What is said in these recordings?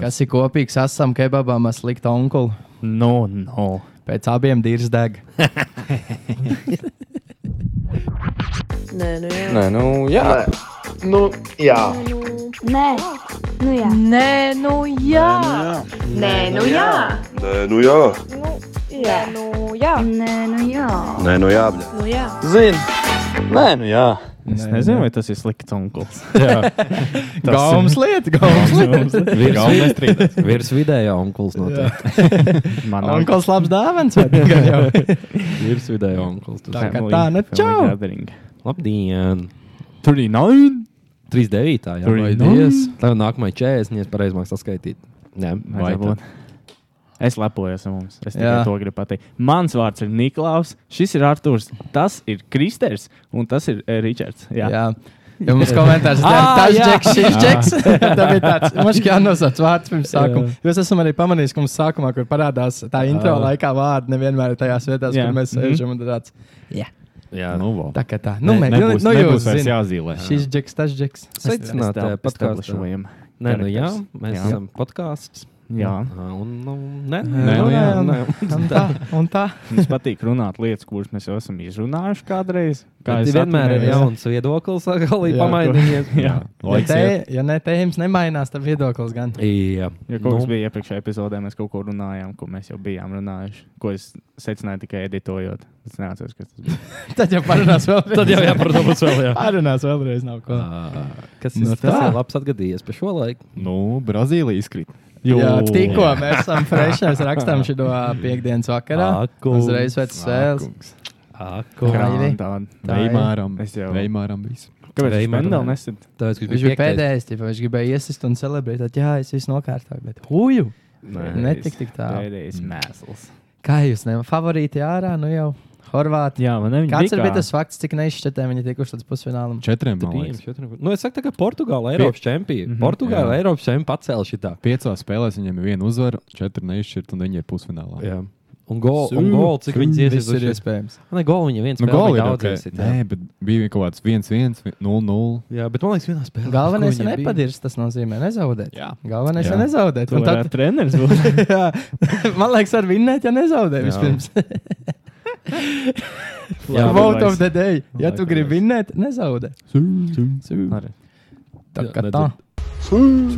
Kas ir kopīgs asam kebabam, slikta onkulu? Nu, nu. Pēc abiem dīrs deg. Nē, nu jā. Nē, nu jā. Nu, jā. Nē, nu jā. Nē, nu jā. Nē, nu jā. Nē, nu jā, Nē, nu jā. Nē, nu jā. nē, nu jā. Nu jā. Zini. Nē, nu jā. Es nezinu, vai tas ir slikts onkls. Gaumas lieta, gaumas lieta. Galvenais trīdais. Virs vidējā onkls notiek. Man Onkls labs dāvans, vai ne? Gan jau. Virs vidējā onkls. Tas Tā ir kā tā, nu čau. labdien. Tur ir nine. 39. Jā, Tur ir paldies. Tev nākamajai 40. Ja pareizi māks saskaitīt. Jā, Vai tā. būt? Es lepojos ar mums. Es tikai Jā. to gribu pateikt. Mans vārds ir Niklaus, šis ir Arthurs, tas ir Kristers un tas ir eh, Ričards. Jā, jā. Jā. Ja mums komentārs ir Ā, tāds, tas ir jā. ģeks, šis ģeks. Tad ir tāds, mums kā nosauc vārds pirms sākuma. Jā. Jūs esam arī pamanījuši, ka mums sākumā, kur parādās tā intro Jā. laikā vārdi, nevienmēr ir tajās vietās, Jā. kur mēs Mhm. sēžam un tāds. Jā, Nu, vau. Tā kā tā. Nu, Ne- mē, nu, Nebūs, nu nebūs jūs vairs zināt. jāzīmē. Šis ģeks, tas ģeks. Sveicināt, podkāstu. podkāstiem. Nē, nu jā, karakters. mēs Jā. esam podkāsts. Jā, Un, nu, nē, Nē, nu nu jā, jā. nē. Un tā, un tā. mums patīk runāt lietas, kuras mēs jau esam izrunājuši kādreiz. Kā es vienmēr ir atceros. jauns viedoklis, kā Jā, līnija pamainījies. Jā, Ja, Laiks te, iet. ja ne tēmas nemainās, tad viedoklis gan. Jā, Nu. Ja kaut Nu. kas bija iepriekšējā epizodē, mēs kaut ko runājām, ko mēs jau bijām runājuši. Ko es secināju tikai editējot. Es neatceros, kas tas bija. Tad jau parunās vēlreiz. Tad jau jāprotams vēl jā. Parunās vēlreiz nav ko. Kas Nu ir tas tā. ir labs atgadījies pa šo laiku? Nu, Brazīlija izkrīt. Jā, tikko mēs esam frešās rakstām šo piekdienas vakarā. Akungs, Uzreiz pēc spēles. Ako. Kā? Krāna Krāni. tāda. Tā ir. Veimāram. Es jau- Veimāram bijis. Kāpēc viņš Reimer, man vēl ne? nesat? Tāpēc, ka Viņš bija pēdējais, tipa, viņš gribēja iesist un celebrēt. tad, Jā, es visu nokārtoju, bet huju! Netik tik tā. Pēdējais Mm. mēsls. Kā jūs nemanāt, favorīti ārā, nu jau Horvāti. Jā, man viņa Kāds ir bija tas fakts, cik neizšķirtē viņi tikuši līdz pusfinālam? Četriem man Pieņems, liekas. četriem. Nu, es saku, tā kā Portugāla Eiropas čempiona. Mhm. Portugāla Jā. Eiropas čempiona pacēla šitā. Piecās spēlēs viņam ir viena uzvara, četri neizšķirt, un viņi ir pusfinālā. Jā. Un gol, un gol cik viņi Viss ir iesies? iespējams. Nē, gol viņa viens Nu, spēlē goli ir daudz ok. iesita, jā. Nē, bet bija kaut kāds 1-1, 0-0. Jā, bet man liekas, vienā spēlē. Galvenais kur ir viņiem bija? nepadirst, tas nozīmē nezaudēt. Jā. Galvenais Jā. ir nezaudēt. Tu Un varētu tad, treneris būt. jā, man liekas, ar vinnēt, ja nezaudē Jā. vispirms. Jā, Jā, vote of the day. Ja Laikam tu gribi vinnēt, nezaudē. Arī. Tā Jā, kā nedzer- tā. Mums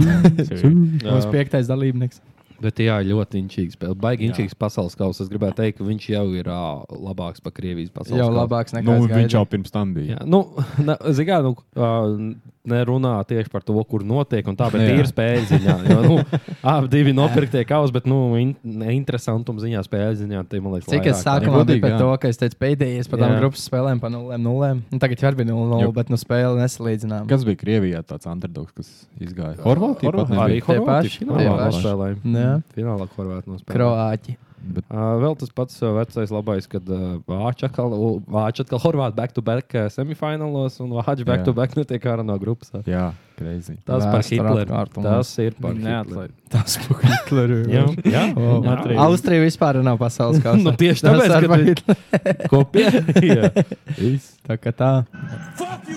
Jā. piektais dalībnieks. Bet jā, ļoti inčīgs spēle. Baigi inčīgs pasaules kausa. Es gribēju teikt, ka viņš jau ir ā, labāks par Krievijas pasaules Jau kausu. labāks nekā Nu, es viņš gaidīju. jau pirms tam bija. Jā, nu, ne, zikā, nu, ā, nerunā tieši par to, kur notiek, un tā, Nu, bet Jā. ir spēļu ziņā. Jo, nu, abi divi nopirktie kausi, bet, nu, in, interesantuma ziņā, spēļu ziņā, tie, man liekas, Cik es vairāk. sākumā biju godīgi, par jā. to, ka es teicu pēdējais par tām Jā. grupas spēlēm, par 0-0. Tagad jau ir 0-0, Jo. bet nu spēle nesalīdzinām. Kas bija Krievijā tāds underdogs, kas izgāja? Horvātija pat Arī nebija. Tie Horvāti paši, tie finālā paši. nospēlēja. Jā. Finālā Horvāti nospēlēja. Kroāķi. Bet Uh, vēl tas pats uh, vecais labais, kad uh, Vācija atkal, u- Vāči atkal Horvātija back-to-back uh, semifinālos un Vācija back-to-back netiek ārā no grupas. uh. jā, greizi. Tas par Vēsture Hitleru. atkārtojums. Tas ir par Hitleru. Neatlaid. Tas bija Hitlers. Jā, jā. Atrīd. Austrija vispār nav pasaules kausā. Nu, tieši Tas tāpēc, ar ka Hitleru. kopīgi. jā. Tā kā tā.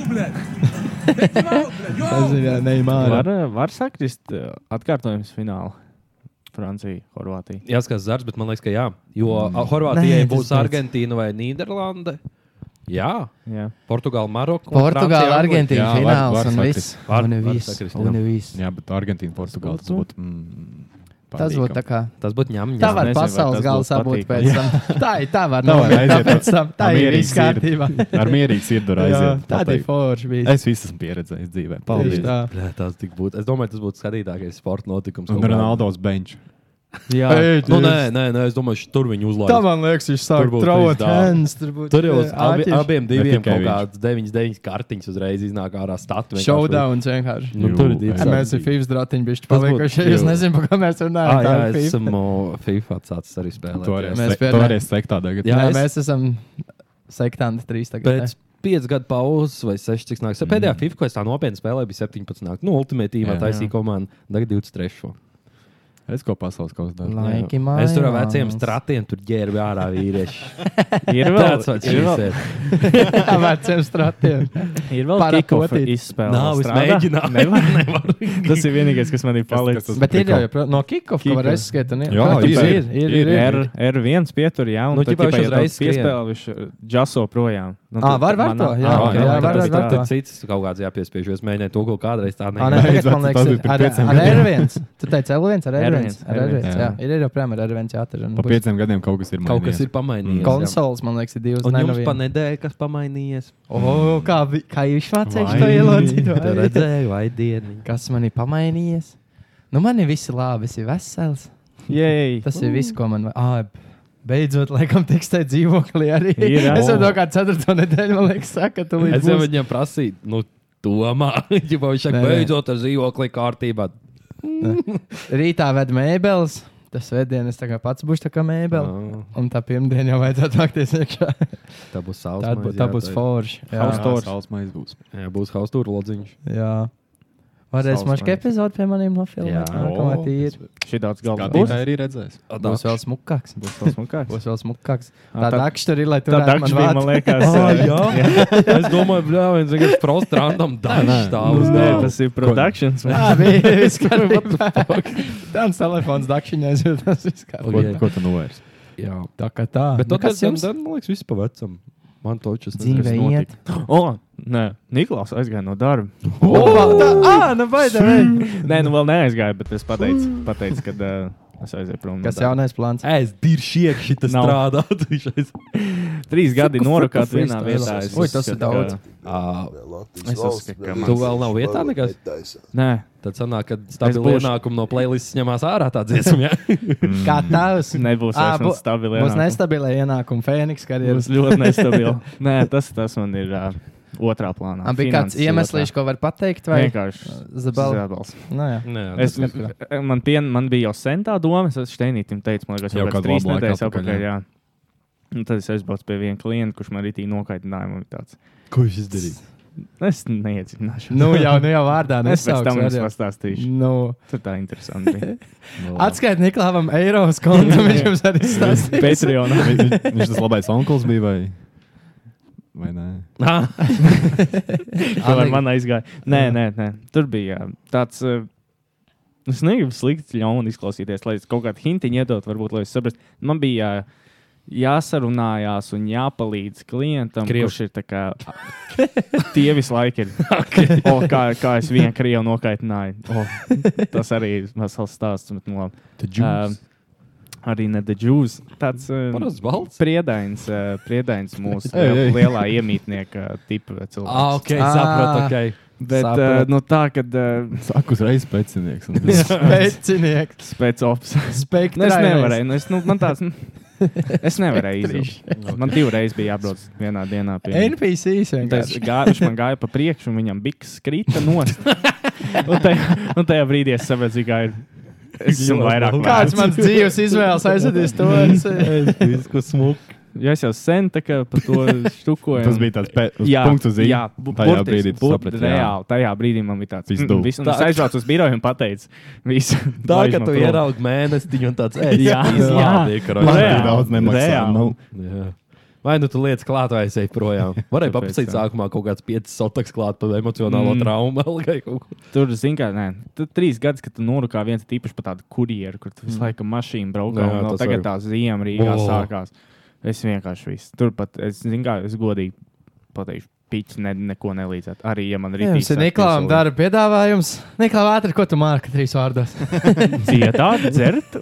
Tas ir jā, neimāra. Var, var sakrist eh, atkārtojums finālā. Francija, Horvātija. Jāskatās zars, bet man liekas, ka jā. Jo mm. Nē, Horvātijai tas būs pēc. Argentīna vai Nīderlanda. Jā, Jā. Portugāla, Maroka. un Portugāla, Francija, Anglija. Argentīna Jā, var- fināls var un sakrist. viss. Var- Un var viss. sakrist, jā. Un viss. Jā, bet Argentīna, Portugāla tas būtu. mm, Tas būtu tā patīkami. kā. Tas būtu ņem, Tā ņem. var nezinu, vai pasaules tas galā būs sabūt pēc patīkami. tam. Tā ir tā var. Tā var novērst, aiziet tāpēc tam. Tā ir mierīgi viss kārtībā. Ar mierīgu sirdi var aiziet. Tāda ir pateikt. forša bija. Es visu esmu pieredzējis dzīvē. Tieši Paldies. tā. Jā, tas tik būtu. Es domāju, tas būtu skatītākais sporta notikums. kaut Un kādā. Ronaldos bench. Jā, Ei, nu, tu- nē, nē, nē, es domāju, š- tur viņi Tā uzlaiž. man liekas, viņš Tur sāk būtu travot trīs dāmas. hands. Tur būtu Tur jau uz eh, abi, āķis. abiem diviem tikai kaut viņš. kādas 9, 9 kartiņas uzreiz iznāk ārā statu. vienkārši. Showdowns vienkārši. Nu, tur ir Jū, divi. jā. Mēs ar Fīvs drātiņu bišķi Tas būtu- palikuši. Es jū. nezinu, par ko mēs runājam. Ah, jā, tā ir FIFA. esmu FIFA atsācis arī spēlēt. Toreiz Mēs se- vienmēr- toreiz sektā tagad. Jā, Nē, es- mēs esam sektanti trīs tagad. ne? Pēc piecu gadu pauzes vai sešu, cik nāks. Pēdējā FIFA, ko es tā nopietni spēlēju, bija 17. nāk. Nu, ultimate teamā Jā. taisīja komandu, tagad 23. Es ko pasaules kausā daru. Laiki Es tur ar veciem mājās. stratiem tur ģērbu ārā vīrieši. Ir vēl Tāds vārds ir vēl- ir. Ar veciem stratiem. Ir vēl Parakotīt. kikofa izspēle. Nav, es Strādā? mēģināju. Nevar, nevar. tas ir vienīgais, kas man ir palicis. Bet ir jau joprojām no kickoff, ka var aizskriet. un Jā, Kā, ir, tas ir, ir, ir, ir. R- R1 pietur, jā, un Nu, nu, tad, ķipā, ķipā, viņš ja tā uzreiz skrien. piespēle, viņš uh, džaso projām. Nu, Ā, tad var- var manā- to? Jā, Ā, ok, jā, var- jā, tas var- var tā. Tas cits kaut kāds jāpiespiež, jo es mēģināju to kaut kādreiz tā Ah, nē, nedarīt. tagad, man liekas, tas bija ir pirms ar, pieciem ar R1. Tu teici L1, ar R1. R1, Ar R1 jā. jā. ir ir joprojām ar R1 jāatver. un Pa būs- pieciem gadiem kaut kas ir Kaut kas mainījies. ir pamainījies. jā. Konsoles, man liekas, ir divas. Un ne, jums no pa viena. nedēļu kas pamainījies. O, kā, vi- kā jūs vācieši to Vai. Tā ielocījāt? redzēju, vai dienu. Kas man ir pamainījies? Nu, man ir visi labi, es esmu vesels. Jej. Tas ir viss, ko man vajag. Ah, beidzot, laikam, tekstē dzīvoklī arī. Ir, jā. es jau to kā ceturto nedēļu, man liekas, saka, tu Es līdz jau būs. viņam prasīju, nu, domā, ja viņš saka, Nē, nē. beidzot ar dzīvokli kārtībā. Rītā ved mēbeles, tas vēdienas tā kā pats būšu tā kā mēbele. Un tā pirmdiena jau vajadzētu vākties iekšā. Tā būs sausa. Tā būs, tā būs forša. Jā, Haus- stors. Saules maize būs. Jā, būs haustūra lodziņš. jā. Varēs Saules mašķi maize. epizodu pie maniem Jā. nofilmēt. Nākamā Oh, Oh, tīra. Šī tāds galvā. Skatītāji arī redzēs. Būs vēl smukāks. Būs tas un kāds. Būs vēl smukāks. Ā, Tā tā- dakšķi tur ir, lai tur Tā dakš bija, man liekas. eh, es domāju, bļā, viens ir prosts random dažs tā Nu, uz Nē, nē. tas ir productions. Jā, bija viss kārtībā. Tāds telefons dakšiņās, jo tas viss Ko, kārtībā. ko tu novērsi? Jā. Tā kā tā. Bet Nu, nu, tas jums, tad, man liekas, viss pa vecam. Man to čas dzīvē iet? O, nē, Niklaus aizgāja no darba. Opa, tā, ā, nu baida, vai? Nē, nu vēl neaizgāja, bet es pateicu, pateicu ka uh, es aizēju prom. no Kas darba. jaunais plāns? Es diršu iekšā, tas Nav. strādāt. viņš aiz- Trīs gadi fuku, norūkāt fuku vienā vietā. freestyle. Es Oi, tas ir uzskatu, daudz. ka- Ā, Es uzskatu, ka Tu man. vēl nav vietā nekas? Nē, Tad sanāk, ka stabili būšu. ienākumu no playlists ņemās ārā tā dziesma, jā? Kā tavs? Mm. nebūs Ā, vairs man bū- stabili. Būs ienākumi. nestabilē ienākuma Fēniks Būs karjeras. ļoti nestabili. Nē, tas, tas man ir uh, otrā plānā. Man bija kāds Finanses iemesls, ko var pateikt, otrā. vai? vienkārši. Zabala. Zabals. Nu, jā. Nē, Es, tas katrā. man, pien, man bija jau sen tā doma, es Steinītam teicu, man liekas, Jau jau kāds kādu trīs labu laiku nedēļas atpakaļ, apakaļ. Jā. Un tad es aizbraucu pie viena klienta, kurš man arī nokaitināja. Man bija tāds, ko viņš izdarīja? es neiedzināšu. Nu, jau, nu jau vārdā es pēc tam jums nesauks. pastāstīšu. Nu, Tur tā interesanti. bija. atskait Niklāvam Eiropas kontu, viņš jums arī stāstīja. Patreonā. Vi- vi- Nu, Viņš tas labais onkls bija vai? Vai nē? Tur ar mani aizgāja. Nē, nē, nē. tur bija jā, tāds. eh, Es negribu slikti ļaunu izklausīties, lai es kaut kādu hintiņu iedotu, varbūt, lai es saprastu. Man bija jā, jāsarunājās un jāpalīdz klientam, Krievu. kurš ir tā kā. Tie visu laiku ir. O, kā, kā es vienu krievu nokaitināju. O, tas arī ir vesels stāsts. Bet, nu, labi. Ehm, arī ne The Jews. Tāds eh, Parāds balts. Priedains, eh, priedains mūsu Ei, ei. lielā iemītnieka tipa cilvēks. Ah, ok, Ah. sapratu, ok. Bet uh, Sapratu. nu, tā, kad uh, Saku uzreiz pēcinieks. un viss. Spēcinieks. spēcops. Spēcinieks. Nu, es nevarēju. Nu, es, nu, man tāds, nu, es nevarēju izdarīt. Man divreiz bija jābrauc vienā dienā. pie viņa. NPCs Un tad es vienkārši. gāju- Viņš man gāja pa priekšu, un viņam bija krita nost. un, tajā, un tajā brīdī es sapratu, ka ir. Es esmu vairāk Kāds vērts. mans dzīves izvēles aizvedīs to? Viss, ko smuki. Jo es jau sen tā kā par to štukoju. Tas bija tāds pē- uz punktu zīme. Jā, bu- Tajā burtiski, brīdī tu bur- saprati, jā. Reāli, tajā brīdī man bija tāds. Viss mm, dū. viss, un Es aizbraucu uz biroju un pateicu, visu. Tā, laiž ka man tu prom. ieraugi mēnesiņu un tāds, ej, Jā, izlādīja, jā. karoči. Man arī Reāli, daudz nemaksā. reāli. Nu, Jā. Vai nu tu lietas klāt, vai es eju projām? Varēja Tāpēc paprasīt tā. sākumā kaut kāds piecas sotaks klāt par emocionālo mm. Mm. traumu. algai kaut ko. Tur, zini, kā, nē, tur trīs gadus, kad tu norūkā viens tīpaši par tādu kurjeru, kur tu visu laiku mašīnu braukā. Jā, Jā, un vēl tas tagad var. tā ziema Rīgā Oh. oh. sākās. Es vienkārši viss. Turpat, es, zini, kā, es godīgi pateikšu, pīķis ne, neko nelīdzētu. Arī, ja man rītīs. Jums ir Niklāvam darba piedāvājums. Niklāvam ātri, ko tu māki trīs vārdos? Dziedāt, dzert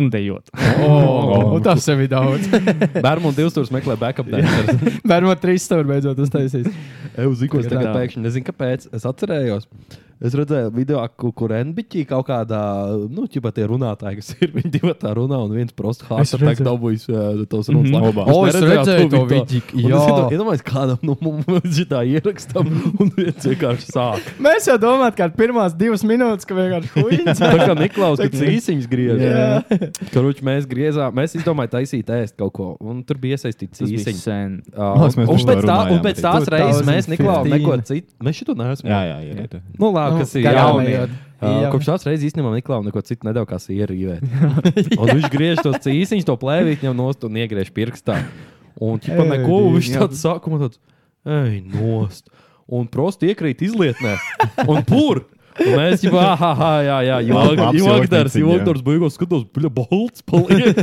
un dejot. Oh, O, un tas sev ir daudz. Bērnu un divstūrus meklē backup dancers. Bērnam trīs stūri beidzot uztaisīs. Eju uz ikos Tagad tagad tā. pēkšņi, nezinu kāpēc, es atcerējos. Es redzēju video, ku- kur NBC kaut kādā, nu, ķipa tie runātāji, kas ir, viņi divi tā runā un viens prosti hārts ar tādu dabūjis eh, tos runas Mhm. labā. O, es redzēju to vidīk, jā. Iedomājies, kādam no mums šitā ierakstam un viens vienkārši sāk. Mēs jau domājam, ka pirmās divas minūtes, ka vienkārši huīns. Nu, Tā kā Niklaus bija īsiņš Jā. griezās. Karuč, mēs griezām, mēs izdomājām taisīt ēst kaut ko, un tur bija iesaistīts Tas bija īsiņš. sen. Uh, Liekas, Nu, un, mēs par to pēc tā, un runājām, pēc bet- tās reizes mēs 2015. Niklaus neko citu. Mēs šito neesam. Jā, jā, jā. Nu, labi, kas ir garām jaunie. ejot. Uh, Jā. kopš tās reizes īstenībā Niklaus neko citu nedēļu kā sieru īvēt. Un viņš griež to cīsiņu, to plēvīt, ņem nost un iegriež pirkstā. Un ķipa Ej, neko, viņš jā. tāds sākumā tāds, ej, nost. Un prosti iekrīt izlietnē. Un pur! Un Mēs jau tā, jā, jā, Labi, apsi jogdars, okniciņi, jā. jogdars beigās skatos, bļa, balts paliek.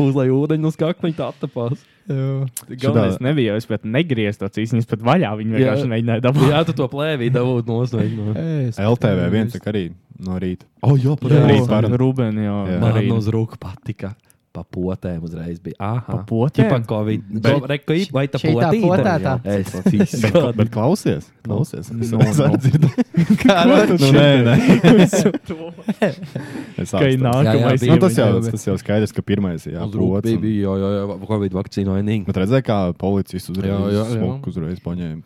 Uz lai ūdeņi no skakmeņa tā attapās. Jā. Galvenais nebija, jo es pat negriezu to cīņu, es pat vaļā viņu Jā. vienkārši mēģināju dabūt. Jā, tu to plēvī dabūji nost. nu. no- Es LTV viens tā kā arī no rīta. O, jā, Jā. pareizi. Rīt varam. Rūbēni jau Jā. Man arī uz rūku patika. Pa potēm uzreiz bija. Aha. potēm? Ķipa Covid. Bet- Go- Reka, i- Vai tā Šī tā potīte? potētā. Jā, Es izskatu. Bet klausies, klausies. Es Nu, no, nu. dzirdu. Nu, nē, nē. Es Ka ir ārstos. jā, nākamais. bija, Nu, tas, jau, bija. tas jau skaidrs, ka pirmais ir Uz rūku bija, jāatrodas. bija, jā, jā, jā, Covid vakcīna vainīga. Bet redzēju, kā policists Jā, uzreiz jā, jā. smuku uzreiz paņēma.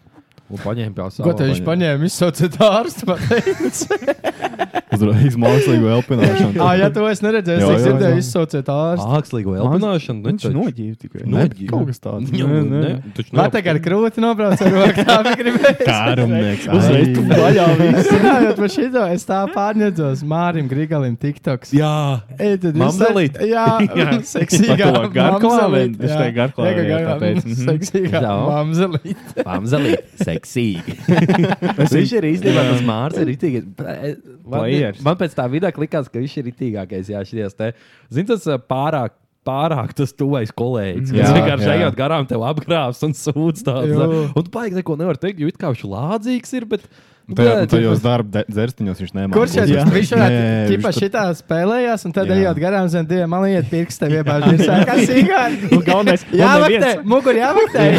Un paņēma pie Ko te viņš savām. paņēma? Izsauciet ārstu. Uzreiz mākslīgo elpināšanu. Ah, ja to es neredzēju, es Jā, tikai jā, jā. dzirdēju, izsauciet ārstu. Mākslīgo elpināšanu. nu, Viņš taču- noģīva tikai. Nē, bet kaut kas tāds. nu, Jā, Nē, nē. nē, taču Man nav- tā kā ar krūti nobrauc ar roku, tā bija gribējusi. Kārumnieks. Uzreiz tu vaļā visu. Runājot par šito, es tā pārņēdzos Mārim Grigalim, TikToks. Jā, Ej, tad jūs- Mamzelīt. Jā, seksīgā. Par to garklāvi? Es teju garklāvi, jā, tāpēc, mhm. Seksīgā. Jā. Mamzelīt. pamzelī, seksīgi. Viņš ir īstenībā tas mākslinieks, ir itīgais. e, Man, Players. man pēc tā vidē likās, ka viņš ir itīgākais. Jā, šities te. Zini, tas ā, pārāk. Pārāk tas tuvais kolēģis. Jā, Viņš vienkārši jā. ejot garām, tev apgrābs un sūdz tādu. Jū. Nu, Un tu baigi neko nevar teikt, jo it kā viņš lādzīgs ir, bet. Tajā- Tajos darba de- dzērstiņos viņš nemāca. Kurš Jā. šeit viņš varētu, Nē, ķipa viņš tur- šitā spēlējās, un tad Jā. ejot garām zem diviem, man iet pirkstiem iebāžu. Seksīgā. Un galvenais, Jā, man vaktē, neviens- mugur jāvaktē.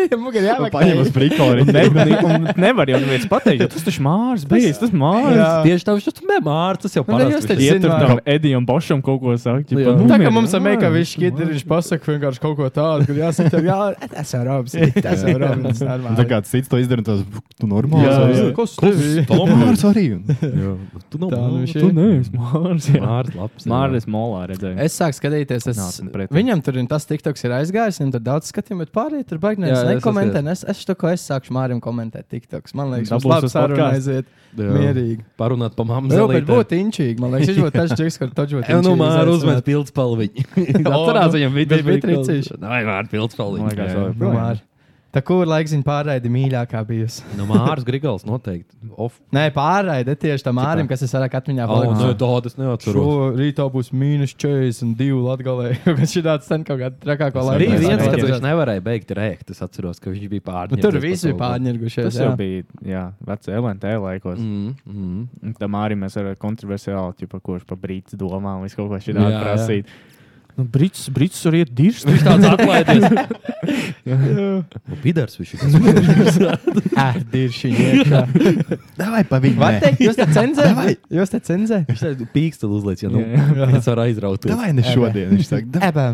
Mugur Paņem uz jāvaktē. prikoli. Ne, un, un nevar jau neviens pateikt, jo tas taču mārs bijis, tas mārs. Jā. Tieši tā, viņš tur nemāra. Tas jau Nu, ne, jūs parasti taču viņš ir. zināt. Iet tur tam Edijam Bošam kaut ko sakt. ķipa, Jā. nu, Tā kā mien- mums ir jā, mekavišķi skidri, viņš pasaka vienkārši kaut ko tādu, kur jāsaka, tev, jā, "E, tas ir Robs, tas ir Robs, Un Tā normāli. kā cits to izdarīja, tas tu normāli. Jā, savu- jā. Kas tas ir? Tomārs arī. Jā, Tu nav Tā nu viņš mārs. ir. Tu neesi mārs. jā. Mārs labs. jā. Māris Molā redzēja. Es sāku skatīties, es, Nāc man pretī. viņam tur ir tas tiktoks ir aizgājis, viņam tur daudz skatījumu, bet pārējie tur baigās. Jā, jā, es Nekomentē, es, es to, ko es sāku Mārim komentēt tiktoks. Man liekas, tas Dabūs būs labi uz saruna podcastu. aiziet Jā. mierīgi. Parunāt pa Jā, bet mamzelī. būtu inčīgi, man liekas, viņš būtu tas čiks, kur taču būtu. Jā, nu, inčīgi Mārcis uzmet izaicināt. pildspalviņu. O, Atcerās viņam bet video bija tricīši. Nē, Mārcis Man liekas, pildspalviņu. vēl- Nu, Māri. Tā kur laikziņa pārraidi mīļākā bijusi? Nu, Mārcis Grigals noteikti. Of. Nē, pārraidi tieši tam Mārim, kas es vairāk atmiņā Oh, palikusi. nē, tādas neatceros. Šo rītā būs mīnus 42 latgalē, jo viņš ir tāds sen kaut kāda trakāko laiku. Bija Nē, viens, nē, kad nē. viņš nevarēja beigt rēkt. Es atceros, ka viņš bija pārņemts. Nu, Tur viss bija pārņirgušies. Tas jā. jau bija, jā, vecā LNT laikos. Mm, mm. Un Tam arī mēs ar kontroversiāli, ķipa, kurš par brīdzi domā un visu kaut ko Jā, šādu jā. prasīt. Nu, brīdis, brīdis arī ir dirsts. Viņš tāds atlaidies. Nu, Pidars viņš ir. Ah, diršiņiekā. Davai pa viņu. Var teikt, jūs te cenzē? Jūs te cenzē? Viņš tāds pīksteli uzliec, ja nu. Jā, Viņš var aizraut. Davai ne šodien, viņš saka. "Davai." Eba.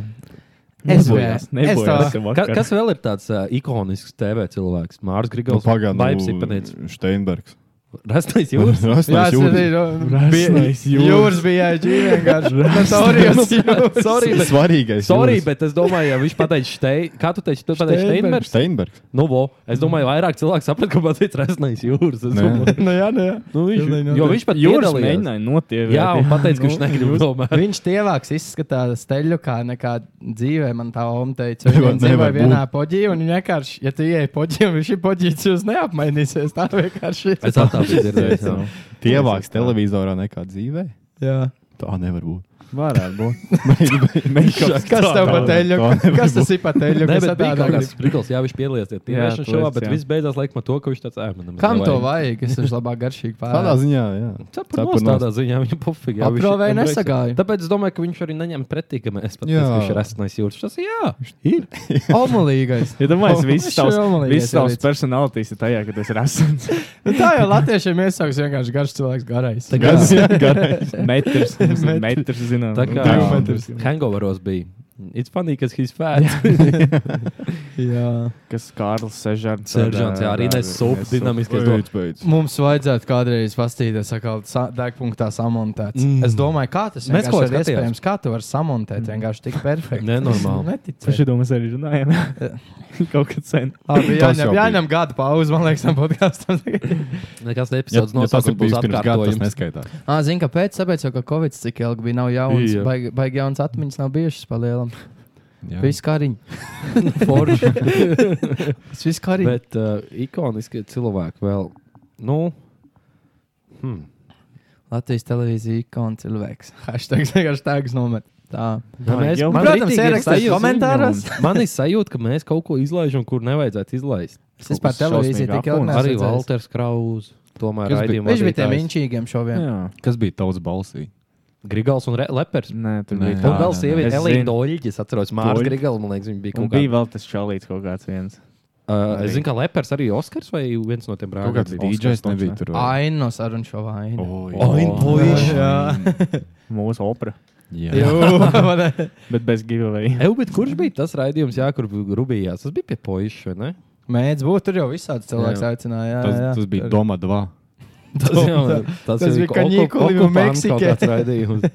Es Nebojās, nebojās. to- tev Ka, vakar. kas vēl ir tāds uh, ikonisks TV cilvēks? Mārcis Nu, Grigals. Pagaidām. Vaips ir panēc. Steinbergs. Rastais jūras. Jā, Rasnais tas jūras. ir Rasnais jūras. jūras bija ģī vienkārši. Tas orijas jūras. Sorry, bet Svarīgais. Sorry, jūras. bet es domāju, ja viņš pateica Stein, kā tu teici, tu pateici Steinbergs. Steinbergs. Nu, vo, es domāju, vairāk cilvēku saprat, ka pateica Resnais jūras. Es Nē. domāju, Nu jā, nu jā. nu, viņš, Pilnīgi jo viņš pat Jūras jūras mēģināja. mēģināja notiekties. Jā, un pateica, ka viņš negrib domāt. Viņš tievāks izskatās steļu kā nekā dzīvē, man tā oma teica. Viņa Nevar- dzīvoja nevar vienā poģī, un viņa vienkārši, ja tu ieej poģī, un viņš ir poģīts, jūs neapmainīsies. Tā vienkārši ir. Es tādu dzirdēju. jā. Tievāks televizorā nekā dzīvē. Jā. Tā nevar būt. Varētu būt. Mēģinājums. Kas tev nevar- pateļu? tā nevar Kas tas ir pateļu? Nē, Kas bet tā bija tādā kaut kāds grib? sprigls, jā, viņš piedalījās tie Jā, tiešām šovā, tāpēc, bet jā. viss beidzās laikam ar to, ka viņš tāds ēmanams. Kam to vajag? Es esmu labāk garšīgi Tādā pārāk. ziņā, jā. Cepur Cepur nos nos. tādā ziņā viņa pofīgi. jā, viņš ir- Aprovē nesagāju. Tāpēc es domāju, ka viņš arī neņem pretī, ka mēs pat Jā. nezinām, viņš ir resnais jūras. Tas jā, ir. Omulīgais. Ja domāju, Viņš viss tavs, jomalīgais viss tavs arī. personalitātes ir tajā, ka tas ir asins. Nu, tā jau latviešiem iesāks vienkārši garš cilvēks garais. Tā kā- Gads, garais. Metrs, Metrs. metrs, zinām. Tā kā Divi metri. hangoveros bija. It's funny, ka viņš fēns. Jā. kas Kārlis Sežants. Seržants, jā, arī nesūp dinamiski. es domāju. beidz. Mums vajadzētu kādreiz paskatīties, kā tas degpunktā samontēts. Mm. Mm. Es domāju, kā tas Mēs vienkārši kaut ir ko skatījās. iespējams. Kā tu vari samontēt vienkārši tik perfekti? Nenormāli. Par Neticēju. šo mēs arī runājam. Kaut kad sen. Labi, Tas jau jāņem, bija. jāņem gada pauze, man liekas, tam podkāstam. Nekas Ja, epizodes ja tas ir nosaukums būs bijis pirms gada, tas atkārtojums. neskaitās. ah, zinu, kāpēc? Tāpēc, jo, ka Covid cik ilgi bija, nav jauns, Jā. baigi baig jauns atmiņas, nav bijušas palielam. Jā. Viss kariņš. Tas viss kariņš. Bet uh, ikoniskie cilvēki vēl. Nu, hmm. Latvijas televīzija ikona cilvēks. Hashtags vienkārši tags nomet. Tā. Ja mēs, jau- man Protams, ritīgi ir ierakstiet sajūta- komentāros. Man ir sajūta, ka mēs kaut ko izlaižam, kur nevajadzētu izlaist. Es vispār Kaut kas televīziju šausmīgi tik ilgi apmuļs. neesmu Arī redzējis. Walters Krauss. Tomēr Kas bija- raidījuma Viņš bija tiem vadītājs. inčīgiem šoviem. Jā. Kas bija tauts balsī? Grigals un Re- Lepers. Nē, tur Nē. bija Jā, Un tā. vēl nē, sieviete, nē. Elīna Es zinu. Doļģis, atceros, Mārcis Doļģi. Grigals, man liekas, viņa bija Un kaut bija kāda. vēl tas čalīts kaut kāds viens. Uh, es zinu, ka Lepers arī Oskars vai viens no tiem Kaut kāds brāļiem. DJs nebija tur. vai? Aino sarunu šovā. Aino. Oi, puiši, Mūsu opera. Jā. Jā, Bet bez giveaway. Eju, bet kurš bija tas raidījums, jā, kur rubījās? Tas bija pie puikas, vai ne? Mēģinājums būt tur jau visādi cilvēki Jā. aicināja. jā, Tas, jā. tas bija Doma 2. Tas, jā, tas, Tas bija ko- kaņikuli oku- un okupants kaut Meksika. kāds raidījums.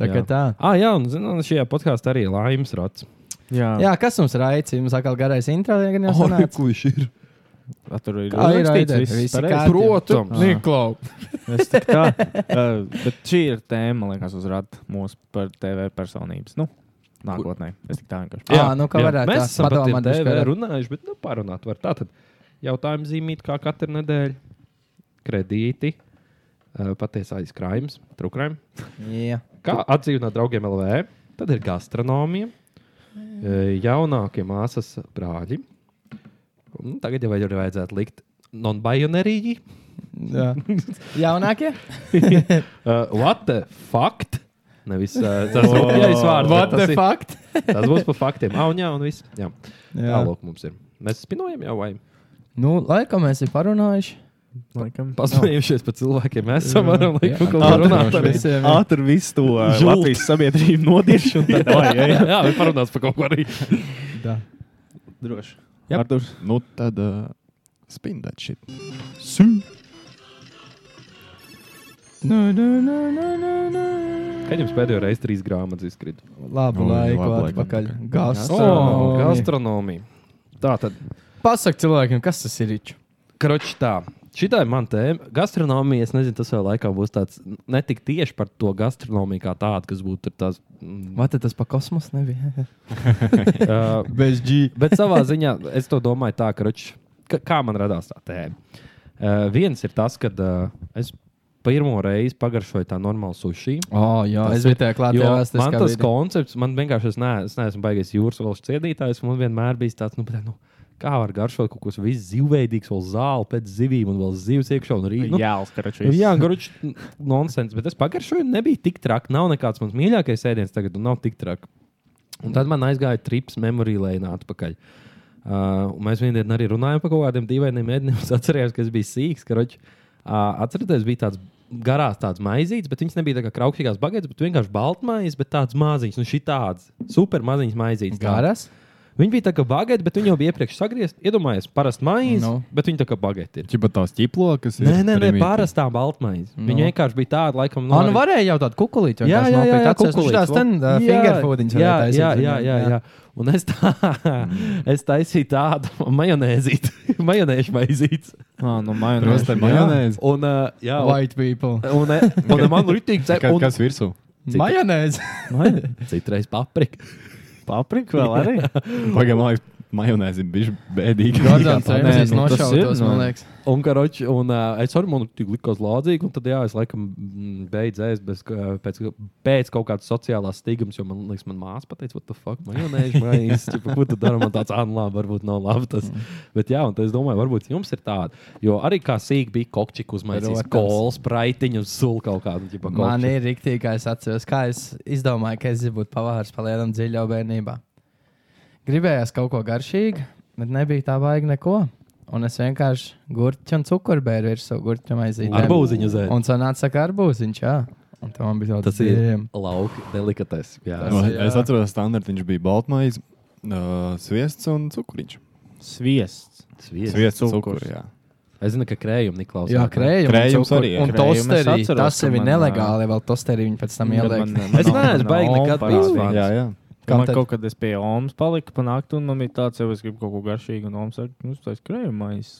tā kā jā. tā. ah, jā, un zinām, šajā podkāstā arī ir laimes rots. Jā, kas mums ir aicinājums? Mums atkal garais intro, ja gan jau Oh, sanāca. kurš ir? Jā, tur ir Kā ir rakstīts raidē? viss Visi pareizi. kārtībā. Protams. Niklau. Es tik tā, uh, bet šī ir tēma, man liekas, uzrādīt mūsu par TV personības. Nu, nākotnē. Es tik tā vienkārši. Jā, nu kā Jā, varētu. Mēs tā, esam par padomā tiem dažkārt. DV runājuši, bet nu, parunāt var. Tātad jautājumu zīmīt kā katru nedēļu. Kredīti, eh, patiesais krājums, trukrājums. Jā. Kā atdzīvināt draugiem LV? Tad ir gastronomija, eh, jaunākie māsas brāļi. Un tagad jau ir vajadzētu likt non-binārīgi. Jā. Jaunākie? Uh, what the fuck? Nevis uh, tas kopējais vārds. bet What tas the ir- fuck? Tas būs par faktiem. Ah, un jā, un viss. Jā, Jā. tālāk mums ir. Mēs spinojam jau vai? Nu, laikam mēs ir parunājuši. Laikam. Pasmējušies par cilvēkiem. Mēs esam varam likt, kaut ko Ātri runāt droši par visiem. visiem. jā. Ātri visu to uh, Latvijas sabiedrību nodiršu. un tad, vai, Jā, Jā, jā, jā, viņi parunās par kaut ko arī. Tā. droši. Jā. Artur, Nu tad uh, spin that shit. Nu, nu, nu, nu, nu, nu. Kad jums pēdējo reizi trīs grāmatas izkrita? Labu Oi, laiku labu laiku atpakaļ. atpakaļ. Gastronomija. gastronomija. Tā tad, Oh. Pasak cilvēkiem, kas tas ir riču? kroči tā. Šitā ir mana tēma. Gastronomija, es nezinu, tas vēl laikā būs tāds ne tik tieši par to gastronomiju kā tādu, kas būtu tur tās. mm, Vai tad tas pa kosmosu nebija? uh, Bez G. Bet savā ziņā es to domāju tā, ka, roč, ka kā man radās tā tēma. Uh, viens ir tas, kad uh, es pirmo reizi pagaršoju tā normālu sushi. Oh, jā, Tas es biju tajā klātē. Jo Jā, man tas tas bija. koncepts, man vienkārši es, ne, es neesmu baigājis jūras valsts cienītājs. Man vienmēr bija tāds, nu, bet, nu, kā var garšot kaut ko visu zivveidīgu, vēl zāli pēc zivīm un vēl zivs iekšā un rītā. Nu, Jā, uzkaraču. Nu, Jā, grūti nonsens, bet es pagaršoju, nebija tik traki. Nav nekāds mans mīļākais ēdiens tagad, un nav tik traki. Un tad man aizgāja trips memory lane atpakaļ. Uh, un mēs vienā dienā arī runājām par kaut kādiem dīvainiem mēdiniem. Es atceros, ka es biju sīgs. Karoči, uh, atcerieties, bija tāds garās tāds maizītes, bet viņas nebija tā kā kraukšķīgās bagetes, bet vienkārši baltmaizes, bet tāds maziņš, nu šī tāds super maziņš maizītes. tāds. Garas? Viņa bija tā kā bagete, bet viņa jau bija iepriekš sagriezta. Iedomājieties, parasti maize, no. Nu. bet viņa tā kā bagete ir. Čipa tās ķiplokas. Nē, nē, nē pārastā baltmaize. No. Viņa vienkārši bija tāda, laikam, Nu, nu, arī- varēja jau tādu kukulīti. Jā, jā, jā, jā, Tās ten uh, Jā, fingerfoodiņas. Jā, varēja taisīt, jā, jā, jā, jā. Un es, tā, es taisīju tādu majonēzīti, majonēžu maizīti. Ah, nu, Protams, majonēzi. tā ir majonēze. Un, uh, jā, un, White people. un, eh, un, un man rītīgi Kā- cepa. Kas virsū? Majonēze. Citreiz paprika. Paprika vēl arī. Pagaidām, lai majonēzi bija bēdīgi. Rodzons nē, Remsijs nu, tas ir, nošautos, nu. man liekas. Un, karoči, un uh, es arī man tik likos lādzīgi, un tad, jā, es laikam mm, beidzu ēst bez, eh, pēc, pēc kaut kādas sociālās stīgums, jo man liekas, man māsa pateica, what the fuck, majonēžu maizes, Čipa, ko tu dari, man tāds, ah, nu, labi, varbūt nav labi tas. Mm. Bet, jā, un tad es domāju, varbūt jums ir tāda, jo arī kā sīk bija kokčiku uzmaisījis, Protams. kols, praitiņu, sul kaut kādu, ķipa, Man ir rīktīgi, kā es atceros, kā es izdomāju, ka es gribu būt pavārs palielam dziļā bērnībā. Gribējās kaut ko garšīgu, bet nebija tā baigta neko. Un es vienkārši gurķu un cukurbēru virsū gurķu aizīju. Ar būziņu zēd. Un sanāca kā ar būziņu, jā. Un tam man bija Tas tāds ir lauka delikates. Jā. Es atceros, ka standartiņš bija baltmaize. Uh, sviests un cukuriņš. Sviests. Sviests un Cukurs. cukurs. Jā. Es zinu, ka krējumi neklausās. Jā, krējums, Krējums arī, jā. Un Krējumi es tosterī. atceros, Tas ka sevi man, nelegāli, vēl tosterī viņi pēc tam ieliek. Nu, Es neesmu baigi nekad bijis bijis. jā, jā. Kam Kam man tad? kaut kad es pie Omas paliku, panākt, un man bija tāds, jau es gribu kaut ko garšīgu, un Omas saka, nu, tas krējumais.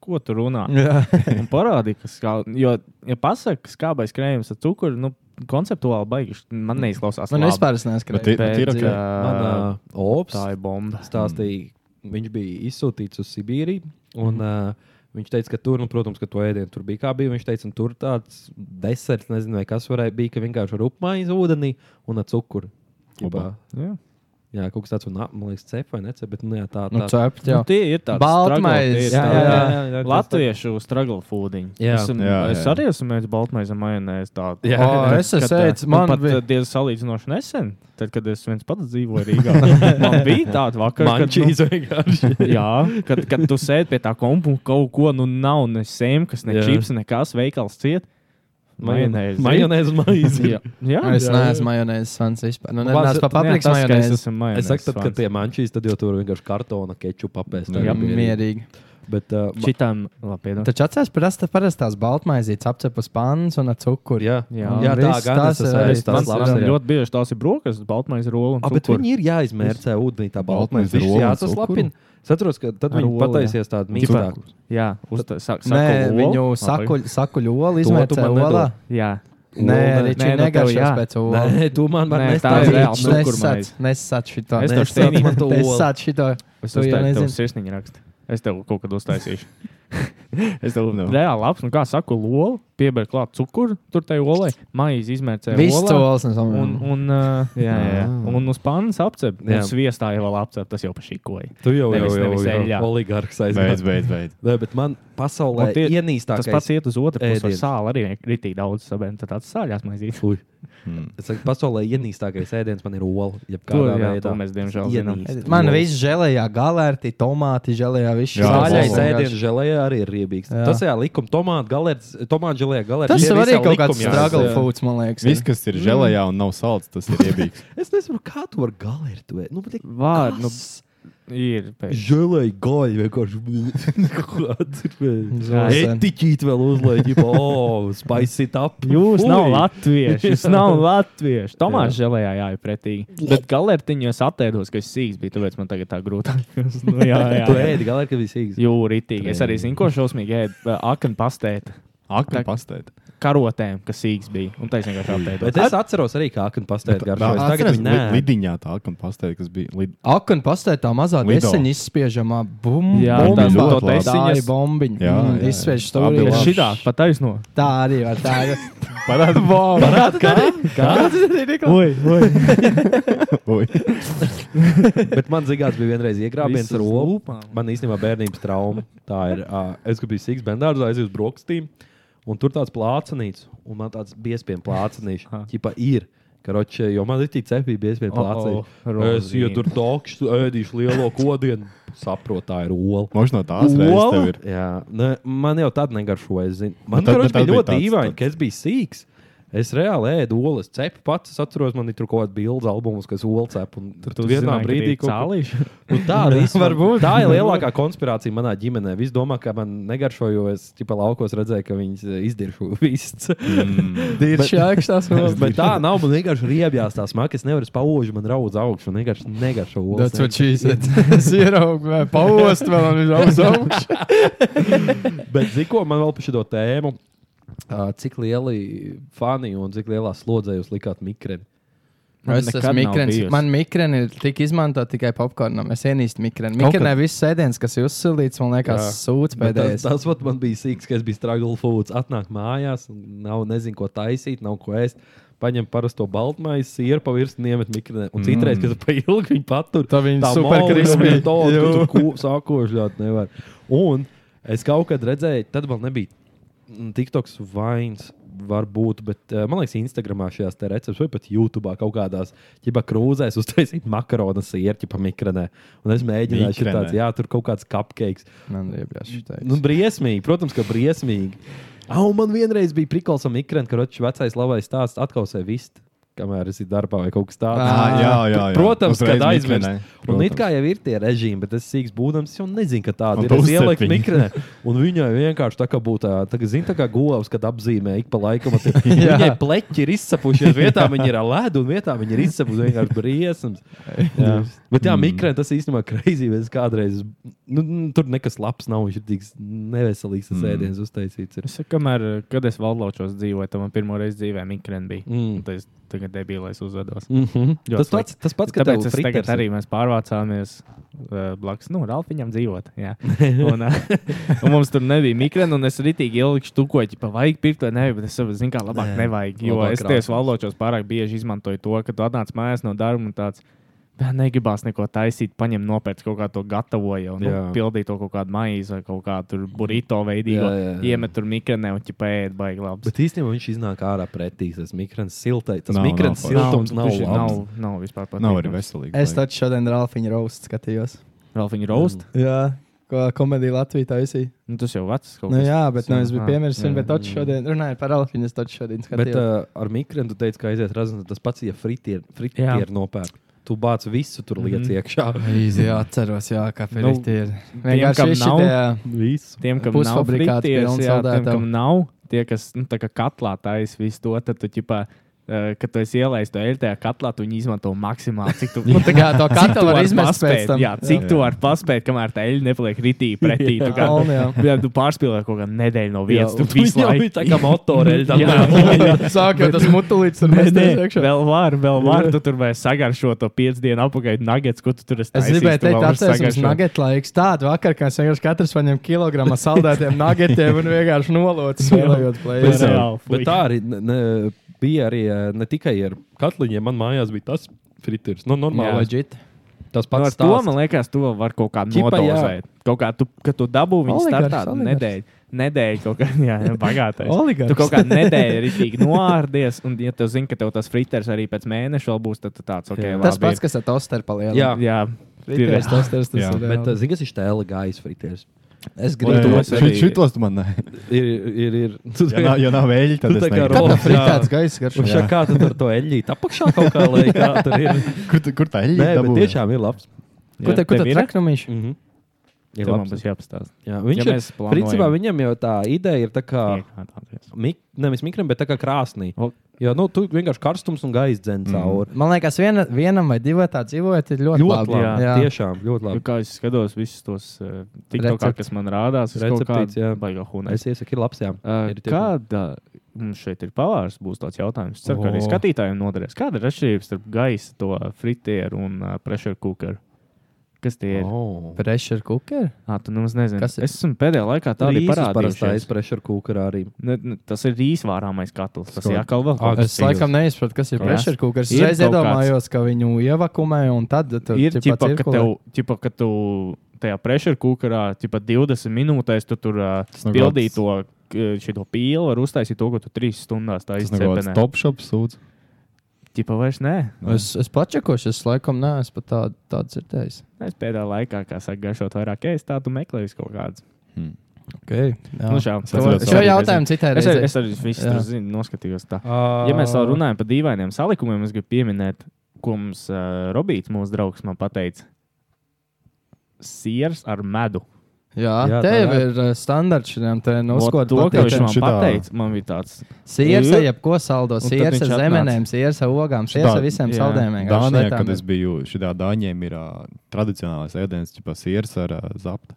Ko tu runā? Jā. Un parādīja, ka skāb... jo, ja pasaka, ka skābais krējums ar cukuru, nu, konceptuāli baigi, man neizklausās. Man labi. nu, vispār es neesmu Bet ir- krējums. bet ir Bet, ok. ā, Man uh, ops Tā ir bomba. stāstīja, viņš bija izsūtīts uz Sibīriju. Un, uh, viņš teica, ka tur, nu, protams, ka to ēdienu tur bija kā bija. Viņš teica, ka tur tāds deserts, nezinu, vai kas varēja būt, ka vienkārši rupmaize ūdenī un ar cukuru. Jebā, Jā. jā, kaut kas tāds, un, ā, man liekas, cepa vai necepa, bet nu, jā, tā, Nu, tā. cept, Nu, jā. tie ir tādi Baltmaize. struggle, tie ir Jā, tādi- jā, jā, jā, jā, tas Latviešu struggle foodiņi. Jā. es, jā, Jā, es jā. arī esmu mēģinājis baltmaizi majonēzi. tādu. Jā. O, es Kad, esmu ēdis, nu, man pat bija- bija... diezgan salīdzinoši nesen, tad, kad es viens pats dzīvoju Rīgā. man bija tāda vakara, kad, nu, Mančīs vienkārši. jā, kad, kad tu sēdi pie tā kompu un kaut ko, nu nav ne sēmkas, ne Jā. čips, nekas veikals ciet. Majonēzi. Majonēzi un maizi. Jā, jā. Nu, Es jā, neesmu majonēzes fans vispār. Nu, neesmu pa Vāc- paprikas majonēzes. Es saku, tad, kad tie mančīs, tad jau tur vienkārši kartona kečupa apēst. Jā, mierīgi. Bet, uh, ma- Čitām, labi, piedod. Taču atcerieties, parasti parastās baltmaizītes apcepus pāns un ar cukuru. jā, jā, Jā, jā, tā viss gan tas tas ir ir. arī Es Tas tās tāds labs man labas arī. arī. ļoti bieži tās ir brokastis, baltmaiņas rolas. Ah, bet viņi ir jāizmērcē ūdenī, tā baltmaiņa. Baltmaiņas Viņš rola un ir jāsaslapina. Es saprotu, ka tad Ar viņi olu, pataisies tādu mīkstāku. Jā, uz tā saka, Nē, viņu sakuļ- sakuļu olu izmetu man olā. nedod. Jā, Nē, Olu, arī nē, viņš nu tev jā. negaršās pēc olas. Nē, tu man Nē, vari tā ir nestāstīt. reāla Viņš nes- cukurmaize. Nesat šito. Es tev Nesāc šteini- man to olu. Nesat šito. es Tu jau uztaisīju tev nezini. sirsniņu rakstu. Es tev kaut kad uztaisīšu. es tev no. reāli labs, nu kā saku, olu, piebeigtu klāt cukuru, tur tai olai, maizi izmērcē Viss olā. olas. Un, un, uh, jā, jā, jā. Ah. un uz pānas apcep, Jā. un sviestā jau vēl apcep, tas jau pašīkoja. Tu jau jau Nevis- jau nevis jau eļļā. oligarks Beidz, aizgājis. beidz, beidz. Nē, bet man pasaulē Un tie- ienīstākais. Tas pats iet uz otru pusi, kur ēdiens. sāla arī ritīgi daudz, sabēn, tad tāds sāļās maizīs. Ui. Es saku, pasaulē ienīstākais ēdiens man ir ola. To, jā, Jebkādā veidā. to mēs diemžēl zinām. Ienīstu Man olu. viss žēlējā, galērti, tomāti žēlējā, viss šis Jā, Zāļais vienkārši. vienkārši. ēdienas žēlējā arī ir riebīgs. Jā. Tas jā, likuma tomātu galērts, tomātu žēlējā galērts. Tas Tie jau visi arī jā, kaut kāds likumi, jā. struggle Jā. foods, man liekas. Viss, kas ir žēlējā Mm. un nav salds, tas ir iebīgs. Es nezinu, kā tu vari galērtu. vai- Nu, bet Vārdu, nu, kas? ir. pēc- Žēlēji gāja vienkārši. Jā, Zvaigznes. Etiķīt vēl uzlaiķi, oh, spice it up. Jūs Ui. nav latvieši. Jūs nav latvieši. Tomāš žēlējā jāja pretīgi. Bet galertiņos atēdos, ka es sīgs biju, tāpēc man tagad tā grūtāk. nu, jā, Tu jā. ēdi galērti, ka visi īsti. Jū, ritīgi. Es arī zinu, ko šausmīgi ēdu. Akna pastēta. Akna pastēt. Karotēm, kas sīgs bija. Un taisnīgi vienkārši Bet apēdos. es atceros arī, kā akna pastēta garšo. Es tagad Atceries, viņu li- nē. lidiņā tā akna pastēt, kas bija. Lid... Ak, un pastāv tā mazā Lido. desiņa izspiežamā bumba. Jā, bumba, tā ļoti tā labi. ir bombiņa. Jā, Mm, jā, jā. Izspiež Abi stūri. labi. Šit- Šitā pa taisno. Tā arī var tā. ir. Parāda bomba! Oi, oi. Bet man zigāts bija vienreiz iegrābiens Visus ar olu. lūpām. Man īstenībā bērnības trauma. Tā ir. Uh, es biju Sīgs Bendārs, aizjūtu uz brokastīm. Un tur tāds plācenīts, un man tāds biespējams plācenīts. Aha. Ķipa ir. Karoče, jo man ir tik cepīgi biespējams Oh, plācenīts. oh, Rozīna. es ja tur dokšu, ēdīšu lielo kodienu. Saprotu, tā ir ola. Mož no tās reizes tev ir. Jā, ne, man jau tad negaršoja. es zinu. Man Bet tad- tas bet tad bija bija ļoti tāds- dīvaini, tāds- ka es biju sīgs. Es reāli ēdu olas cepu pats. Es atceros, man ir tur kaut kāda bildes albumus, kas olas cepu. un Tur tu vienā brīdī kaut ko- cālīšu. Nu, tā, visu, Var man, būt. tā ir lielākā konspirācija manā ģimenē. Visi domā, ka man negaršo, jo es tipā laukos redzēju, ka viņas eh, izdiršu visas. Dirši augstās Bet tā nav. Man vienkārši riebjās tās makas. Es nevaru spaužu, man raudz augšu. Man vienkārši negaršo olas. That's what she said. Es ieraugu, vai paost, vēl man ir uz augšu. Bet ziko man vēl par šo tēmu. Uh, cik lieli fani un cik lielā slodzē jūs likāt mikrēm? Man Es nekad esmu nav mikrens. bijusi. Man mikreni ir tik izmantota tikai popkornam. Es ienīstu mikreni. Mikrenē viss sēdiens, kas ir uzsildīts, man liekas, sūds Tas, pēdējais. tas vat man bija sīgs, ka es biju struggle foods. Atnāk mājās, un nav nezinu, ko taisīt, nav ko ēst. Paņem parasto baltmaizi, sieru pa virsmu, iemet mikrofonu. Un citreiz, kad pa ilgi viņi patur, Mm. Tā viņi super krispī. Tā jau tur sākoši ļoti nevar. Un es kaut kad redzēju, tad vēl nebija mm, TikToks vains. Varbūt, bet eh, man liekas, Instagramā šajās te receptēs, vai pat YouTube kaut kādās ķipa krūzēs uztaisīt makaronu sērķi pa mikronē. Un es mēģināju, Mikrenē. šitāds, jā, tur kaut kāds cupcakes. Man ir jābūt šitai. Nu, briesmīgi, protams, ka briesmīgi. Ah, un man vienreiz bija prikals ar mikrofonu, ka rotas vecais labais stāsts atkausē vist. kamēr esi darbā vai kaut kas tāds. Ā, jā, jā, jā. Protams, Uzreiz kad aizmirsti. mikrenē. Un it Protams. kā jau ir tie režīmi, bet es sīgs būdams, es jau nezinu, ka tāda Un ir. Es tu ielieku uzcep viņu. mikrinē, un viņai vienkārši tā kā būtu tā, tā kā, zini, tā kā govs, kad apzīmē ik pa laikam. un tie- Viņai pleķi ir izsapušies, vietā viņi ir ar ledu, un vietā viņi ir izsapušies vienkārši briesmas. Jā. Bet Mm. jā, mikrinē tas īstenībā kreizī, es kādreiz, nu, nu, tur nekas labs nav, viņš ir tik neveselīgs Mm. tas ēdiens uztaisīts. ir. Es saku, kamēr, kad es valdlaučos dzīvoju, tad man pirmo reizi dzīvē mikrofons bija. Mm. Mm. Tad es tagad debilēs uzvedos. Mm -hmm. Ļoti tas, pats, slikti. tas pats, ka Tāpēc tev es tagad friters ir. arī mēs pārvācāmies uh, blakus, nu, Ralfiņam dzīvot. jā. Un, uh, un mums tur nebija mikrofona, un es rītīgi ilgi štukoju, pa vajag pirkt vai nē, bet es saprotu, zinu, kā labāk Nē, nē, nevajag. Jo labāk labāk es tieši krāsnes. valočos pārāk bieži izmantoju to, ka tu atnāc mājās no darba un tāds. "Bē, Negribās neko taisīt, paņem nopērts kaut kā to gatavoju, un Jā. nu, pildīju to kaut kādu maizi vai kaut kādu burrito Jā, jā, veidīgo. jā. Iemet tur mikronē un ķipēji, baigi labi. Bet īstenībā viņš iznāk ārā pretī. Tas mikrofons siltais, tas Nav, mikrofons nav forši. siltums nav, Viņš ir- nav, nav, nav vispār patīkams. Nav arī veselīgi. Es laik. taču šodien Ralfiņu roast skatījos. Ralfiņu roast. Jā, ko komēdija Latvijā taisīja. Nu, tas jau vecs kaut Nu, jā, bet nu, es biju Ah, piemirsis, jā. bet taču šodien runāju par Ralfiņu. Es taču šodien Bet skatījos. uh, ar mikrofonu teica, ka aiziet redzams, tas pats, ja fritieri Jā. Mhm. fritier nopērk. Tu bāc visu tur lietas mm -hmm. iekšā. Īsi, jā, atceros, jā, kā Nu, Filipa ir. kam Vienkārši nav- šitie- Visu. Tiem, kam nav Pusfabrikāti frikties, pilns jā, tiem, saldētavu. kam nav, tie, kas nu, tā kā katlā taisa visu to, tad tu ķipā. eh, Kad tu esi ielaidis to eļļu tajā katlā, tu viņu izmanto maksimāli. Cik tu nu, tā kā- Jā, to cik tu katlu var vari izmest pēc paspēt, tam. Jā, cik Jā. tu vari paspēt, kamēr tā eļļa nepaliek ritī pretī. Tu, kā, Kalni, jā. jā, tu pārspīlēji kaut kādu nedēļu no Jā, vietas. tu Tu visu laiku biji tā kā motorēļi. tā Jā. kā- Sāk jau tas mutulīts tur Nē, mēsties nē, iekšā. vēl var, vēl var. Tu tur vai sagaršo to piecdesmit dienu apakšā nagets, ko tu tur esi. Es taisījis, gribēju tu teikt, vēl vari atcerieties, sagaršot. nugget laiks tāds vakar, kā es vienkārši katrs paņem kilogramu saldētiem nuggetiem un vienkārši nolocis spēlējot Bet plēsoņu. reāli, Bet fuj. tā arī ne, ne, bija arī eh, ne tikai ar katliņiem. Man mājās bija tas fritiers. Nu, normāli. Jā. Loģit. Tas Nu, ar pats to stāsts. man liekas, to var kaut kā Ķipa, jā. nodozēt. Kaut kā tu, kad tu dabū viņu Oligars, startā oligars. nedēļu, nedēļu kaut kā, jā, jā, bagātais. Oligars. Tu kaut kā nedēļu rītīgi noārdies, un ja tu zini, ka tev tas friters arī pēc mēneša vēl būs, tad tu tāds, ok, Jā. labi. Tas pats, kas ar tosteru Jā. palielina. ir. Jā, ir. Fritēs, tosters, tas Jā. ir. Bet reāli. eh, zini, kas ir tēla gaisa fritiers? Es Un gribu tu to Nē, esi arī- šit- Šitos tu man nē. Ir, ir, ir. Ja nav- Ja nav vēļi, tad Tu es tā kā negribu. ro- fritēts gaisa Un garšā. šā kā tu ar to eļļu apakšā kaut kā laikā tur ir. Kur tu- Kur Nē, tā eļļa bet dabūja? tiešām ir labs. Ko te- ko tev tad ir? traknumīši? Mhm. Jā, Ir man labs. būs jāpastāsta. Jā, viņš Ja ja ir. mēs plānojam. Principā viņam jau tā ideja ir tā kā. Iekāpāties. Mik, nevis mikrofons, bet tā kā krāsnī. O. Mm. Jo nu, tur vienkārši karstums un gaisa dzēns cauri. Man liekas, viena, vienam vai diviem tā dzīvojot, ir ļoti, Ļoti labi. labi. Jā, jā. jā. Tiešām ļoti Jo labi. Nu, Kā es skatos, visus tos uh, tiktokā, Recepti. kas man rādās, ir Receptīts, jā. baigā hunē. Es iesaku, ir labs. Jā, Uh, ir tiešām- Kāda mums šeit ir pavārs? Būs tāds jautājums. Ceru, ka arī O. skatītājiem noderēs. Kāda ir atšķirība starp gaisa, to fritieru un uh, pressure cookeru? Kas tie ir? Oh. Oh. Pressure cooker? Ah, tu nemaz nezini. Kas ir? Es esmu pēdējā laikā Tā tādu ir parastais parādījusies. pressure cooker arī. Ne, ne, tas ir īsvārāmais katls. Tas Skot. ir jākalva. Ak, Es laikam neizpratu, kas ir Jā. pressure cooker. Es Ir reiz kaut iedomājos, ka viņu ievakumē un tad tur Ir ģipa, ka cirkulē. tev, ģipa, ka tu tajā pressure cookerā, ģipa 20 minūtēs tu tur uh, nav pildīji gods. to, uh, šito pīlu, var uztaisīt to, ko tu 3 stundās tā Tas nav kaut kāds izcepenē. top shops sūds. Ģipa vairs nē. Es, es pačakošu, es laikam neesmu pat tādu, tādu dzirdējis. Es pēdējā laikā, kā saka, garšot vairāk, ja es tādu meklēju kaut kādas. Okay. Nu, šā, Es atceros Šo jautājumu citai Es, reizei. es arī visu Jā. tur zinu, noskatījos tā. Ja mēs vēl runājam par dīvainiem salikumiem, es gribu pieminēt, ko mums uh, Robīts, mūsu draugs, man pateica. Siers ar medu. Jā, Jā, jā te tā jau jā. ir uh, standarts šiem te Ot, noskot. to, Nu, ko viņš man šitā. pateica, man bija tāds. Sieras ar jebko saldo, tad sieras viņš ar atnāca. zemenēm, sieras ar ogām, sieras ar visiem jā. saldējumiem. vienkārši Dānijā, lietām. kad es biju, šitā Dāņiem ir ā, tradicionālais ēdiens, tipā sieras ar ā, zaptu.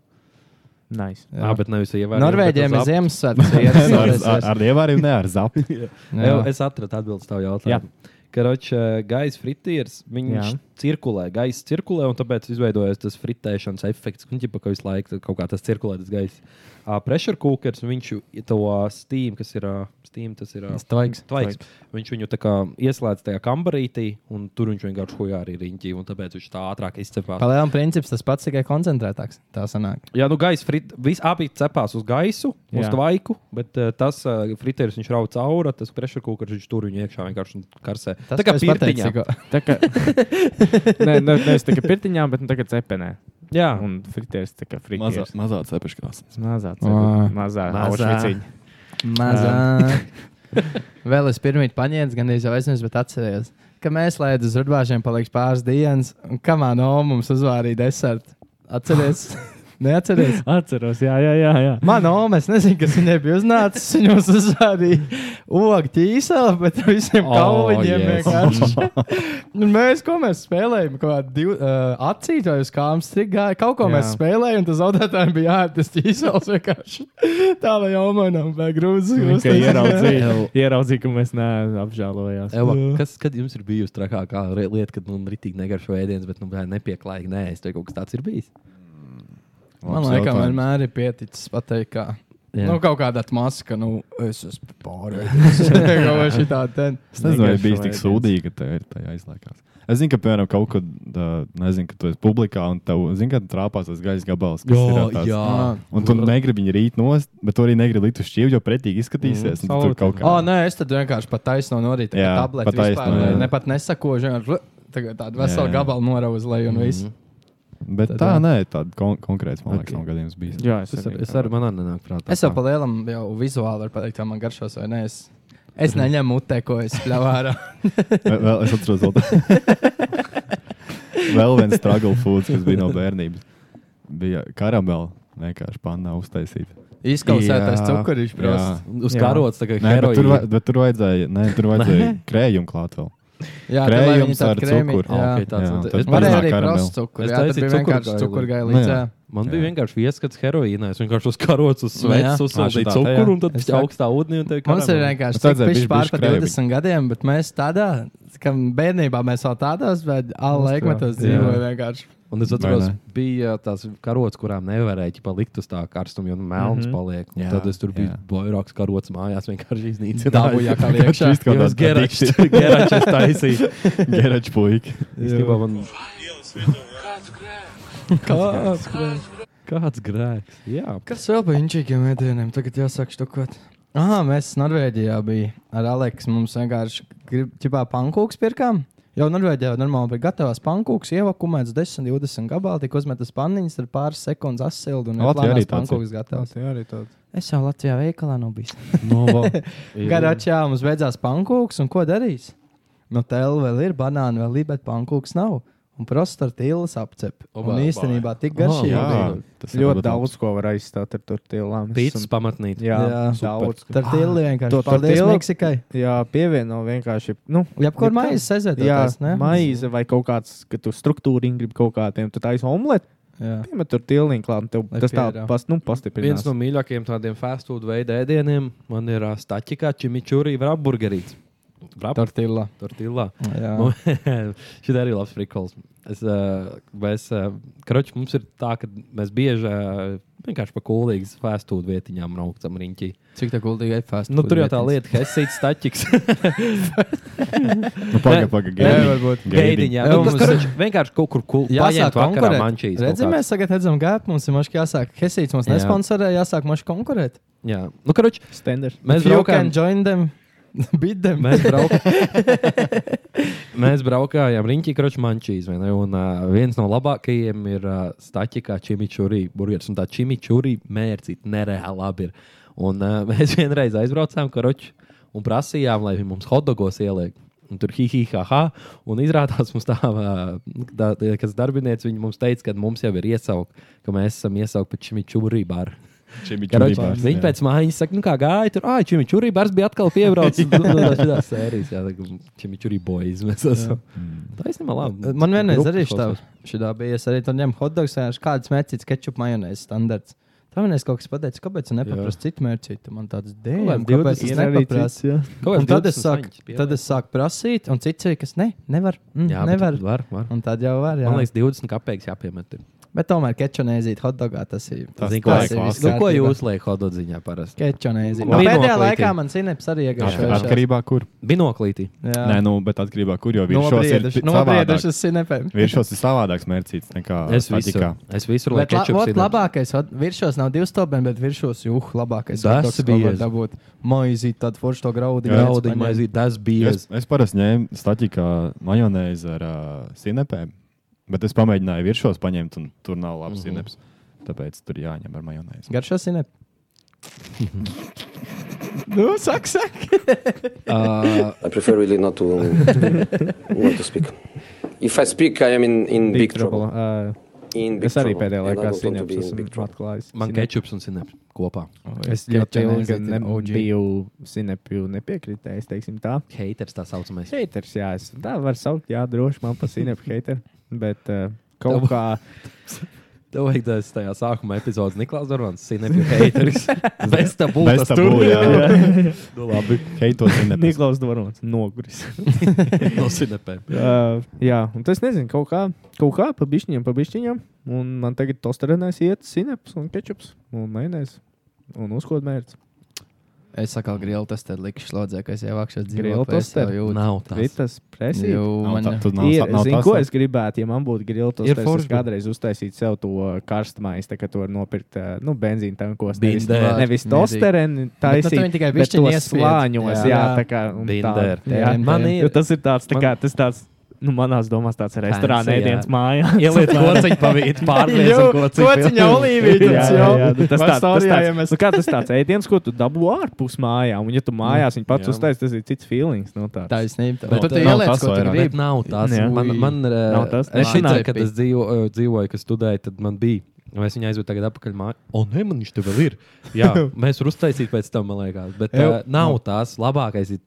Nice. Jā. Jā, bet nevis ievērojot. Norvēģiem ir Ziemassvētku sieras. Ar, sieras, ar, ar dievāriem, ne ar zaptu. jā. Es atradu atbildi tavu jautājumu. Karoči, gaisa fritiers, viņš jā. Jā. cirkulē, gaisa cirkulē, un tāpēc izveidojas tas fritēšanas efekts, un ķipa, ka visu laiku kaut kā tas cirkulē, tas gaisa. Uh, pressure cookers, viņš ju- to uh, steam, kas ir, uh, steam, tas ir uh, Tvaiks. tvaiks, viņš viņu tā kā ieslēdz tajā kambarītī, un tur viņš vienkārši hojā arī riņķī, un tāpēc viņš tā ātrāk izcepās. Palēlam princips tas pats, tikai koncentrētāks. Tā sanāk. Jā, nu gaisa frit, viss abi cepās uz gaisu, uz Jā. tvaiku, bet uh, tas uh, fritērs viņš rauc cauri, tas pressure cookers viņš tur viņu iekšā vienkārši un karsē. Tas, tā ko kā es pateicu, pirtiņā. ko- Tā kā. Nē, ne, nevis tikai pirtiņā, bet nu tagad cepenē. Jā, un Un fritēs, tā kā Mazā, fritēs. mazā cepeškrāsā. Mazā. Ā. Mazā. Mazā. Mazā. Aušviciņa. Mazā. Vēl es pirmie paņēmu, gan es jau aizmirsu, bet atceros, ka mēs lēdām uz rudbāžiem, paliks pāris dienas, un kamā no mums uzvārīja desertu. Atceries! Neatceries! Atceros, jā, jā, jā. jā. Mana oma, es nezinu, kas viņai bija uznācis. Viņa uzvārīja ogu ķīseli, bet visiem O, kalviņiem yes. vienkārši. Un mēs, ko mēs spēlējām, kaut kādā div- uh, acīt vai uz kājām strigāja, kaut ko Jā. jā. mēs spēlējām, un tas zaudētājiem bija jāatrast ķīsels vienkārši. Tā lai omanam vai grūzi Viņš tikai ieraudzīja, Ew. ieraudzīja, ka mēs neapžēlojāmies. Eva, kas, kad jums ir bijusi trakākā re- lieta, kad nu, rītīgi negaršo ēdienas, bet nu, bļā, nepieklājīgi nē, es teiktu, kaut kas tāds ir bijis? Man liekas, vienmēr ir pieticis pateikt, ka. Jā. Nu, kaut kāda maska, nu, es esmu pārējis. Kaut kā šitādi. ten. Es nezinu, vai Vienkārši bija tik vajag sūdīgi, ka tev ir tā aizliekās. Es zinu, ka, piemēram, kaut kad, uh, nezinu, ka tu esi publikā un tev, zinu, kad trāpās tas gaisa gabals. kas ir, uh, tāds- Ah. Un tu negribi viņu rīt nost, bet tu arī negribi likt uz šķīvja, jo pretīgi izskatīsies. Mm, Mm, tur salūti. kaut kā. O, nē, es tad vienkārši pat taisno norītu. Jā, Jā, tableti pa taisno, vispār ne, jā. ne pat nesakoju. vienkārši tagad Tādu veselu Jā. gabalu norauzu uz leju un viss. Bet Tad, tā, jā. nē, tāda kon konkrēta, man liekas, Ok. nav gadījums bijis. Jā, es, Es, ar, es arī man arī nenāk prātā. Es jau pa lielam jau vizuāli varu pateikt, kā man garšos vai nē. Es, es neņemu mutē, ko es pļāvu ārā. Vēl, vēl es atceros, vēl, vēl viens struggle foods, kas bija no bērnības. Bija karamela vienkārši pannā uztaisīta. Izkausētais Jā. cukuriņš, protams. uz Jā. karotes tā kā Nē, bet tur, heroīna. va- bet tur vajadzēja, nē, tur vajadzēja krējumu klāt vēl. Jā, tur lai viņi Krējums tādu ar krēmi- cukuru. Jā, Ok, tāds- Jā, es tad varēju Varēja paredzā arī karamelu. prasīt cukuru. Es Jā, tad taisīju bija vienkārši cukurgaili. cukurgailīts. Jā. jā. Man Jā. bija vienkārši ieskats heroīnā. Es vienkārši uz karotes uz Nu, jā. svētu uzsācu Ā, šitā, cukuru un tad Es bija augstā ūdenī. un tev Mums ir karameli. vienkārši Es redzēju, tāds bišķi- pār bišķi par krēvi. 20 gadiem, bet mēs tādā, ka bērnībā mēs vēl tādos, bet alu Mums tā, laikmetos jā. dzīvojam vienkārši. Un es atceros, Vai ne? bija tās karotes, kurām nevarēja palikt uz tā karstuma, jo Mhm. melns mm -hmm. paliek. Un Jā, Tad es tur biju jā. vairākas karotes mājās, vienkārši iznīcināju. Dabūjā kā Vienkārši liekšā. viss kaut Jo es kāds geraču geračs. geraču taisīju. Geračs puika. Īstenībā man Kāds kāds grēks. Jā, Kas vēl par inčīgiem ēdieniem? Tagad jāsāk štukot. Ah, mēs Norvēģijā bijām ar Aleksu. Mums vienkārši gribējām pankūks pirkām. Jau Norvēģijā jau normāli bija gatavs pankūks, ievakumēts 10, 20 gabalā, tika uzmetas panniņas, ar pāris sekundes asildu un Latvijā arī plānās tāds ir. pankūks gatavs. Jā, arī tāds. Es jau Latvijā veikalā nav bijis. Nu, No, Garāčā mums beidzās pankūks, un ko darīs? No tēla vēl ir banāna, vēl ir, bet pankūks nav. Un prostartīlis apcep. Obai, Un obai. īstenībā tik Oh, garšīgi. bija. tas ir Ļoti ļoti daudz ko var aizstāt ar tortillām. Es pīcis esmu- pamatnīt. Jā, jā Jā. daudz. Tur tīri vienkārši. To- To, Paldies, tortillu- Meksikai. Jā, pievieno vienkārši. Nu, Jebkur Jebkā- maizes aizvietot. jā, maize vai kaut kāds, ka tu struktūri gribi kaut kādiem, tad aiz omleti, Jā. piemet tur tīlniņu klāt, un tev Lai tas tā pierā. pas, nu, pastiprinās. Viens no mīļākajiem tādiem fast food veidu ēdieniem man ir ā, staķikā čimičūrī vrapburgerīts. Tortilla. Tortillā. Jā. Nu, Šī arī ir labs prikols. Es, uh, mēs, uh, karoči, mums ir tā, ka mēs bieži uh, vienkārši pa kuldīgas fast food vietiņām rauktam riņķī. Cik tā gudrīgi ir fast? Nu, tur jau tā lieta, ka esi staķis. Nu, paga, paga, Gaidiņ, jā. Nu, Jā, tas, mums- karoči, vienkārši kaut kur kul- paņemt Jāsāk vakarā konkurēt. mančīs. kaut Redzi, kāds. mēs tagad redzam gāpu, mums ir mašķi jāsāk. Hesīts mums Jā. nesponsorē, jāsāk mašķi konkurēt. Jā. Nu, karoči, Standard. mēs If you braukām. can join them, bid them. Mēs, brauka... mēs braukājām riņķī, kroķis mančīs. vai ne? Un uh, viens no labākajiem ir uh, Staķikā čimičurī burgeris. Un tā čimičurī mērcīt nereāli labi ir. Un uh, mēs vienreiz aizbraucām kroķi un prasījām, lai viņi mums hotdogos ieliek. Un tur hihihaha, un izrādās mums tā, ā, tā, tā kas darbinieci viņa mums teica, ka mums jau ir iesaukt, ka mēs esam iesaukt pa čimičurī baru. Karoči, Viņa pēc mājas saka, nu kā gāja tur, ah, čimičurī bars bija atkal piebraucis. Nu, nu, tā šitās sērijas, jā, tā kā čimičurī boys mēs esam. Tā īstenībā labi. Mm. Man vienreiz Grupas arī klausās. šādā bija. Es arī tur ņemu hotdogs, kāds mērķis, ketčup, majonēzes standarts. Tā vienreiz kaut kas pateica, kāpēc es nepaprasu citu mērķītu. Man tāds dēļ, Kaut kāds kāpēc es 20 Ir arī nepaprasu. cits, jā. Kaut Un kāds tad es, 20 sāku, saņķis tad es sāku prasīt, un cits ir, kas ne, nevar. Mm, Jā, jā, bet nevar. Var, var. Un tad jau var. Jā. Man liekas, 20 kapeiks jāpiemet. ir. Bet tomēr kečonēzīt hotdogā tas ir. Tas Zini, tā ko ir es- klasiks. Nu, ko jūs liekat hododziņā parasti? Kečonēzīt. Nu, Labi. Pēdējā Vienoklītī. laikā man sinepes arī iegājušās. Atkarībā kur? Binoklītī. Jā, Nē, nu, bet atkarībā kur, jo viršos ir nobrieduši pi- nobrieduši savādāk. uz sinepēm. Viršos ir savādāks mērcīts nekā Es staķikā. visur. Es visur Bet lieku la, ketčupu. ot, sīnām. labākais, ot, viršos nav divi stobeni, bet viršos juh, labākais. Tas hotdogs, ko var bija. dabūt. Maizīt tādu foršu to graudu. Graudiņi, maizīt, tas bija. Es, es parasti ņēmu staķikā majonēzi ar uh, sinepēm, bet es pamēģināju viršos paņemt, un tur nav labs Mhm. mm -hmm. sineps. Tāpēc tur jāņem ar majonēzi. Garšo sinepes. Nu, saka, saka. Uh, I prefer really not to not to speak. If I speak, I am in in big, trouble. Uh, In big es arī trouble. pēdējā And I laikā don't want to be sinepes in big esmu trouble. atklājis. Man kečups un sinaps kopā. Es Es ļoti ļoti ilgi nezinu, ne- OG. biju sinepju nepiekritējis, teiksim tā. Haters tā saucamais. Heiters, jā, es tā var saukt, jā, droši man pa sinepju heiteru, bet uh, Tev- kaut kā... Tev vajag tas tajā sākuma epizodes Niklaus Zorvans, sinepju haters. Bez tā būs. Bez tā būtu. Heitos ir nepatīk. Niklaus Dvorons, noguris. No sinepēm. Uh, jā, un tas nezinu, kaut kā, kaut kā pa bišķiņam, pa bišķiņam. Un man tagad tosterenēs iet sinaps un kečups un mainēs. Un uzkodmērts. es saku, gribi tas te likšu slodzē, ka es ievākšos Grill tosteri? dzīvokli. Nav tāds. Ritas presī. Nav tā, Gribu tu nav, Ir, nav zinu, tās- ko es gribētu, ja man būtu grila Ir tosteris. forši, Es bet- kādreiz uztaisītu sev to karstumais, tā kā to var nopirkt, uh, nu, benzīna tankos. Nevis, Bindē. nevis Mierīgi. tostereni Bet nu tu taisīt, viņu tikai bet bišķiņ to iespied. slāņos. Jā. Jā, Jā. tā kā. un tā. Binder. Jā. Jā. Man Jo ir. Tas ir tāds, tā kā, tas tāds, nu, manās domās tāds restorāna Fancy, jā. ēdienas mājā. Ieliet kociņu pavīt, pārliec un kociņu. Kociņa olīvītis, Jā, jā. jā, jā. Nu, Tas Vai tāds, tas storijā, tāds, ja mēs- nu, kā tas tāds ēdiens, ko tu dabū ārpus mājām, un ja tu mājās viņu pats Nu, Jā. uztais, tas ir cits feelings. Nu, tāds. Taisnība. Bet Bet tu nav ieliec, tas ko tu vairāk. Bet gribi. nav tāds. Jā. Man, man, eh, Nav tas? Es Nā. šitā, Nāc. kad es dzīvo, eh, dzīvoju, kad studēju, tad man bija. Vai es viņu aizvedu tagad atpakaļ mājā? O, nē, man viņš te vēl ir. Jā, mēs varam uztaisīt pēc tam, man liekas. Bet uh, nav tās labākais.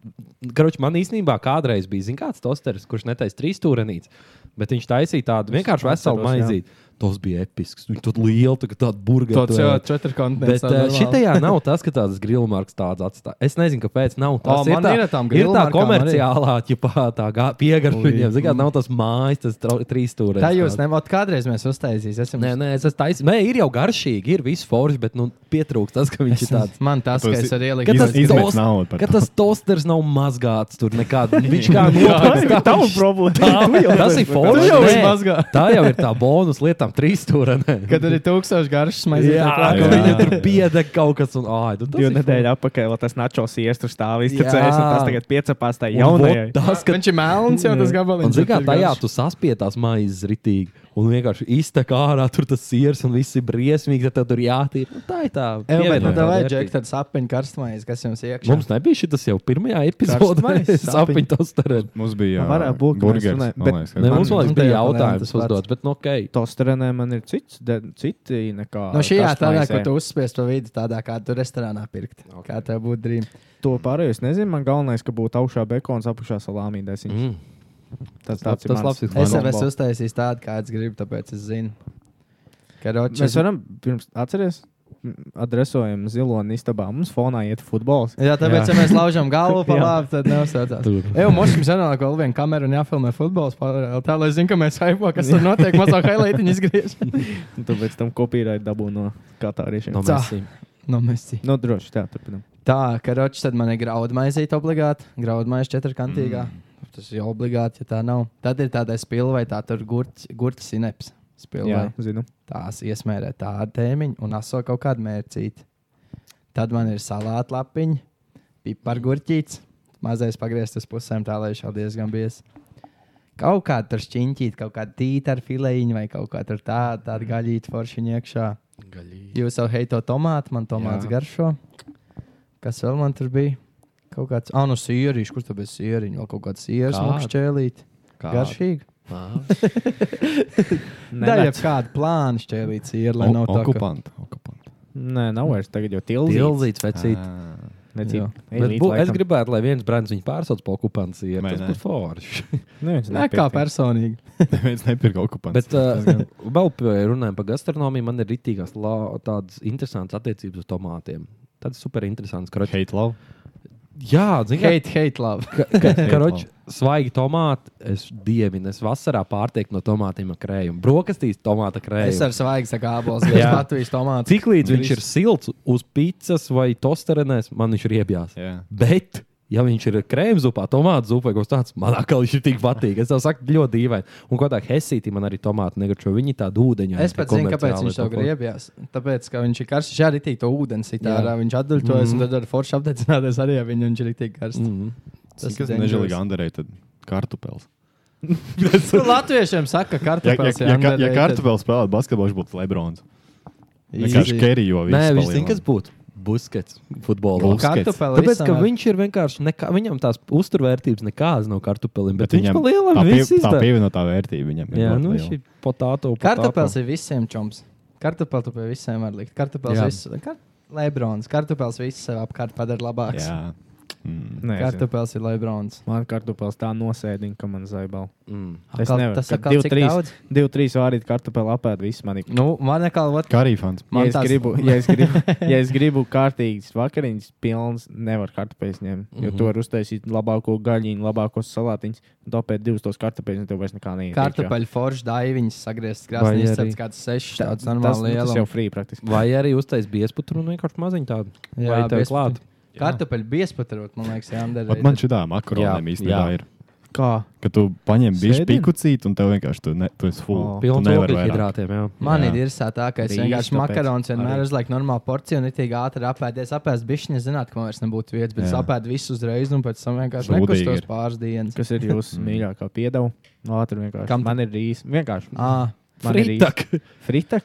Karoči, man īstenībā kādreiz bija, zin, kāds tosteris, kurš netaisa trīs stūrenītes, bet viņš taisīja tādu vienkārši veselu atceros, jā. maizīti. Tas bija episks. Viņš tur liela, tā kā tāda burgeru. Tāds jau četri Bet kontinents. uh, šitajā nav tas, ka tādas grilmarks tādas atstāja. Es nezinu, kāpēc nav O, tādas. man ir ar tām ir tā grillmarkām komerciālā, ja tā piegarša viņiem. Zināt, nav tas mājas, tas trau- trīs stūra. Tā jūs nemat kādreiz mēs uztaisīsim. Nē, nē, tas tais... nē, ir jau garšīgi, ir viss forši, bet nu, pietrūkst tas, ka viņš ir tāds. Man tas, Tu ka esi- es arī Kad tas Iz- ieliku. izmet tost- naudu par Ka to. tas tosters nav mazgāts tur nekādā. Viņš kā Tas nopietni ir tava problēma. Tu jau Tas esi- ir forši. jau nē. izmazgā. Tā jau ir tā bonus lietām, trīs stūra. nē. Kad arī tūkstoši garšas maizes. Jā, ka jā. viņam tur bieda kaut kas un ā, nu, tas Divu ir nedēļu atpakaļ, lai tas načo siestu stāv Jā. izcēlējis, un tas tagad piecapās tā Un jaunajai. vot Tas, ka Viņš ir melns jau tas Un, gabaliņš. zini, kā bet tajā garš. tu saspiedzi tās maizes ritīgi, un vienkārši iztek ārā tur tas sirds, un viss ir briesmīgi, tad tev tur jātīra. Nu, tā ir tā. Ej, bet nu pievienotā tev vērtība. vajag tādu sapņu karstumais, kas jums iekšā. Mums nebija šis jau pirmajā epizodē, Karstmaizes, sapiņu tostarēm. Mums bija Varētu būt, ka mēs burgeris, runājam, man bet- liekas, ka- Ne, mums man liekas, bija bija apmēram jautājums tas pats. uzdots, bet nu ok. Tosterenē man ir cits, de, citi nekā. No šī jā, tādā, karsmaisē. ko tu uzspiest pa vidu, tādā kā tu restorānā pirkt. Okay. Kā tev būtu drīm. To pārējo es nezinu. Man galvenais, ka būtu augšā bekons, apakšā salāmīdēs. Mm. Mm. Tas Tas- tāds ir tas mans labs ir. Es Man jau kombo. esmu uztaisījis tādu, kāds grib, tāpēc es zinu. Karoči, Mēs varam pirms atcerēties, adresējam zilo un istabā. Mums fonā iet futbols. Jā, tāpēc, jā. ja mēs laužam galvu pa labi, tad neuzsācās. Tur. Ej, mums ir jānāk vēl viena kamera un jāfilmē futbols. paralēli, Tā lai zinātu, ka mēs haipā, kas tur notiek, mazā highlightiņa izgriež. Un tad pēc tam kopīrai dabū no katāriešiem. No Tā. Messi. no, mēs cīnāmies. No droši, tā turpinam. Nu, Tā, karoči, tad man ir graudmaizīt obligāti. Graudmaize četrkantīgā. Mm. Tas jau obligāti, ja tā nav. Tad ir tāda spilva vai tā tur gurķis, gurķis sinaps. Spilva. Jā, zinu. Tās iesmērē tādu tēmiņu un aso kaut kādu mērcīti. Tad man ir salāta lapiņa, pipargurķīts, mazais pagriezts uz pusēm, tā lai viņš jau diezgan bijis. Kaut kā tur šķiņķīt, kaut kāda tīta ar filēniņu vai kaut kā tur tāda tā gaļīta foršiņa iekšā. Gaļīt. Jūs jau heito tomātu, man tomāts Jā. garšo. Kas vēl man tur bija? Kaut kāds, ah, nu, sīriņš, kurš tur bija sīriņš, vēl kaut kāda sīras Kāda? mūžķēlīte. Garšīgi. Ā. Nē, jau Nē, kāda plāna šķēlīte ir, lai O- nav tā, ka Okupanta. okupanta. nē, nav vairs. Tagad jau tilzīts. Tilzīts, vecīt. Ā, Necīt. Jā. Ej, Bet līdz bu, es laikam. gribētu, lai viens brands viņu pārsauc par okupāciju. Vai Tas ne? būtu forši. Neviens Nē, kā nepirka. personīgi. Neviens nepirka okupanta. Bet, uh, vēl pie- runājot par gastronomiju, man ir rītīgās la- tādas interesantas attiecības uz tomātiem. Tāds super interesants. Karoči. Hate love. Jā, zināmā Hate, hate, love. mērā, hate karoči, svaigi tomāti. Es dievinu, es vasarā pārtieku no tomātiem ar krējumu. Brokastīs tomāta Es krējumu. ar svaigu saku, abos bija Jā. Latvijas tomāts. Cik līdz viņš ir silts uz pīcis vai tosterenēs, man viņš ir iebjās. Jā. Bet, ja viņš ir krēmzupā, tomātu zupā, kaut kas tāds, man atkal viņš ir tik patīk. Es tev saku, ļoti dīvaini. Un kaut kā hesītī man arī tomāti negaršo. Viņi tādu ūdeņu. Es pat zinu, kāpēc viņš to griebjās. Tāpēc, ka viņš ir karsts, viņš arī tīk to ūdeni sitā, Jā. viņš atduļķojas un tad ar foršu apdedzināties arī, ja viņu- viņš ir tik karsts. Mhm. Tas Kas ir dangerous. nežēlīgi Andrei, tad kartupēlis. Nu, Latviešiem saka, ka Ja, ja, kartupēlis ja, ka- ja kartupēlis spēlētu basketbolu, viņš būtu Lebrons. Viņš Easy. vienkārši kerijo visu. Nē, viņš pa zina, lielam. kas būtu. Buskets futbolā. Buskets. Kartupeli Tāpēc, ka izsanāk. viņš ir vienkārši, nekā, viņam tās uzturvērtības nekādas nav kartupelim, bet, bet viņam viņš pa lielam tā pie- viss tā izdara. pievienotā vērtība viņam ir. Jā, nu ļoti liela. viņš ir potāto. Kartupēlis ir visiem čoms. Kartupēlis pie visiem var likt. Kartupēlis Jā. visu. Kar... Lebrons. Kartupēlis visu sev apkārt padara labāks. Jā. Mm. Nē, Kartupēlis ir Lebrons. Man kartupēlis tā nosēdina, ka man zaibala. Mm. Es Atkal nevaru. tas Kad atkal divi, cik trīs- daudz? Divi, trīs vārīti kartupēli apēd visu mani. Nu, man nekā vat. Kā arī fans. Man Man ja es tas- gribu, ja es gribu, ja es gribu kārtīgas vakariņas, pilnas nevar kartupeļus ņemt. Jo Mhm. tu vari uztaisīt labāko gaļiņu, labākos salātiņus, un topēt divus tos kartupeļus, un tev vairs nekā neiet. Kartupeļu forši daiviņas sagriezt Vai krāsnī, arī- izcēlts kāds sešs, tāds Tas, normāli nu, tas jau liels. free praktiski. Vai arī uztais biesputru un vienkārši maziņu tādu. Jā, Vai tev biesputru. klāt? Kartupeļu biespatarot, man liekas, Jānder. Pat man šī tā makronēma Jā, īstenībā jā. ir. Kā? Ka tu paņem bišķi Sēdini? pikucīti un tev vienkārši tu, ne, tu esi O, full. tu Pilns nevari vairāk. ogļhidrātiem, jā. Man Jā. ir irsā tā, ka es Rīz vienkārši tāpēc makarons vienmēr arī. uzlieku normālu porciju un itī ātri apēdies. Apēst bišķiņa, zināt, ka man vairs nebūtu vietas, bet es Jā. apēdu visu uzreiz un pēc tam vienkārši Zudīgi nekustos ir. pāris dienas. Kas ir jūsu mīļākā piedeva? Ātri vienkārši. Mm. Kam Kam tu- man ir rīsi? Vienkārši. Ah, Man ir rīsi. Fritak?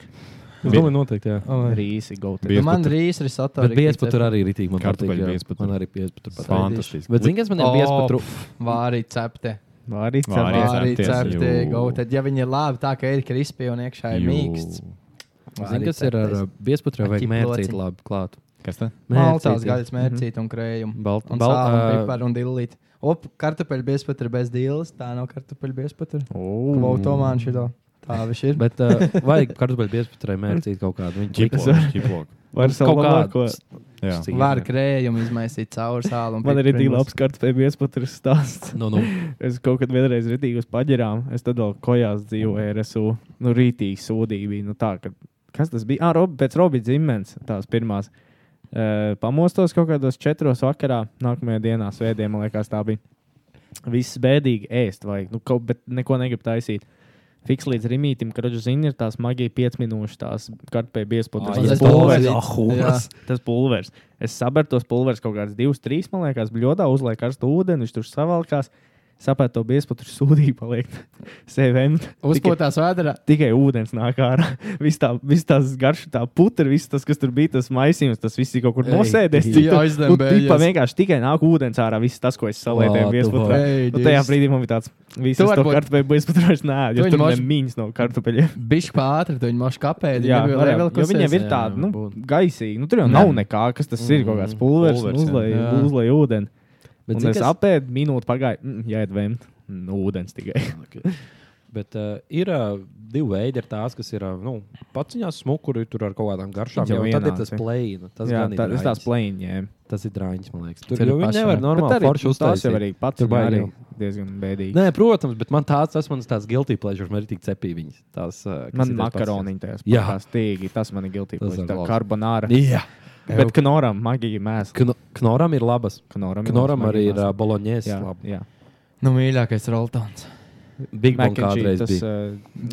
Es domāju, noteikti, Oh, jā. Rīsi gauti. Biesputru. nu man rīz ir satura. Bet biesputru arī ir itīgi, man Kartupeļu patīk. jā. biesputru. Man arī biesputru patīk. Fantastiski. Bet, zini, kas man ir O, biesputru? Vārī cepte. Arī Vārī. cepās. Vārī cepties, cepte. jū. Tad, ja viņi ir labi, tā ka ir krispī un iekšā ir Jū. mīksts. Zini, kas ir ar uh, biesputru? Vai Aķi mērcīt plociņi. labi klāt? Kas tā? Maltās Mērcīt, jā. Mhm. gaļas mērcīt un krējumu. Balt, Un bal- sāla, un uh, ā, piparu un dillīt. Op, kartupeļu biespatara bez dillas, tā nav kartupeļu biespatara. Ooh. Kvautomāni šito. Tā viņš ir. Bet uh, vajag kartupeļu biesputrai mērcīt kaut kādu. Viņa Čiplok. čiplok. Var savu Kaut labāko. kāds. Jā. cīņa. Var krējumu izmaisīt caur sālu. un Man ir tik piparus. labs kartupēļu iespatars stāsts. Nu, nu. Es kaut kad vienreiz rītīgi uz paģirām, es tad vēl kojās dzīvoju RSU. Nu, rītīgi sūdīgi bija. Nu, tā, ka, kas tas bija? Ah, Rob, pēc Robija Zimens, tās pirmās. E, pamostos kaut kādos četros vakarā, nākamajā dienā, svētdienā, man liekas, tā bija. Viss bēdīgi ēst, vajag, nu, kaut, bet neko negribu taisīt. Fiks līdz rītam, kad rudžu zina, ir tās maģija 5 minūšu, tās kartupēļu Ai, Mazais iespējas. es to pulveris. redzu. Ah, Jā. hulas. Tas pulveris. Es sapratu tos pulveris kaut kādas divas, trīs, man liekas, bļodā, uzlieku karstu ūdeni, viņš tur savalkās. Sapratu to biezpu, tur sūdīgi paliek. Sēvēm. Uzpūtās vēdā. Tikai ūdens nāk ārā. Viss tā, vis tās garš, tā putra, viss tas, kas tur bija, tas maisījums, tas viss ir kaut kur Ei, nosēdies. jā, Tik- nu, aizdembējies. tipā vienkārši tikai nāk ūdens ārā, viss tas, ko es Vā, salēju tu biezputrā. vari. Nu, tajā brīdī man bija tāds, Tu visas to varbūt- kartupeļu biezputrā vairs nē, Tu jo viņu tur mož- bija mīņas no kartupeļiem. Bišķi pāri, tad viņi maši kapēja. Jā, varēja, jo viņiem ir jā, Mm. tāda nu, būtu. gaisīga. Nu, tur jau nav nekā, kas tas ir. Kaut kāds pulveris, Pulveris, pulveris uzlēja jā. uzlēj ūdeni. Bet Bet zini, un es kas- apēdu minūti, pagāju, mm, jāiet vēmt. Nu, ūdens tikai. Bet uh, ir uh, divi veidi, ir tās, kas ir uh, nu, paciņā smuki, kur ir tur ar kaut kādām garšām. Jau Jau, un tad ir ienāca. tas plēns. Tas, jā, gan ir tā, es tās drāņas. plēņiem. tas ir drāņas, man liekas. Tur Tur ir jau viņi pašā. nevar normāli forši tās jau uztaisīt. arī pats Tur bija baigi arī jau. diezgan bēdīgi. Nē, protams, bet man tāds, tas manas tāds guilty pleasure, man ir tik cepīgi viņas. Tās, uh, kas Man ir tās makaroniņi tajās Jā. pašās stīgi, tas man ir guilty. Tas pleasure. ir Tā labs. karbonāra. paciņas. Jā, Bet knoram magija mēs. Kno- Knoram ir labas. Knoram, ir Knoram labs arī magija ir uh, mēsls. boloņēs. Jā, jā. Nu, mīļākais Roltons. Big Mac Bang and cheese, kādreiz tas, bija.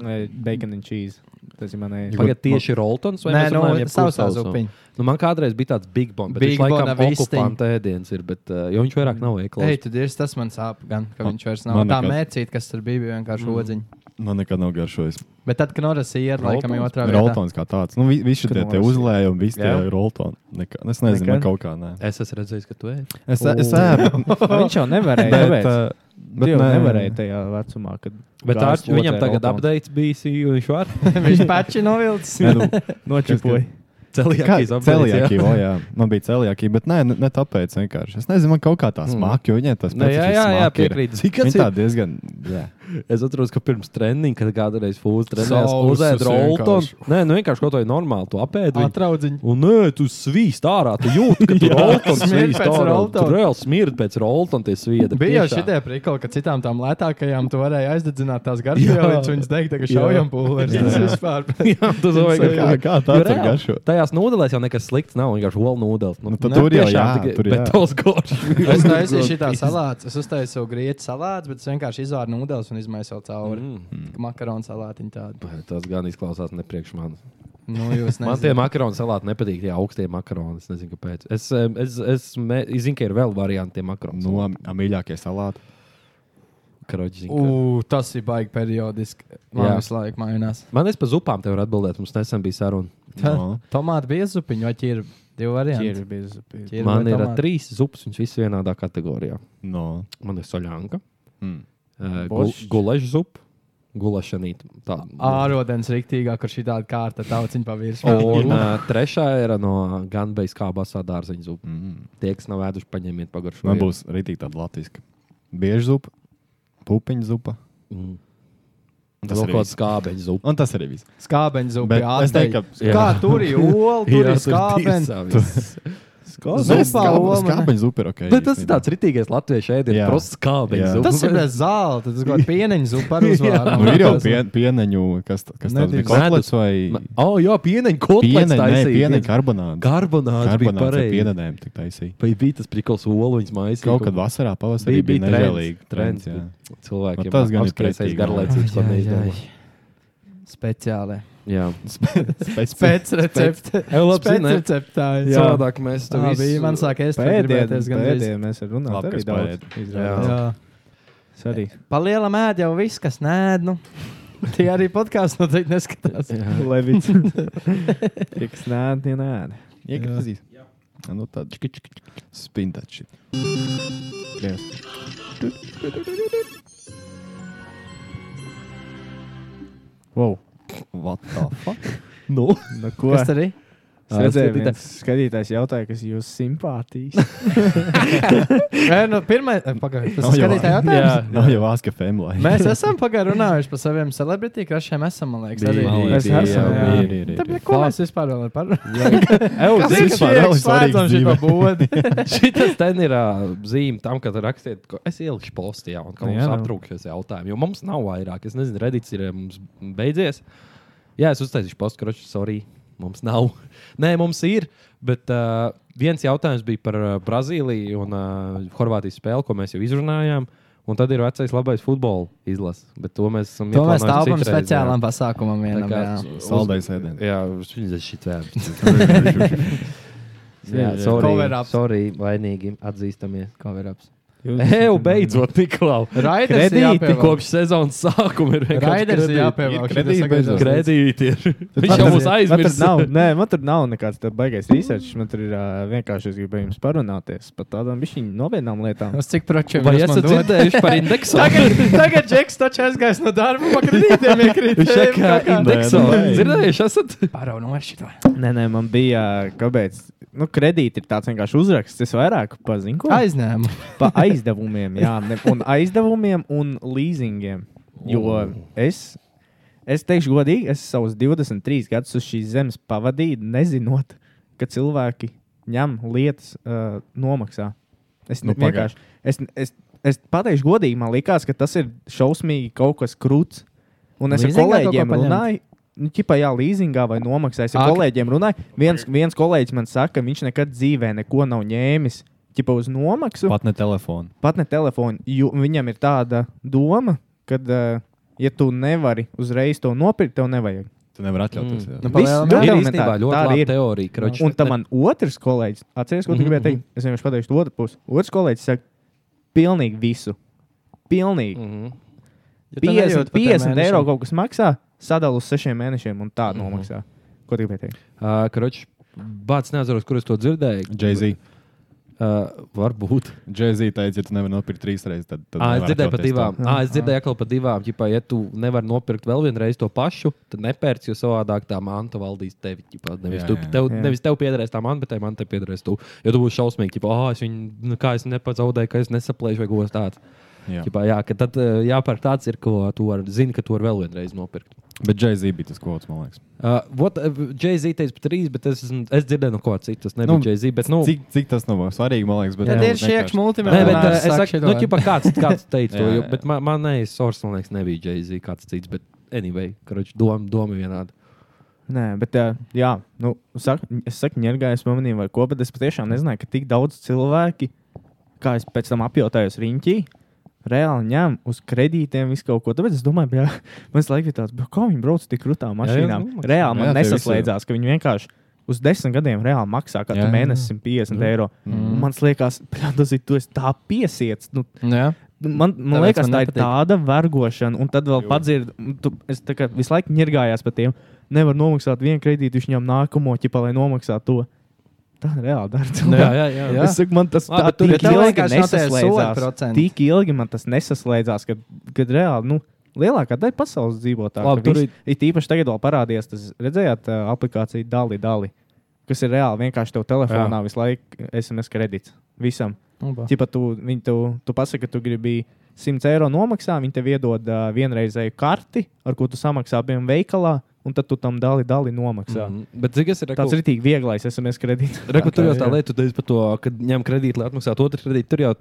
uh, Bacon and cheese. Tas ir manējais. Tagad tieši Roltons vai Nē, mēs nu, runājam jebkuru sausā sausu? zupiņa. Nu, man kādreiz bija tāds big bomb, bet Big viņš laikam Bona vistiņ. okupanta ēdiens ir, bet, uh, jo viņš vairāk nav Ei, ēklaus. tad ir tas man sāp, gan, ka viņš vairs nav. Man Tā nekad- mērcīt, kas tur bija, bija vienkārši Mm. odziņa. Man Nu, nekad nav garšojis. Bet tad, kad Noras ir, laikam, jau otrā vietā. Roltons kā tāds. Nu, vi- visi tie, tie Knoras. uzlējumi, visi tie Jā. roltoni. Nekā- Es nezinu, man Nekad? kaut kā nē. Es esmu redzējis, ka tu ēdi. Es, es ēdu. bet- Nu, Viņš jau nevarēja. tāpēc. Bet, uh, Bet bet jau nē. nevarēja tajā vecumā, kad. Bet tā, gāzes viņam otrai tagad rotondas. apgādājis bijis, jo viņš var Viņš paši novilcis. Nē, nu, Nočipoja. celiakijas Kā- updates, jā. celiakija, o, jā. Man bija celiakija, bet nē, ne, ne tāpēc vienkārši. Es nezinu, man kaut kā tā smaka, jo viņai tas Nē, jā, jā, jā, piekrītu. Zini, kas Viņa ir? tā diezgan. Jā. Es atceros, ka pirms treniņa, kad kādreiz fūzis trenējās, Sausus uzēda roltonu. vienkārši. Nē, nu vienkārši kaut ko tādu normālu, tu apēdi. viņu. Atraudziņa. Un nē, tu svīst ārā, tu jūti, ka tu roltons smird svīst pēc ārā. roltona. Tu reāli smirdi pēc roltona tie sviedri. Bija jau tiešām. šitie prikoli, ka citām tām lētākajām tu varēji aizdedzināt tās garšvielas, un viņas deg tagad Jā. šaujam pulveris. Tas vispār. Jā, tas ir Kā, vienkārši. kā Jo tāds ir reāli, garšo? Tajās nūdelēs jau nekas slikts nav, vienkārši olu nūdeles. Nu, tad tur jau jā, tur jā. Bet tos goršs. Es taisīju šitā salātu, es uztaisīju grieķu salātu, bet es vienkārši izvāru nūdeles un izmaisīju cauri. Mm. Makaronu salātiņu tādu. Tas gan izklausās ne priekš manis. Nu, jūs Man tie nezināt. makaronu salāti nepatīk, tie augstie makaroni. Es nezinu, kāpēc. Es, em, es, es, me- es zinu, ka ir vēl varianti tiem makaroniem. Nu, am- amīļākie salāti. Karoģi, Ū, tas ir baigi periodiski. Jā. Man visu laiku mainās. Man es par zupām te varu atbildēt. Mums nesen bija saruna. No. Tomāti bija zupiņa, vai ķirbi? Divi varianti. Ķirbi bez- bez- Ķirbi Man vai ir ā, tomāti? trīs zupas, viņas visas vienādā kategorijā. No. Man ir eh, soļāna, Hmm. mm. Bošķ. gulaša zupa, gulašanīta. Tā Ārodens rīktīgāk, kur šī tāda kārta tauciņa pavirsmē. Un uh, trešā ir no Ganbejas kābasā dārzeņu zupa. Mm. Tie, kas nav ēduši, paņemiet pagaršojumu. Man būs arī tāda latviešu. Bieža zupa, pupiņu zupa. Mm. Un Vēl arī kaut viss. skābeņu zupa. Un tas arī viss. Skābeņu zupa. Bet jā, es atdeļ. teiktu, ka- Kā Jā. tur ir ola, tur Jā, ir tur skābeņu. tiesā viss. Zupā olma, ne? Skābeņu Nu, zupa ir ok. Bet tas ir tāds rītīgais latviešu ēdiens, Jā. prosts skābeņu Jā. zupa. Tas ir bez zelta, tas ir pieneņu zupa ar uzvārdu. Nu, ir jau pie- pieneņu, kas, t- kas tas Nedrīkst. bija kotlets vai Oh, jā, pieneņa kotlets pieneņu, nē, taisīja. pieneņu karbonāts. Karbonāts bija Karbonāts ar pareizi. pieneņiem tik taisīja. Vai bija tas prikals, olu viņas maisīja? Kaut kad vasarā, pavasarī bija, bija nežēlīgi. trends, jā. bet Cilvēkiem Nu, tas gan ir apskriesais pretīgi, jā. garlaicības, ko Ai, ai, neizdomā. Speciāli. Jā. Pēc recepta. Pēc- Ei, labi, Pēc zini, receptā. Jā. Savādāk mēs to Tā visu... bija man sāk ēst. Pēdējais, Pēdējais gan gan pēdējais mēs ar runām. Labi, Labi, kas arī daudz. izrādās. Jā. Es arī. Paliela mēd jau viss, kas nēd. Nu. Tie arī podkāsts noteikti neskatās. Levits. Tiks nē, tie nē. Iekritīs. Nu, tad spintači. Wow. What the fuck? Nu, nu ko? Kas tad ir? Es redzēju, Skatītā- ka skatītājs jautāja, kas jūs simpātijas. Nē, nu, pirmā pagaidā. Tas Nav ir jau skatītāji vārds. jautājums. Nav jau Aska Femlai. Mēs esam pagaidā runājuši par saviem celebrity crushiem. Esam, man liekas, arī Mēs Mēs esam, jā, jā. ir, ir, ir. Tāpēc, ko mēs vispār vēl parunājam? Evo, Tas ir vispār vēl svarīgs dzīvē. Šitas ten ir uh, zīme tam, ka rakstiet, ko es ieliku postā, ja tā mums Jā, nu. aptrūkšies jautājumi. Jo mums nav vairāk, es nezinu, redīts ir mums beidzies. Jā, es uztaisīšu postu, kroču, sorry, mums nav. Nē, mums ir, bet uh, viens jautājums bija par uh, Brazīliju un uh, Horvātijas spēli, ko mēs jau izrunājām. Un tad ir vecais labais futbola izlases, bet to mēs esam To mēs ieplānojuši tāpam citreiz, jā. speciālam pasākumam Tā vienam. kā jā. uz- Saldais ēdiens. Jā, viņš ir šitā. Jā, Jā, Cover sorry, ups. sorry, vainīgi atzīstamies. Cover ups. Eju, beidzot, Niklaus. Raiders ir Kredīti jāpievelk. kopš sezonas sākuma ir vienkārši Raiders ir kredīti. jāpievelk. Ir kredīti Šitas tagad beidzot. jau- Kredīti ir. Viņš jau mūs aizmirst. Man tur nav, nē, man tur nav nekāds tāds baigais research. Man tur ir ā, vienkārši es gribēju jums parunāties par tādām višķiņu novienām lietām. Uz cik pročiem Vai jūs man esat dodat? dzirdējuši par indeksu? Tagad, tagad Džeks taču aizgājis no darba, pakritītiem iekrīt. Viņš ir kā indeksu. Nē, nē. Dzirdējuši, esat? Paraunoju nu, ar šito. Nē, nē, man bija, ā, kāpēc, nu, kredīti ir tāds vienkārši uzraksts. Es vairāk pazinu Ah, ko? Aizņēmu. pa aizdevumiem, jā, ne, un aizdevumiem un leasingiem. Jo es, es teikšu godīgi, es savus 23 gadus uz šīs zemes pavadīju, nezinot, ka cilvēki ņem lietas uh, nomaksā. Es Nu, nu, vienkārši. Es, es, es pateikšu godīgi, man liekas, ka tas ir šausmīgi kaut kas krūts. Un es Leasingā ar kolēģiem kaut ko paņemt? runāju. Nu, ķipā, jā, līzingā vai nomaksā. Es ar Ak. kolēģiem runāju. Viens, viens kolēģis man saka, ka viņš nekad dzīvē neko nav ņēmis. Ķipā uz nomaksu Pat ne telefonu. pat ne telefonu. jo Viņam ir tāda doma, ka, uh, ja tu nevari uzreiz to nopirkt, tev nevajag. Tu nevari atļauties. jā. Nu, Viss palielam tur mēd. Ir ir īstenībā tā, ļoti tā arī laba ir. teorija. kroč. Un tam man otrs kolēģis, atceries, ko tu Mhm, gribēji teikt? Es vienkārši pateikšu, to otru pusi. Otrs kolēģis saka, pilnīgi visu. Pilnīgi. Mhm. Jo tu nejūti 50, pa tiem 50 eiro mēnešiem. kaut kas maksā, sadalus sešiem mēnešiem un Mhm. tā nomaksā. Ko tu gribēji teikt? Ā, Kroč, bācis neatceros, kur es to dzirdēju. Jay-Z. Ā, Varbūt. Jay-Z teica, ja tu nevari nopirkt trīs reizes, tad. tad Ā, es nevar dzirdēju par atļauties divām. to. Ā, es dzirdēju atkal par divām. Ķipā, ja tu nevari nopirkt vēl vienreiz to pašu, tad nepērci, jo savādāk tā manta valdīs tevi. Ķipā, nevis, jā, Jā, tu, jā. tev, Jā. nevis tev piederēs tā manta, bet tai mantai piederēs tu. Jo tu būsi šausmīgi, ka, ah, es viņu, nu, kā es nepazaudēju, ka es nesaplēšu vai kaut kas tāds. Jā. Ķipā, jā, ka tad eh, jāpērk tāds, ir, ko tu vari- zini, ka tu vari vēl vienreiz nopirkt. Bet Jay-Z bija tas kods, man liekas. Uh, what, uh, Jay-Z teica par trīs, bet es, esmu- es dzirdēju no kaut kā citas. Nebija nu, Nu, Jay-Z, bet, nu, Cik, cik tas nav svarīgi, man liekas. Bet, Tad nu, ir šie Nē, vienkārši- bet multimēnesi. uh, es saku, nu, ķipa, kāds, kāds teica to, Jā, jo, jā. bet man, man nevis Sors, man liekas, nebija Jay-Z, kāds cits, bet anyway, karoči, doma, doma vienāda. Nē, bet uh, jā, nu, sak, es saku, ņērgājos pamanīju, vai ko, bet es patiešām nezināju, ka tik daudz cilvēki, kā es pēc tam apjautājos riņķī, reāli ņem uz kredītiem visu kaut ko. Tāpēc es domāju, ka mans laiks ir tāds, bro, kā viņi brauc tik krūtām Jā, jā, mašīnām. nu, Jā, reāli man jā, jā, tie visi- nesaslēdzās, ka viņi vienkārši uz desmit gadiem reāli maksā katru Jā, jā, jā. mēnesi 150 jā. eiro. Mm. Man liekas, bļā, tas ir tu esi tā piesiets. Nu, Jā. Man, man Tāpēc liekas, man man tā ir nepatīk. tāda vergošana, un tad vēl padzird, tu, es tā kā visu laiku ņirgājos par tiem. Nevar nomaksāt vienu kredītu, viņš ņem nākamo ķipa, lai nomaksātu to. Tā ir reāli dara. Nu jā, jā, jā. Es saku, man tas Labi, tā, tur tik tev ilgi vienkārši nav tie nesaslēdzās. soda procenti. Tik ilgi man tas nesaslēdzās, kad, kad reāli, nu, lielākā daļa pasaules dzīvo tā. Labi, ka tur viss- It īpaši tagad vēl parādījās, tas redzējāt, uh, aplikācija Dali Dali, kas ir reāli vienkārši tev telefonā Jā. visu laiku SMS kredīts visam. Nu, Oba. Čipa, tu, viņi tev, tu pasaki, ka tu gribi 100 eiro nomaksā, viņi tev iedod uh, vienreizēju karti, ar ko tu samaksā abiem veikalā, un tad tu tam Dali Dali nomaksā. Mm, bet cik es ir Tāds reku- rītīgi vieglais SMS kredīts. Reku, tur jau tā lieta, tu teici par to, ka ņem kredītu, lai atmaksātu otru kredītu. Tur jau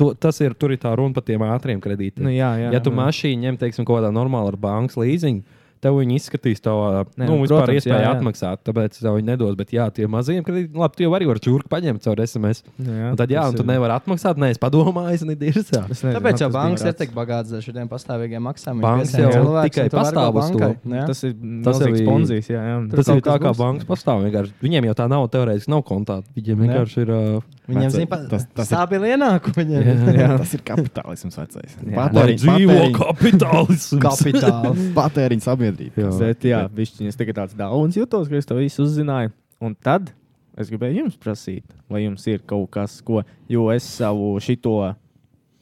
to, tas ir, tur ir tā runa par tiem ātriem kredītiem. Nu jā, jā, ja tu jā. mašīnu ņem, teiksim, kaut kādā normālā ar bankas līzingu, tev viņi izskatīs to Nē, nu, nu, nu, vispār protams, iespēju jā, jā. atmaksāt, tāpēc tev viņi nedos. Bet, jā, tie mazajiem kredītiem, labi, tu jau arī vari čurku paņemt caur SMS. Nu jā, un tad, jā, tas un tu ir- nevari atmaksāt, nē, es padomāju, es nedīrs. Tāpēc jau bankas ir tik bagātas ar šiem pastāvīgiem maksājumiem. Bankas Visiem jau cilvēkiem tikai tu vari pastāv būt uz to. bankai, nu jā. Tas ir Tas jau milzīgs ir ponzijas, jā, jā. Tur Tas kaut ir tā kas kā būs. bankas pastāv. vienkārši. Viņiem jau tā nav teorētiski, nav kontā. Viņiem Nē. vienkārši ir. ā, Viņiem vecais- zina, pa- stabili ienākumi viņiem. Tas ir kapitālisms vecais. Jā. Lai Patēriņ- dzīvo patēriņ- kapitālisms. Kapitāls. Patēriņa sabiedrība. Bet, jā, višķiņ, es tagad tāds daudz jutos, ka es to visu uzzināju. Un tad es gribēju jums prasīt, vai jums ir kaut kas, ko, jo es savu šito,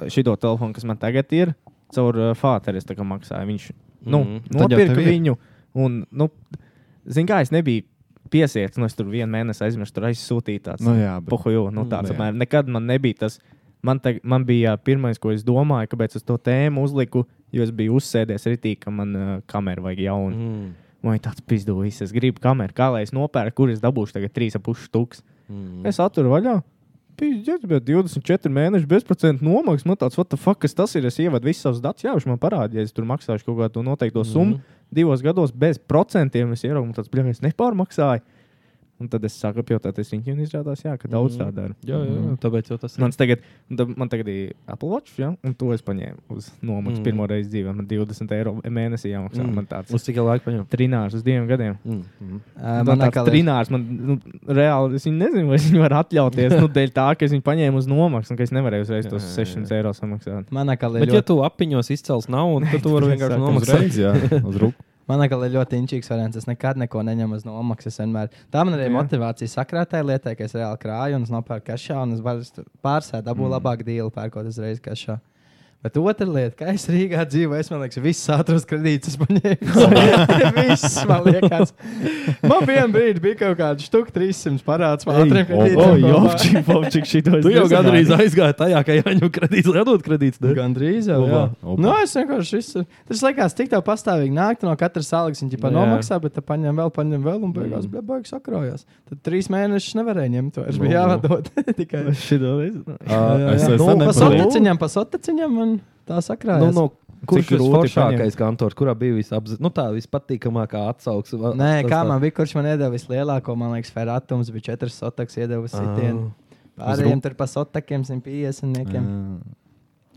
šito telefonu, kas man tagad ir, caur uh, Fāteru es tā kā maksāju. Viņš, nu, Mhm. mm. Tad jau nopirka tev ir. viņu, un, nu, zin kā, es nebiju piesiets, nu, es tur vienu mēnesi aizmirsu, tur aizsūtīju tāds. Nu jā, bet- Pohuju, nu, tāds, Nu jā. apmēram. Nekad man nebija tas. Man, tag, man bija pirmais, ko es domāju, kāpēc es to tēmu uzliku, jo es biju uzsēdies rītī, ka man uh, kamera vajag jaunu. Mm. Man ir tāds pizdūvis, es gribu kameru, kā lai es nopērku, kur es dabūšu tagad 3,5 stūks. Mm. Es atveru vaļā. Pizdiet, bet 24 mēneši bezprocentu nomaksas. Man tāds, what the fuck, kas tas ir? Es ievedu visus savus datus, jā, viņš man parādīja, ja es tur maksāšu kaut kādu noteikto summu. Mm. Divos gados bez procentiem es ieraugu, un tāds, bļa, es nepārmaksāju. Un tad es sāku apjautāties viņiem, un izrādās, jā, ka daudz tā dara. Jā, jā, jā, tāpēc jau tas ir. Mans tagad, un tad man tagad ir Apple Watch, ja? un to es paņēmu uz nomaksas Mm. mm. pirmo reizi dzīvē. Man 20 eiro mēnesī jāmaksā. Mm. Mm. Man tāds Uz cik laika paņem? trinārs uz diviem gadiem. Mm. Mm. Ā, Man man Nu, tāds atkal ir- trinārs, man nu, reāli, es viņu nezinu, vai es viņu varu atļauties. Nu, dēļ tā, ka es viņu paņēmu uz nomaksas, un ka es nevarēju uzreiz tos 600 eiro samaksāt. Manā skatījumā Bet, ja tu apiņos izcels naudu, tad tu vari tad vienkārši sākam nomaksāt. uzreiz, jā, uz rūk. Manā skatījumā ir ļoti inčīgs variants. Es nekad neko neņemu uz nomaksas. Vienmēr. Tā man arī Jā. ir motivācija sakrātai lietai, ka es reāli krāju un es nopērku kašā. Un es varu stu- pārsēst, dabūt mm. labāku dīlu, pērkot uzreiz kašā. Bet otra lieta, kā es Rīgā dzīvoju, es domāju, ka visas ātras kredītas paņēmu. Viss man liekas, man vienā brīdī bija kaut kāda štuka 300 parāds. par ātriem kredītiem kopā. Fobčik, šī to es. Tu jau nezināju. gandrīz aizgāji tajā, ka jāņem kredīts, lai atdod kredīts. ne? Gan drīz jau. Opa, jā. opa. Nu, es vienkārši visu. Tas liekas, tik tev pastāvīgi nākt no katras salas. Viņa pat Nu, jā. nomaksā, bet tu paņem vēl, paņem vēl, un beigās mm. beigas sakrājās. Tad trīs mēnešus nevarēja ņemt. vairs, Nu. bija jāvadot tikai Es šito Nu, nezinu. Ā, Es jā. esmu pa nepatīk. soteciņam, pa soteciņam, un tā Nu, sakrājās. no, kurš Cik ir grūti foršākais kantors, kurā bija visapzi... nu, tā vispatīkamākā atsauksme? va- Nē, nu, tas kā tā- man bija, kurš man iedeva vislielāko, man liekas, ferātums bija četras sotakas iedevusi Ā. sitienu. Pārējiem tur pa sotakiem, Ah. 150.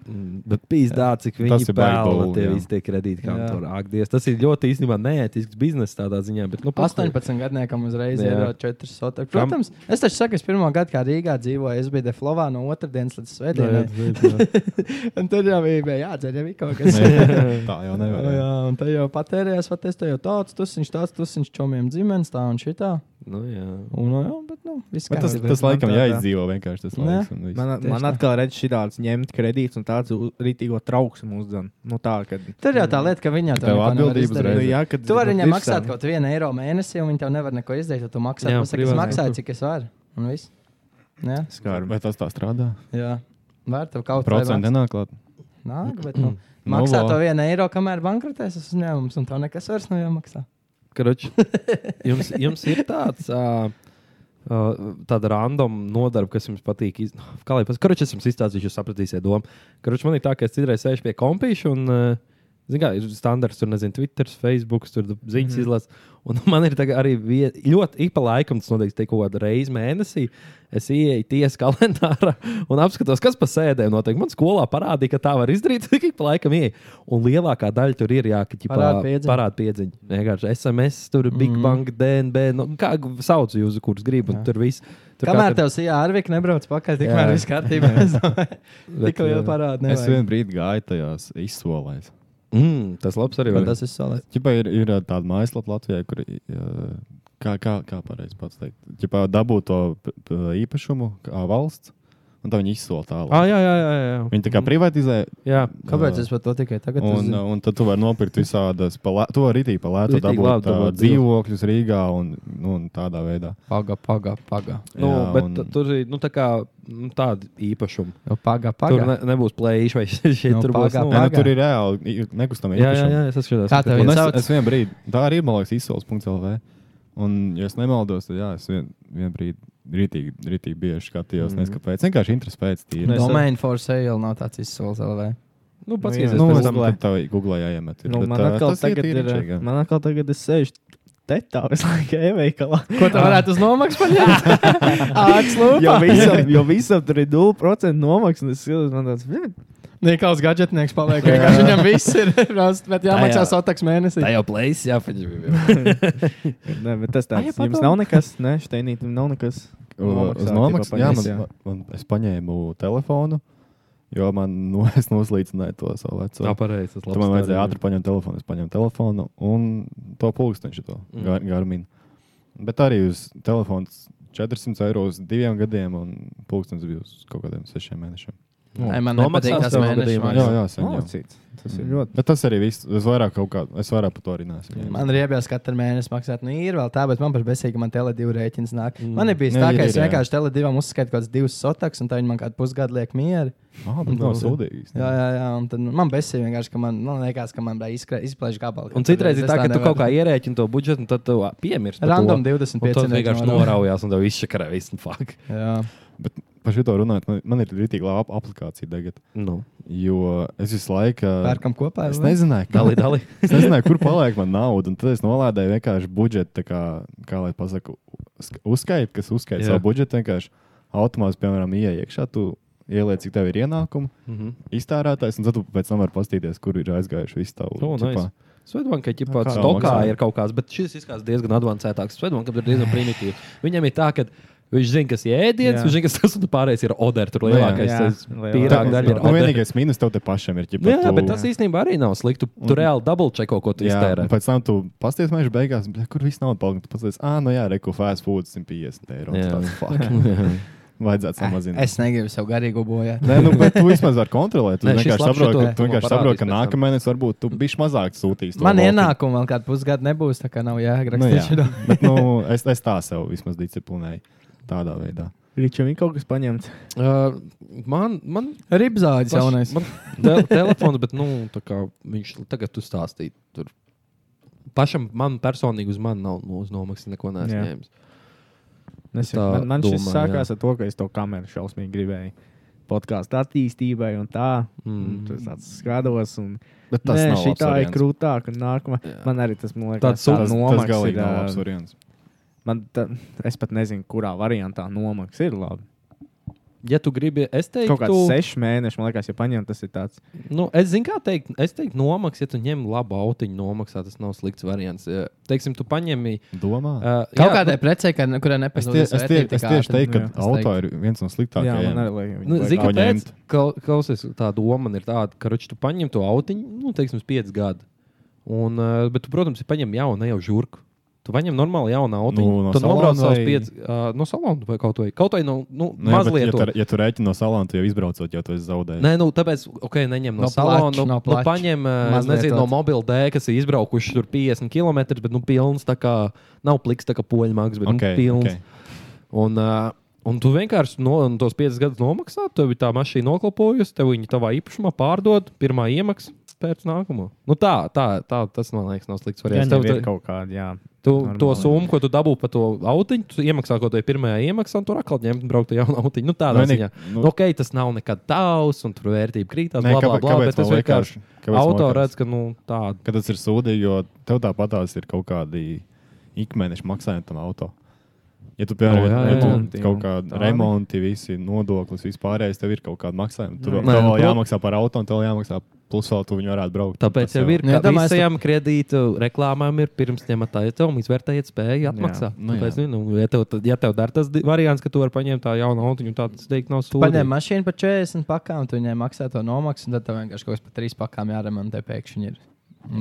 Mm, Bet pīzdā, cik Tas viņi ir baigi pelna bauli, tie jā. visi tie kredīti kantori. Ak, Dievs, tas ir ļoti īstenībā neētisks bizness tādā ziņā. Bet, nu, pastāv- 18 gadniekam uzreiz Jā. ir 4 sotakas. Kam- Protams, es taču saku, es pirmo gadu, kā Rīgā dzīvoju, es biju Deflovā no otrdienas līdz Jā, Nu, jā, svētdienai. jā, jā. Un tad jau bija, bija jādzer, jau bija kaut kas Tā jau O, nevar. jā. Jā, un tā jau patērējās, vai tas jau tāds, tas viņš tāds, tas viņš čomiem ģimenes tā un šitā. Nu, jā. Un, o, jā, bet, nu, viss Bet Tas, kārtībā. tas laikam tā- tā. jāizdzīvo vienkārši. Tas Nē. laiks un viss. Man, Tieši man tā. atkal redz šī tāds ņemt kredīts un tāds u- rītīgo trauksmu uzdzen. Nu tā, kad. Tur jau tā lieta, ka viņi jau Tev tādu atbildības Nu, reizi. jā, kad. Tu vari viņai ir maksāt tā. kaut vienu eiro mēnesī, un viņi tev nevar neko izdarīt. jo Tu maksā, Jā, tu saki, es privāti. maksāju, cik es varu. Un viss. Jā, Skarbi. Vai tas tā strādā? jā. Vērts tev kaut vai Procentu maksā. nenāk klāt. Nāk, bet nu, Nu, maksā vā. to vienu eiro, kamēr bankrotēs tas uzņēmums, un tev nekas vairs nav jāmaksā. Karoči, jums, jums ir tāds, uh, uh, tāda random nodarbe, kas jums patīk. Iz... Nu, Kā lai pasakā, es jums izstāstīšu, jūs sapratīsiet domu. Karoči, man ir tā, ka es citreiz sēžu pie kompīša un, uh, zinu, kā ir standarts, tur nezinu, Twitter, Facebook, tur ziņas mm. izlasa. Un man ir tagad arī vie... ļoti ik pa laikam, tas notiek tikai kaut kādu reizi mēnesī. Es ienāku tiesas kalendārā un apskatos, kas pa sēdēm notiek. Man skolā parādīja, ka tā var izdarīt, tikai pa laikam ienāku. Un lielākā daļa tur ir jā, ka ģipā, Parāda piedziņa. parāda piedziņa. Vienkārši SMS, tur Big mm. Bang, DNB, nu, kā g- sauc jūs, kurus gribat. Tur viss. Tur Kamēr katra- tev sijā ar viku nebrauc pakaļ, tikmēr Jā. viss kārtībā. es domāju. Bet, Tik liela jā. parāda. Es nevajag. vienu brīdi gāju tajās izsolēs. Mm, tas labs arī Bet vēl. Tas ir solēts. Ķipa ir, ir ā, tāda mājaslapa Latvijā, kur, ā, Kā, kā, kā pareizi pats teikt? Ja dabūt to p- p- īpašumu, kā valsts, un tā viņi izsola tālāk. Ah, jā, jā, jā, jā. Viņi tā kā privatizē. Jā. Kāpēc ā, es par to tikai tagad Un, nu, uzzinu? un tad tu vari nopirkt visādas, pa lē- to arī tīk palētu, Ritīgi labi dabūt ā, dabūt, jā. dzīvokļus Rīgā un, nu, un tādā veidā. Paga, paga, paga. Nu, jā, Jā, bet un- un... tur ir nu, tā kā, nu, tāda īpašuma. Nu, paga, paga. Tur ne, nebūs plēsoņa vai šī Nu, tur būs. paga, Nu, Nē, nu, Pagā. tur ir reāli i- nekustamie Jā, jā, īpašumi. jā, es atšķiros. Kā tev Un es, sauc? es vienu brīdi, tā arī ir, man liekas, izsoles.lv. Un, ja es nemaldos, tad jā, es vien, vienu brīdi rītīgi, rītīgi bieži skatījos, mm. nezinu, kāpēc. Vienkārši interesi pēc tīri. Nu, es- Domain for sale nav tāds izsols LV. nu, Nu, paskaties, jā, Nu, nu, es pēc tam tam. tam tā googlē jāiemet. ir, Nu, bet, man, ā, atkal tas ir tagad tīri ir, eh, čigā. man atkal tagad ir sēž tetā visu laiku e-veikalā. Ko tu varētu uz nomaksas paņemt? Nu, jo, visam, jo visam tur ir 0% nomaksas. un Es skatos, man tāds "Mm, Niklaus gadgetnieks paliek. vienkārši Viņam viss ir rast, bet jāmaksā jā. sotaks mēnesī. jau plēsis, jā, paņem. ne, bet tas Ai, tāds. padomā. Jums nav nekas, ne, šteinītam nav nekas. U- Uz Nomaksā, nomaksas, tipā jā, paņēmis, man, man, man, es paņēmu telefonu, jo man, nu, es noslīcināju to savu veco. Tā pareizi. Tad man vajadzēja ātri paņemt telefonu. Es paņēmu telefonu un to pulksteni, to Mm. mm. garmīnu. Bet arī uz telefona 400 eiro uz diviem gadiem, un pulkstenis bija uz kaut kādiem sešiem mēnešiem. Nu, Nē, man nepatīk tas mēnesis. gadījumā. Jā, maksā. jā, sen, jā. Nolasīts. Tas ir Mm. ļoti. Bet tas arī viss. Es vairāk kaut kā, es vairāk par to arī neesmu. ņēmis. Man ir iebilst, ka katru mēnesi maksāt. Nu, ir vēl tā, bet man pašai besīgi, ka man tele divu rēķins nāk. Mm. Mm. Man ir bijis Nu, tā, ir, ka es ir, jā. vienkārši tele divam uzskaitu kaut kādas divas sotaks, un tā viņi man kādu pusgadu liek mieru. Ah, bet nav Labi. sūdīgs. Jā, jā, jā. Un tad man besīgi vienkārši, ka man, man liekas, ka man izplēš gabalu. Un citreiz ir tā, ka tu kaut kā ierēķini to budžetu, un tad tu ā, piemirsti. par Random to. Un 25 Tas vienkārši noraujās, un tev izšakarā viss ir fuck. Jā, Par šo runājot, man, man ir rītīgi laba aplikācija tagad. Nu, Jo es visu laiku. pērkam kopā. Es vai? nezināju, kā, dali, dali. es nezināju, kur paliek mana nauda. un Tad es nolādēju vienkārši budžetu, tā kā, kā lai pasaku, uzsk- uzskaita, kas uzskaita Jā. savu budžetu. Vienkārši automāts, piemēram, ieiet iekšā, tu ieliec, cik tev ir ienākumu, Mhm. iztērētājs, un tad tu pēc tam vari paskatīties, kur ir aizgājuši visi tavi Oh, nice. Svetbankai ir Kā pats tā stokā maksā? ir kaut kāds, bet šis izskatās diezgan avansētāks. Svetbankam ir diezgan primitīvs. Viņam ir tā, ka viņš zina, kas ir ēdiens, Jā. viņš zina, kas tas un pārējais ir odērs. Tur Nu Jā. lielākais tas Lielākais. pīrāga daļa ir Nu, odērs. vienīgais mīnus tev te pašam ir. Ķipa, Jā, jā, tu, bet tas īstenībā arī nav slikti. Tu, tu Un- reāli dabūčeko, ko tu Jā, iztērē. un pēc tam tu pasties mēnešu beigās, bļa, kur viss nauda palika. Tu pasties, ah, nu jā, reku fast food 150 eiro. Jā. Jā, tāds fuck. Vajadzētu samazināt. Es negribu sev garīgi bojāt. Nē, nu, bet tu vismaz vari kontrolēt. Tu Nē, šis vienkārši labs saproti, šito- ka, tu vienkārši man saprot, parādīs ka pēc tam. nākamais varbūt tu bišķi mazāk sūtīs. to Man valti. ienākumu vēl kādu pusgadu nebūs, tā kā nav Nu, jāraksta. jā, bet, nu, es, es tā sev vismaz disciplinēju. Tādā veidā. Ričam ir kaut kas paņemts. Uh, man, man Ribzāģis jaunais. Man tel telefons, bet nu, tā kā viņš tagad tu stāstīja. Tur. Pašam man personīgi uz mani nav no, uz nomaksas neko Jā. nesņēmis. Es, Tā man man šis domā, sākās jā. ar to, ka es to kameru šausmīgi gribēju. Podkāstu attīstībai un tā. Mm. Mm. Tur tāds skatos, un Bet tas Nē, nav šī labs tā ir variants. krūtāk. Un nākamā. Jā. Man arī tas man liekas, Tāds tā Tas, tas nomaksas galīgi ir, nav labs ā, variants. Man tā, es pat nezinu, kurā variantā nomaksas ir labi. Ja tu gribi, es teiktu, Kaut kāds ka sešu mēnešu, man liekas, ja paņem, tas ir tāds. nu, es zinu, kā teikt, es teiktu, nomaksā, ja tu ņem labu autiņu nomaksā, tas nav slikts variants. Ja, Teiksim, tu paņemi Domā? uh, Kaut kādai precei, kad- kurai Nu, Es, nepazūd. tie, es, tie, es tieši teiktu, jā, ka auto ir viens jā, no man sliktākajiem. arī liekas, Nu, vajag Zini, vajag kāpēc? paņemt. Klau- Klausies, tā doma man ir tāda, ka, ruči, tu paņem to autiņu, nu, teiksim, uz 5 gadu. Un, eh, bet, tu, protams, ir paņem jaunu, ne jau žurku. Tu paņem normāli jaunu autiņu. Nu, no tu nobrauc salona savus vai- 5 uh, no salona vai kaut vai. Kaut vai no nu, Nu, nu, jā, bet, mazliet. ja, to- tu, ja tu rēķini no salona, tu jau izbraucot, jau tu esi zaudējis. Nē, nu, tāpēc, ok, neņem No no, plača, no salona. Nu, no no nu, plača. paņem, eh, Mazliet nezinu, no tāds. mobila dēļ, kas ir izbraukuši tur 50 km, bet, nu, pilns, tā kā nav pliks, tā kā poļu mākslas, bet, okay, nu, pilns. okay. Un, uh, un tu vienkārši no, un tos 5 gadus nomaksā, tev ir tā mašīna noklapojusi, tev viņa tavā īpašumā pārdod, pirmā iemaksa pēc nākamā. Nu tā, tā, tā, tas man liekas, nav slikts Jā, variants. tev ir tev, kaut kāda, jā. tu, normāli. to summu, ko tu dabū par to autiņu, tu iemaksā kaut kādā pirmajā iemaksā, un tur atkal ņemt un braukt ar jaunu autiņu. Nu, tādā Vienīgi, ziņā. nu- Nu, ok, tas nav nekad tavs, un tur vērtība krītās, Nē, bla, bla, kāpēc- bla, kāpēc bet tas man liekas? vienkārši Kāpēc man auto liekas? redz, ka nu, tāda. ka tas ir sūdīgi, jo tev tāpatās ir kaut kādi ikmēneša maksājumi tam auto. Ja tu, piemēram, Nu, jā, no, ja jā, tu jā. kaut kādā Tā remonti, visi nodoklis, vispārējais, tev ir kaut kāda maksājuma. Tur Jā. vēl- tev Nē, vēl nu, jāmaksā par auto, un tev vēl jāmaksā plus vēl tu viņu varētu braukt. Tāpēc Tas jau ir Nu, ja tā, ka domāju, es visiem kredītu reklāmām ir pirms ņemat aizdevumu, izvērtējiet spēju atmaksāt. nu jā. Tāpēc, nu, ja tev, tad- ja tev dar tas di- variants, ka tu vari paņemt tā jaunu autiņu, tad tas teikt nav stulbi. Paņem mašīnu par 40 pakām, tu viņai maksā to nomaksu, un tad tev vienkārši kaut kas par 3 pakām jāremontē pēkšņi. Ir.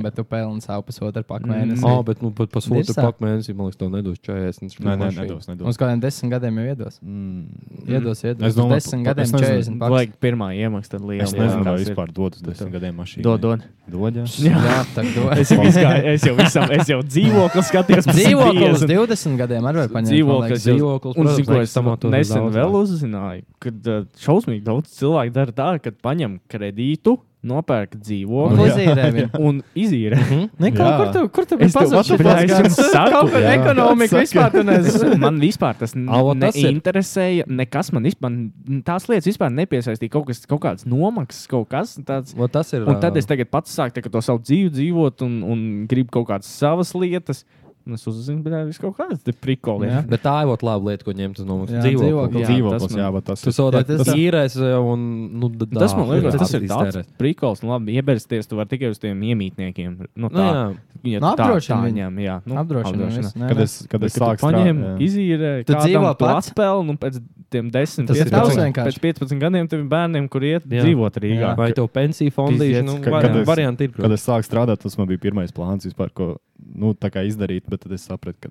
Bet tu pelni savu pusotru Mm. pakāpienu. Ā, bet nu, pat pusotru pakmēnesi, man liekas, to nedos 40. Nē, nē, nedos, nedos. Uz kādiem desmit gadiem jau iedos. Mm. Iedos, iedos. Es Uz domāju, desmit pa- gadiem es 40 nezinu, paks. Vajag pirmā iemaksa, tad liela. Es nezinu, jā, vai tas ir. vispār dod uz desmit gadiem mašīnu. Dod, dod. Dod, jā. Jā. Jā, tā dod. Es jau, izgāju, es jau, visam, es jau dzīvokli skatījos. pēc Dzīvoklis 50. 20 gadiem arī var paņemt. man dzīvoklis, liekas. dzīvoklis. Un, protams, zin, ko es nekustamā to nesen daudz vēl uzzināju, kad uh, šausmīgi daudz cilvēku dara tā, ka paņem kredītu, nopērk Un dzīvokli Uzīrē viņu. un izīrē. Nē, kaut Jā. kur tu, kur tu Es biji tev pazudis? atpakaļ jums saku, kaut kur jā. ekonomika vispār tu nezini. Man vispār tas Ā, vot tas ir. neinteresēja. Nekas man vispār, man tās lietas vispār nepiesaistīja. Kaut, kas, kaut kāds nomaksas, kaut kas tāds. Vot tas ir. Un tad es tagad pats sāku tā kā to savu dzīvi dzīvot un, un gribu kaut kādas savas lietas. Un es uzzinu, ka tas ir kaut kāds Jā. prikolis. Bet tā ir ļoti laba lieta, ko ņemt no mums. Jā, Dzīvokli. dzīvokli. Jā, tas Dzīvoklis, man- jā, bet tas Tu Jā, savukārt tas tā- īrēs un nu, d- Tas man dā, liekas, tas ir iztērē. tāds prikols. Nu, labi, iebērsties tu vari tikai uz tiem iemītniekiem. Nu, Nu, tā, jā. ja Nu, tu tā, tā apdrošina viņu. ņem, jā. Nu, Apdrošina. apdrošina. visu, nē, Kad nē. es, kad Bet, kad tu es sāku paņēmi, strādāt, izīrēji, Tu dzīvo dzīvo pats? pats, pelnu un nu, pēc tiem 10, Tas ir 15, daudz vienkārši. pēc 15 gadiem tev ir bērniem, kur iet Jā. dzīvot Rīgā. Vai tev pensija fondīša? Pizdiec, Nu, ka- var, kad es- varianti ir. kad es sāku strādāt, tas man bija pirmais plāns vispār, ko nu, tā kā izdarīt, bet tad es sapratu, ka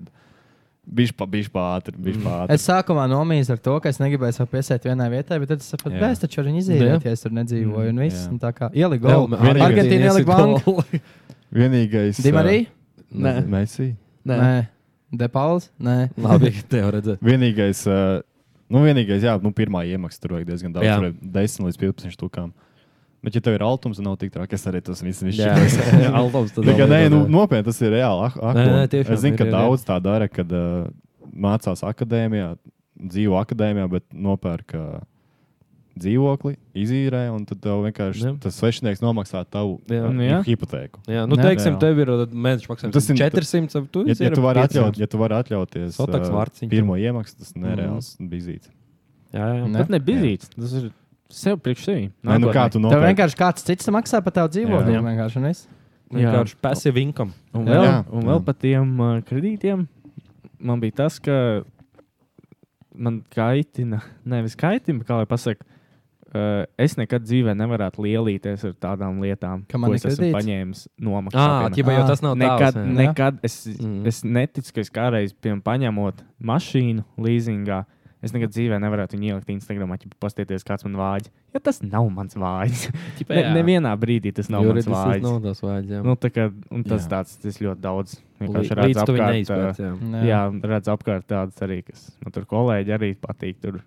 bija pārāk ātri. Es sākumā nomīju ar to, ka es negribēju sev piesēt vienai vietai, bet tad es sapratu, Jā. ka es taču arī izīrēju, ja es tur nedzīvoju. Un viss, jā. un tā kā ieliku Vēl- golu. vienīgais- Argentīna ielika banku. Vienīgais. Dimarī? Nē, Messi. Nē. De Pauls? Nē. Labi, tev redzēt. Vienīgais, uh, nu, vienīgais, jā, nu, pirmā iemaksa tur vajag diezgan daudz, Jā. tur ir 10 līdz 15 stūkām. Bet, ja tev ir altums, tad nav tik traki. Es arī tas viss Jā, izšķiros. Aldovs tad Nē, vēl nē, ir, nu, jā. nopietni tas ir reāli. ak- aktuāli. nē, tiešām es zinu, ir, ka ir, ir. daudz tā dara, kad uh, mācās akadēmijā, dzīvo akadēmijā, bet nopērk uh, dzīvokli, izīrē, un tad tev vienkārši Jā. tas svešinieks nomaksā tavu Jā. Nu, uh, Jā. hipotēku. Jā, nu, Nē. teiksim, Jā. tev ir uh, mēneša maksājums. Tas Tas ir- ir 400. tad Tu Ja, ja, izdzēri tu vari 500. atļaut, ja tu vari atļauties Sotaks uh, vārciņš. Mhm. pirmo iemaksu, tas nereāls mm. bizīts. Jā, jā. Nē. Tas nebizīts. Tas ir sev priekš sevi. Nē, nu kā tu Tev nopērci? vienkārši kāds cits maksā par tavu dzīvokli. Jā. vienkārši, un viss. Vienkārši passive income. Un vēl, Jā. un vēl Jā. par tiem uh, kredītiem man bija tas, ka man kaitina, nevis kaitina, bet kā lai pasakā. Uh, es nekad dzīvē nevarētu lielīties ar tādām lietām, Ka man ko ir es esmu kredīts? paņēmis Ā, nomaksājot. atjībā, jo tas nav Nekad, tavs, jā. nekad es, Mhm. mm. es neticu, ka es kādreiz, piemēram, paņemot mašīnu līzingā, es nekad dzīvē nevarētu viņu ielikt Instagram, ja paskatieties, kāds man vāj. Ja tas nav mans vājš. Ne, jā. nevienā brīdī tas nav mans Juridiskas vājš. naudas vajadzēja. Nu, tā kā, un tas Jā. tāds, tas ļoti daudz. Lī- Vienkārši redz Līdz tu viņu apkārt, neizpērci. jā. ā, Jā, redz apkārt tādas arī, kas man tur kolēģi arī patīk. Tur.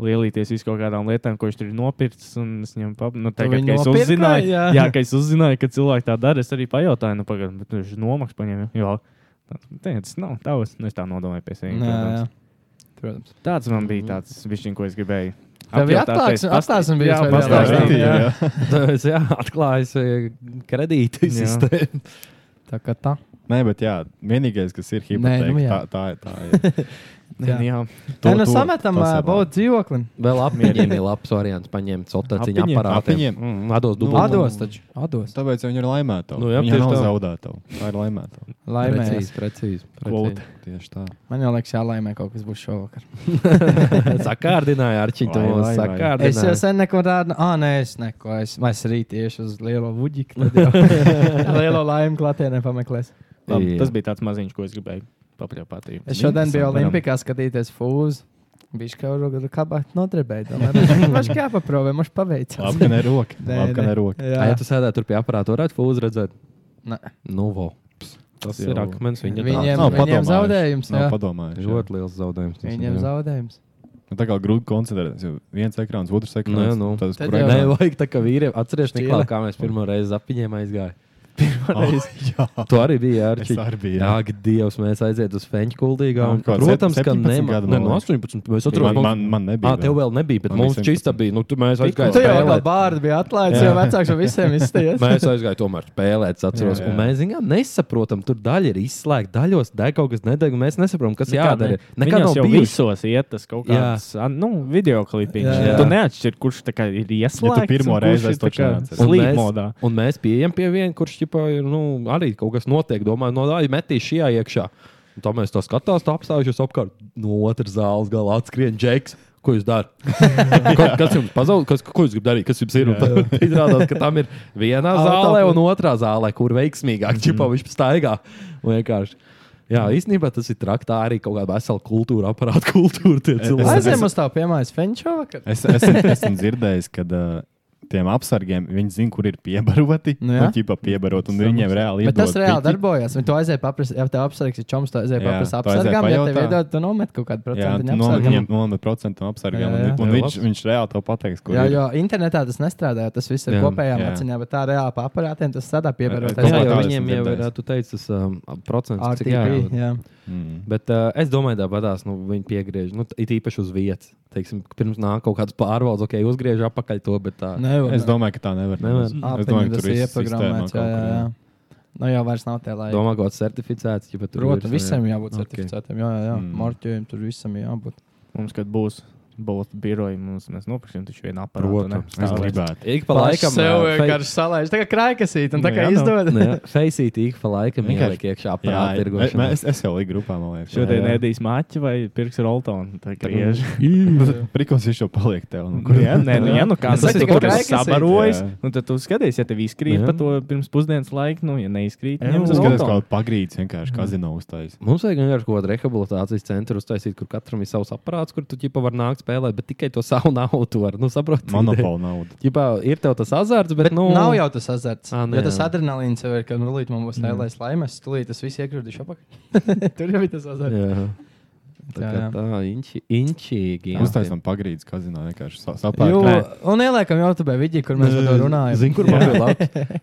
Lielīties vis kaut kādām lietām, ko viņš tur ir nopircis. un es viņam pap- Nu, tagad, viņu kad es nopirkai, uzzināju, jā. jā, ka, es uzzināju, ka cilvēki tā dara, es arī pajautāju, nu, pagaidi, bet viņš nomaksā paņēma. Jā, tā, tas nav tavs. Nu, es tā nodomāju pie sevis. Jā, jā. protams. Protams. Tāds man bija tas višķiņš, ko es gribēju. Tev bija Apjautāties, atklāksme- past- atklāksme bija Jā, vai Jā, Pastāstīt, jā, pastāstīt. jā. jā. Tāpēc, jā, atklājas eh, kredīti Jā. sistēma. Tā kā tā. Nē, bet jā, vienīgais, kas ir Nē, hipotēka, nu nu, jā. tā, tā, ir- tā ir. Jā, jā. Tā To- nu to- sametam tas ir baudu dzīvoklim. Vēl apmierināti ir labs variants paņemt sotacīņu Apiņiem, aparātu. apiņiem. Atdos Nu, dubultā. Atdos taču. Atdos. Tāpēc viņi ir laimēti. Nu jā, Viņa tieši nav tā. zaudēta. Tā ir laimēta. Laimēs. Precīzi, precīzi. Kvota. Tieši tā. Man jau liekas, jālaimē kaut kas būs šovakar. Sakārdināja ar Vai, čitām. vai, vai. Es jau Sakārdināja. sen neko tādu, ah, nē, es neko. Es, es rīt tieši uz lielo buģiku. Tad jau lielo laimi klātienē pameklēs. Labi, Jā. tas bija tāds maziņš, ko es gribēju papļāpāt. Es šodien biju Olimpijā skatīties fūzi. Viņš kaut kādā veidā nodarbēja. Viņš kā paprovē, mums paveicās. Labi, ka ne roka. Nē, Labi, ka nē. ne roka. Ai, Jā, Ja tu sēdētu tur pie aparāta, varētu fūzi redzēt. Nē. Nu, vo. Tas jau- ir akmens. Viņiem- Viņa tāds. Nav viņiem padomājuši. zaudējums, jā. Nav padomājis. ļoti liels zaudējums. tas ir, viņam jā. zaudējums. Nu, tā kā grūti koncentrēties. jo Viens ekrāns, otrs Nu, jā, ekrāns. nu. Tas, Tad kur jau- Nē, ekrāns. vajag tā kā vīriem. Atcerieties, Šķiele. Niklā, kā mēs pirmo reizi apiņiem aizgājām. Oh, Tu arī biji ar jā, es arī biju. Jā, Jā. kad Dievs mēs aiziet uz feņu kuldīgām. Nu, kāds Protams, ka 17 ne, gadu, ne man no liekas. 18. Mēs Man, atceramies, man, man nebija. Ah, tev vēl nebija, bet Man mums bija čista bija. Nu, tu, mēs aizgājām Tur jau tā spēlēt. bārda bija atlaista, Jā. jau vecāks par visiem izstājās. Mēs aizgājām, tomēr spēlēt, es atceros. Jā, Jā, jā. jā. Mēs zinām, nesaprotam, tur daļa ir izslēgta, daļos deg kaut kas nedeg, un mēs nesaprotam, kas Nekā jādara. ne. Nekā nav jau bijis. visos iet tas kaut Jā. kāds an- nu, video klipiņš. Jā, jā. Tu neatšķiri, kurš tā kā ir ieslēgts. Ja tu pirmo un kurš reizi ir es tā taču kā neatceros. Un Slīd mēs- modā. Un mēs pieejam pie viena, kurš ķipā, ir, nu, arī kaut kas notiek. Domāju, no tā, metīs šajā iekšā. Un tā mēs to skatāmies, apstājušies apkārt. No otras zāles gala atskrien džeks. Ko jūs darāt? Ko- kas jums pazaudē? Kas, ko jūs gribat darīt? Kas jums ir? Un tad Izrādās, ka tam ir vienā zālē un otrā zālē, kur Mhm. veiksmīgāk čipavišķi staigā. Un vienkārši. Jā, īstenībā tas ir traki. Tā arī kaut kāda vesela kultūra, aparāta kultūra. Tie cilvēki, Aizem uz tā piemājas Fenčo vakar. Es esmu, esmu dzirdējis, ka uh, tiem apsargiem viņi zina, kur ir piebaroti. Nu Nu, jā. jā, ķipa piebarot, un viņi reāli Bet tas iedod reāli piķi. darbojās. Viņu aizēja paprasīt, ja tev apsargs ir čoms, tad aizēja Jā, paprasīt tu aizēji apsargām. Ja tev pajautā. iedod, tad nomet kaut kādu Jā, procentu tu viņa nomet apsargām. viņiem nomet procentu no apsargiem. Jā, un- jā. Un Jā, viņš, viņš reāli to pateiks, kur Jā, ir. jo internetā tas nestrādā, jo tas viss ir Jā, kopējām jā. acīm, bet tā reāli pa aparātiem tas strādā pievēroties. Jā, jau tādu viņiem esmu jau ir, dzirdējis. tu teici, tas um, procents. cik RTP, jāiedod. jā. Mm. Bet uh, es domāju, tāpatās nu, viņi piegriež. Nu, t- it īpaši uz vietas. Teiksim, ka pirms nāk kaut kādas pārvaldes, ok, uzgriež apakaļ to. Bet, tā, Nevar, Es domāju, ka tā nevar. Nevar. Es nu, Ā, domāju, pieņem, ka tas ir tur viss ieprogrammēts. sistēmā Jā, kaut jā, kur jā. ir. Nu jau vairs nav tie laiki. Domā, kaut kāds certificēts, ja pat tur Protams, ir, visiem jābūt Ok. certificētiem. Jā, jā, jā. Mm. Marķējumam tur visam ir jābūt. Mums, kad būs balota biroja, mums, mēs nopirksim taču vienu aparātu. ne? Protams, es Stāvēt. gribētu. eh, Ik pa laikam sev ā, fei- vienkārši salaiž. Tā kā kraikasīt, un tā Nu kā jā, nu. izdod. Nu, jā, Feisīt ik pa laikam Vienkārši- ieliek iekšā Jā, apgāzta mē- mē- tirgošanā. es, es jau liku grupā, man liekas. Šodien Jā, jā. ēdīs maķi vai pirks roltonu. Tā kā griež. Prikos viņš jau paliek tev. Nu, kur Jā, nē, nu, ja nu kāds Tas saka, ir ka tikai tas kraikasīt. sabarojas, Jā. nu, tad tu skaties, ja tev izkrīt Jā. pa to pirms pusdienas laiku, nu, Mm. ja neizkrīt, Jā, ņem tas uz skatās, roltonu. kā pagrīts vienkārši kazino uztais. Mums vajag vienkārši kaut kādu rehabilitācijas centru uztaisīt, kur katram ir savs aparāts, kur tu ģipa var nākt spēlēt, bet tikai to savu naudu var. Nu, saproti? Monopola nauda. Ģipā, ir tev tas azarts, bet, Bet bet nu, nav jau tas azarts. Ah, Ā, nu Jo tas jā. adrenalīns jau ir, ka nu, rīt man Mm. būs lielais laimes, stulīt tas viss iekrūtīšu apakšā. Tur jau ir tas azarts. Jā. Tā, Jā, kā jā. tā inči, inčīgi. jā. Uztaisam pagrīts kazino vienkārši sa- Jū, sapērk. un ieliekam jau tādā veidā, kur mēs par to runājam. Zinu, kur man bija labi.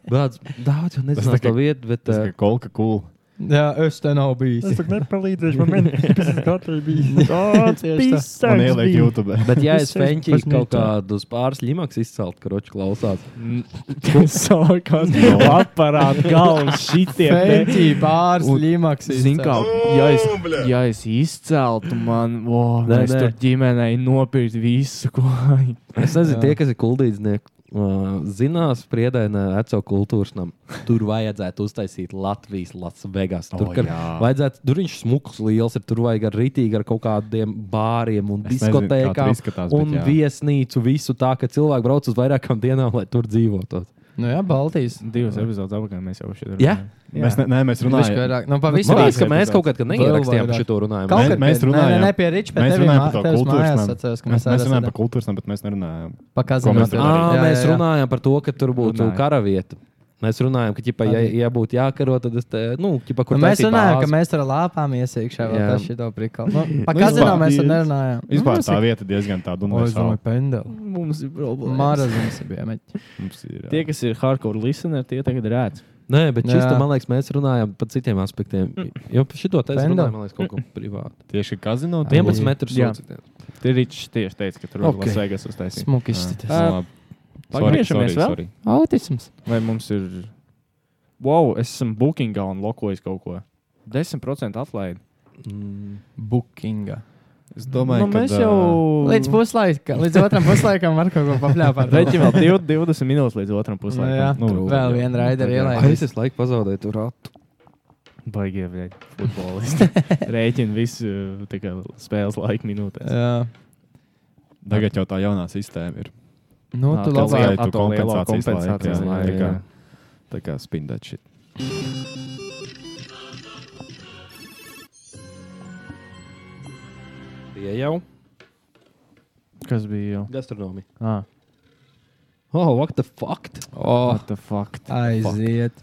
Daudz, daudz jau Tas nezinu tā kā- to vietu, bet Tas uh, ir kolka cool. Jā, es te nav bijis. nepalīdzēšu, man vienkārši katrai bija tāds Tieši tā. Un ieliek YouTube. Bet, ja es Es esmu fenčīju pēc kaut mītā. kādus pāris limaks izcelt, karoči klausās. Sākās Nu. aparāta galvas šitie. te. Pētī, bārs, Un līmaks. Zin kā, ja es, ja es izceltu, man, o, Nē, mēs nē. tur ģimenei nopirkt visu, ko vajag. Es Jā. nezinu, tie, kas ir kuldīdznieki, uh, zinās, priedainā veco kultūras namā. Tur vajadzētu uztaisīt Latvijas Lasvegas. Tur, O, kar, jā. vajadzētu, tur viņš smukls liels, ir, tur vajag ar rītīgi ar kaut kādiem bāriem un Es nezinu, kā tur diskotēkām izskatās, bet un jā. viesnīcu visu tā, ka cilvēki brauc uz vairākām dienām, lai tur dzīvotu. Nu jā, Baltijas. Divas epizodes apakā mēs jau šeit Jā? runājam. Mēs, ne, nē, mēs Viņš runājam. vairāk, nu, Man pavisam. liekas, ka vairāk mēs kaut kad Vēl neierakstījām par vairāk. šo runājumu. Kaut Mē- kad mēs pie- runājām. Nē, nē, pie Riča, bet Mēs runājam par to kultūras mājās. namu. Atceros, ka Mēs, mēs, mēs runājam par par kultūras, namu, bet mēs nerunājam. ko pakāpienu. mēs te darījām. Ah, mēs runājam par to, ka tur būtu Runājam. karavieta. Mēs runājam, ka, ķipa, ja, ja būtu jākaro, tad es te, nu, ķipa, kur Nu, mēs taisīt runājām, ka bāzi. mēs tur lāpām iesakšā vēl Jā. tādu šito prikalu. Nu, pa Nu, kazino vispār- mēs tur nerunājām. Vispār nu, tā vieta diezgan tāda un Es domāju, pendeli. Mums ir problēmas. Mārazums bija meķis. Tie, mēs kas ir hardcore listeneri, tie tagad redz. Nē, bet Jā. šis, man liekas, mēs runājam par citiem aspektiem. Jo par šito te es Fendo. runāju, man liekas, kaut ko privātu. tieši kazino. 11 metrus Jā. sūdzīt. Tie ir rīčs tieši teica, ka tur ir Ok. Las Vegas uztaisīt. Smuki izskatās. Pagriežamies vēl? Autisms. Vai mums ir. Wow, es esmu bookingā un lokojis kaut ko. 10% atlaidi. Mm. Bookinga. Es domāju, ka Nu, mēs jau. Līdz puslaikam, līdz otram puslaikam var kaut ko papļāpāt. Reķim vēl div- 20 minūtes līdz otram Nu, jā, puslaikam. Nu, vēl viena raidera Ai, Es ielaidīja. esmu laiku pazaudējis tur ratu. Baigie, vēl futbolisti. Rēķina visu tā kā, spēles laika minūtēs. Jā. Tagad jau tā jaunā sistēma ir. Nu, Nā, tu tev labi. vajag Skaitu atkal lielo kompensācijas laiku, kompensācijas jā, laiku, tā kā- jā. Tā kā spindēt šī. Tie jau Kas bija jau? gastronomija. Ah, Oh, what the fuck? Oh, what the fuck? aiziet.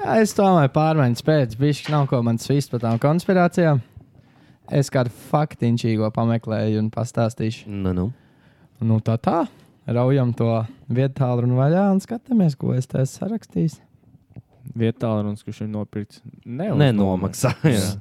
Jā, es domāju, pārmaiņas pēc bišķi nav ko man svīst par tām konspirācijām. Es kādu faktiņšīgo pameklēju un pastāstīšu. Nu, nu. Nu, tā tā. Raujam to vietālu un vaļā un skatāmies, ko es te esmu sarakstījis. Vietā, kurš ir nopirkts. Nē, Nenomaksā. jā.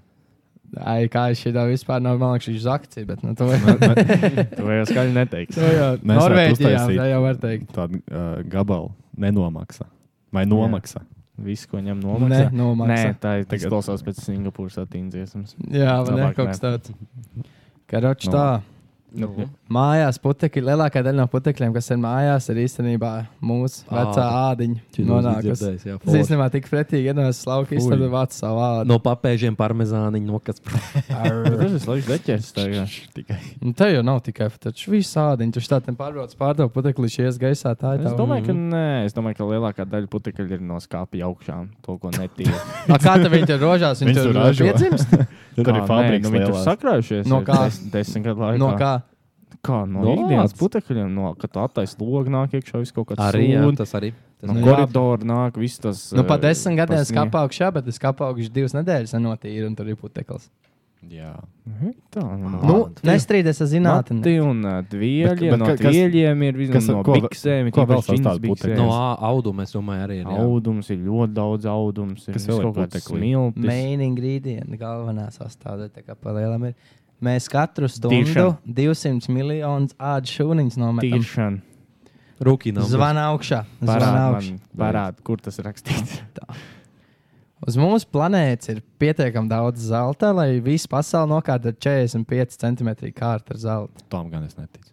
Ai, kā es šitā vispār nav, man liekas, šis akcija, bet nu, to Tu jau skaļi neteiksi. jau Mēs varētu Norvēģijā, uztaisīt. tā jau var teikt. Tāda uh, gabala nenomaksā. Vai nomaksā? Visu, ko ņem Nē, nomaksā. Nē, nomaksā. tā ir Tagad- tagad klausās pēc Singapūras attīstības. Jā, vai ne, Labāk kaut kas nē. tāds. Karoči tā. Nu. Mājās putekļi, lielākā daļa no putekļiem, kas ir mājās, ir īstenībā mūsu vecā Āda. ādiņa. Šī Nonākus. dzirdējis, jā, Tas forši. īstenībā tik pretīgi, ja no slauka Fui. izstāda vācu savu ādu. No papēžiem parmezāniņa nokāpst. Tas ir slēgts deķers. Tikai. Nu, tā jau nav tikai taču viss ādiņš. Viņš tādā pārbrauc pārdeva putekļi, ies gaisā. Tā ir Es tā. domāju, ka nē, es domāju, ka lielākā daļa putekļu ir no skāpja augšā. To, ko netīra. A, kā tev viņi tur rožās? Viņi Viņus tur tur ražo. piedzimst? Tur Kā? ir fabrika. Nē, Nu, viņi tur lielās. sakrājušies. No ir kā? des- Desmit gadu laikā. No kā? Kā no, no No ikdienas ādas. putekļiem, no kad attais logs nāk iekšā, viss kaut kāds Arī, jā, sūn, tas arī. Tas no arī. koridora nāk viss tas. Nu, pat eh, desmit gadiem pa snie- skāpā augšā, bet es kāpā augšā divas nedēļas nenotīru un tur ir putekļs. Jā. Tā nav. Nu, nestrīdies ar zinātni. Mati un eh, Bet- dvieļi, bet no ka- kas- dvieļiem ir viss kas- no ko- biksēm. ir ko kaut vēl kāds sastāv džins putekļi? biksēs. No ā- auduma, es domāju, arī ir. jā. Audums ir ļoti daudz audums. Ir Kas viss vēl ir kaut kāds putekļi? smilts. Main ingredient, galvenā sastāvdaļa, kā palielam ir. Mēs katru stundu Tīršana. 200 miljonus ādu šūniņus nometam. Tīršana. Rūkīnā. Zvana augšā. Zvana augšā. Parādi, kur tas ir rakstīts. Uz mūsu planētas ir pietiekami daudz zelta, lai visu pasauli nokārtu ar 45 cm kārtu ar zeltu. Tam gan es neticu.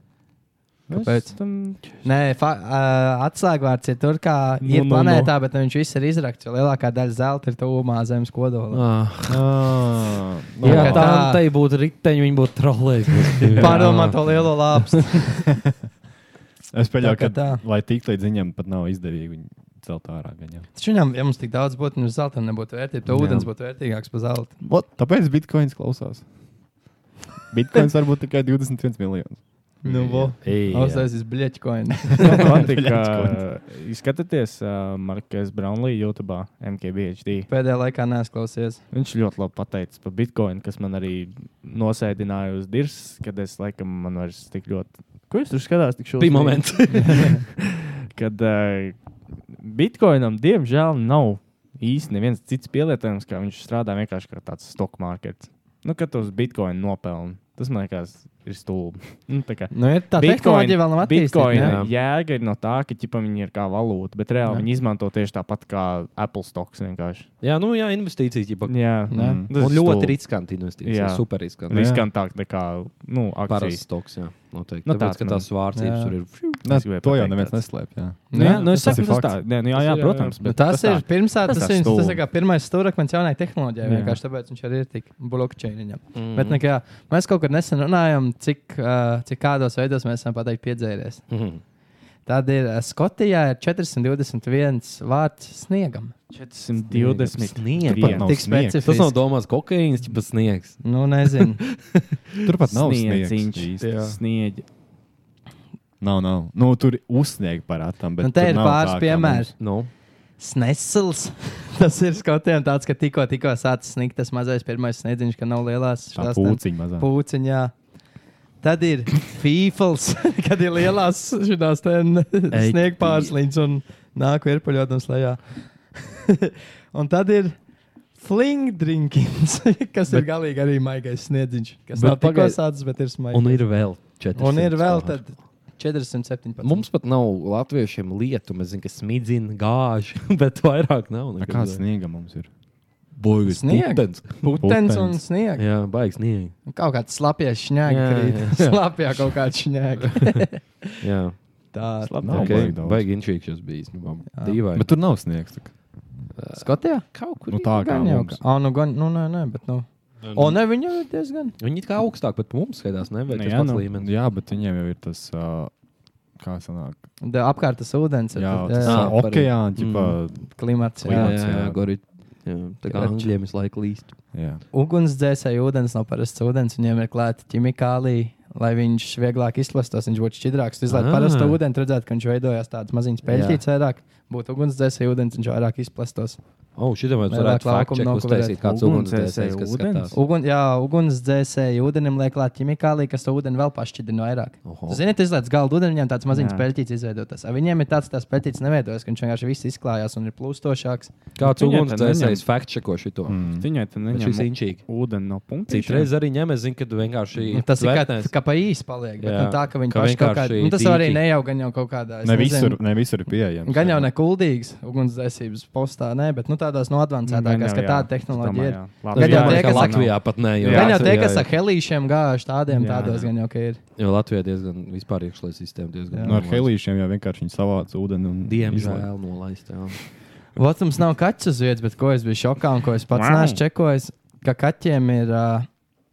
Kāpēc? Tam... Nē, fa- ā, atslēgvārds ir tur, kā Nu, ir nu, planētā, bet viņš viss ir izrakts, jo lielākā daļa zelta ir tuvumā zemes kodola. Ah. Nu, Jā, ka tā tā- tā būtu riteņa, viņa būtu trolējusi. Pārdomā to lielo lāpstu. Es Tā pieļauju, kā ka, tā. lai tiktu līdz viņam, pat nav izdevīgi viņu celt ārā. Gan, jā. Taču viņam, ja mums tik daudz būtu, nu zelta nebūtu vērtība, tad Jā. ūdens būtu vērtīgāks par zeltu. What? Tāpēc bitkoins klausās. Bitkoins var būt tikai 21 miljonus. Nu, vo. Ei, jā. Austrēsies bļeķkoini. Man eh, patīk, Bļačkoins. ka izskatāties uh, Markas Brownlee YouTube, MKBHD. Pēdējā laikā nesklausies. Viņš ļoti labi pateica par Bitcoin, kas man arī nosēdināja uz dirzas, kad es laikam man vairs tik ļoti. Ko jūs tur skatās? Tik šausmīgi? Bija moments. kad uh, Bitcoinam diemžēl nav īsti neviens cits pielietojums, kā viņš strādā vienkārši kā tāds stock market. Nu, kad tu uz Bitcoin nopelni, tas man liekas ir stulbi. Nu, tā kā- Nu, ir tā tehnoloģija vēl nav attīstīta, Bitcoina jā. jēga ir no tā, ka ķipa, viņi ir kā valūta, bet reāli Jā. jā. viņi izmanto tieši tāpat kā Apple stocks. vienkārši. Jā, nu jā, investīcijas jau Jā, Mm. Tas Un ir ļoti stulbi. riskanti investīcijas, super riskanti. Jā. Riskantāk nekā nu, Parasti akcijas. stoks, jā, noteikti. Nu, Tāpēc, tāds ka man- tās vārdzības Jā. tur ir- Fiu. Nē, Es gribēju to jau pateikt neviens tāds. neslēpj. Jā. Nu, jā, nu, es Tas saku, ir tas tā, fakts. nē, nu, jā, jā, Tas ir, jā, protams. jā. bet Tas tā. ir pirms tā, tas, Tas tas, ir viņš, tas stulbi. ir kā pirmais stūrakmeņš jaunai tehnoloģijai. Jā. Vienkārši tāpēc viņš arī ir tik blokķēniņa. Mm Mhm. Mm-hmm. -hmm. Bet nekā, mēs kaut kad nesen runājām, cik, uh, cik kādos veidos mēs esam pateikti piedzēries. Mm Mhm. -hmm. Tad ir uh, Skotijā ir 421 vārds sniegam. 420 Turpat nav Tik sniegs. specifiski. Tas nav domāts kokaīns, bet sniegs. Nu, nezinu. Turpat nav Sniedziņš, sniegs jā. īsti. Sniedz. Nav, nav. Nu, tur uzsniegt parādām. Un Nu, te ir pāris piemēri. Nu. Snesls. Tas ir skotiem tāds, ka tikko, tikko sācis snikt tas mazais pirmais sniedziņš, ka nav lielās Tā šās pūciņa tam- mazā. pūciņa, jā. Tad ir fīfels, kad ir lielās šīs Ei, sniegpārslīņas un nāk virpuļotams lejā. un tad ir flingdrinkins, kas bet, ir galīgi arī maigais sniedziņš, kas nav Bet tikko pagaid- sācis, bet ir smaigs. Un ir vēl 400. un ir vēl tāda. tad 417. Mums pat nav latviešiem lietu, mēs zinām, ka smidzina gāži, bet vairāk nav. A, Kāds sniega mums ir? Boigas Sniegs. Putens un sniegs. Jā, baigs sniegs. Nu, Kaut kāds slapjais šņēga Jā, krīt. jā. Slapjā kaut kāds šņēga. Jā. Tā Nav okay. baigi daudz. baigi inčīgs šis bijis. Nu, Dīvaini. Bet tur nav sniegs. tā kā. Skotijā? Kaut Nu, tā kā jau. mums. Ah, nu gan, nu nē, nē, bet nu. O, ne, viņa ir diezgan. Viņi it kā augstāk, bet mums skaitās, ne? Vai Nu, tas jā, pats nu. līmenis? Jā, bet viņiem jau ir tas, ā, kā sanāk, Da- Apkārt tas ūdens ir. jā, tad- tas jā, ā, par- mm. okeāna, ģipā, Klimats. jā, jā. klimats, jā, jā, jā. gori. Jā, tā kā Kraču. angļiem visu laiku līst. jā. Ugunsdzēsēji ūdens nav parasts ūdens, viņiem ir klāta ķimikālija. Lai viņš vieglāk izplastos, viņš būtu šķidrāks. Izlaiž Ah. parastu ūdeni, tad redzētu, ka viņš veidojās tāds maziņš peļķīts, vairāk būtu ugunsdzēsēji ūdens, viņš vairāk izplastos. O, šitam mēs Vairāk varētu laukumu faktu čeku nav, ko uztaisīt, kāds Ugunsdzēsēju ugunsdzēsējs, kas ūdens? skatās. Ugun, jā, ugunsdzēsēji ūdenim liek klāt ķimikālija, kas to ūdeni vēl pašķidrina vairāk. Oho. Ziniet, izlaiž galdu ūdeni, viņam tāds maziņš Jā. peltīts izveidotas. A Viņiem ir tāds, tas peltīts neveidojas, ka viņš vienkārši viss izklājās un ir plūstošāks. Kāds Viņiem ugunsdzēsējs tad faktu čeko šito? Viņai tam Bet neņem šis inčīgi. ūdeni no punkta. Citreiz arī ņem, es zinu, ka vienkārši. Un Nu, Tas ir kā, tvētnēs. kā pa īsi paliek. Bet, Jā. nu, tā, ka viņi Ka paši kaut kādā vienkārši veidā. Tas jau arī dīķi. nejaugan jau kaut kādā. es Ne nezinu. visur, ne visur ir pieejams. Gan jau jā. nekuldīgs ugunsdzēsības postā, nē, bet nu, tā tādās no advancētākās, Nu, ka jā, tāda jā. Es tehnoloģija ir. domāju, jā. jau Latvijā- tie, Latvijā kas ar- Latvijā pat ne, jo- Gan jau tie, Latvijā kas ir. ar helīšiem gājuši tādiem, Jā, tādos jā. gan jau ka ir. Jo Latvijā diezgan vispār iekšlē sistēma diezgan. Nu, ar helīšiem jau vienkārši viņi savāca ūdeni un izlaiž. Diemžēl nolaist. jā. Votams nav kaķis uz vietas, bet ko es biju šokā un ko es pats Wow. wow. neesmu čekojis, ka kaķiem ir uh,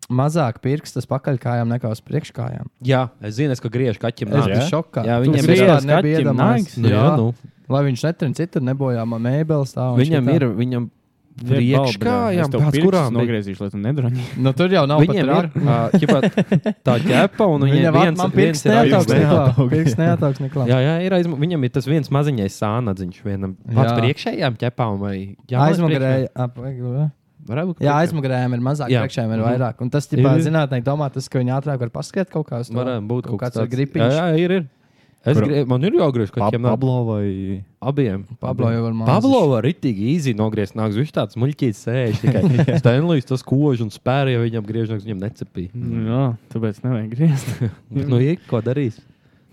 mazāk pirkstas pakaļkājām nekā uz priekškājām. Jā, es zinu, es, ka griež kaķim. Es nāks. biju šokā. Jā, viņam Tas vispār ir nebija iedomājams. Nu, jā, nu. Lai viņš netrin citur, nebojā man mēbeles. Tā, un Viņam šitā. ir, viņam priekškājām, pēc kurām bija- nogriezīšu, lai tu nedroņi. Nu, tur jau nav Viņiem pat ir, ā, ķipa, tā ķepa, un viņiem Viņam at- viens- man viens pirksts ir neataugs aizmugurē. neklā. Pirksts neataugs neklā. Jā, jā, ir aizmu... viņam ir tas viens maziņais sānadziņš vienam. Pats Jā. priekšējām ķepām vai Aizmugurē. ap- vai- Varētu būt Jā, priekšējām. aizmugurējām ir mazāk, Jā. priekšējām ir Mhm. vairāk. Un tas, Ir, tipā, ir. zinātnēji domā, tas, ka viņi ātrāk var paskriet kaut kā uz to. Varētu būt kaut kāds kas ar tāds. gripiņu. Jā, jā, ir. ir. Es Kur- gribēju, man ir jāgriež kaķiem. Pa- nāk. Pablo vai Abiem. Pablo jau var Abiem. mazus. Pablo var ritīgi īsi nogriezt. Nāks viņš tāds muļķīgs sēž. Tikai Stanlijs tas kož un spēr, ja viņam griežnāks viņam necepīja. Nu, Jā, tāpēc nevajag griezt. nu, Mm. ir, ko darīs?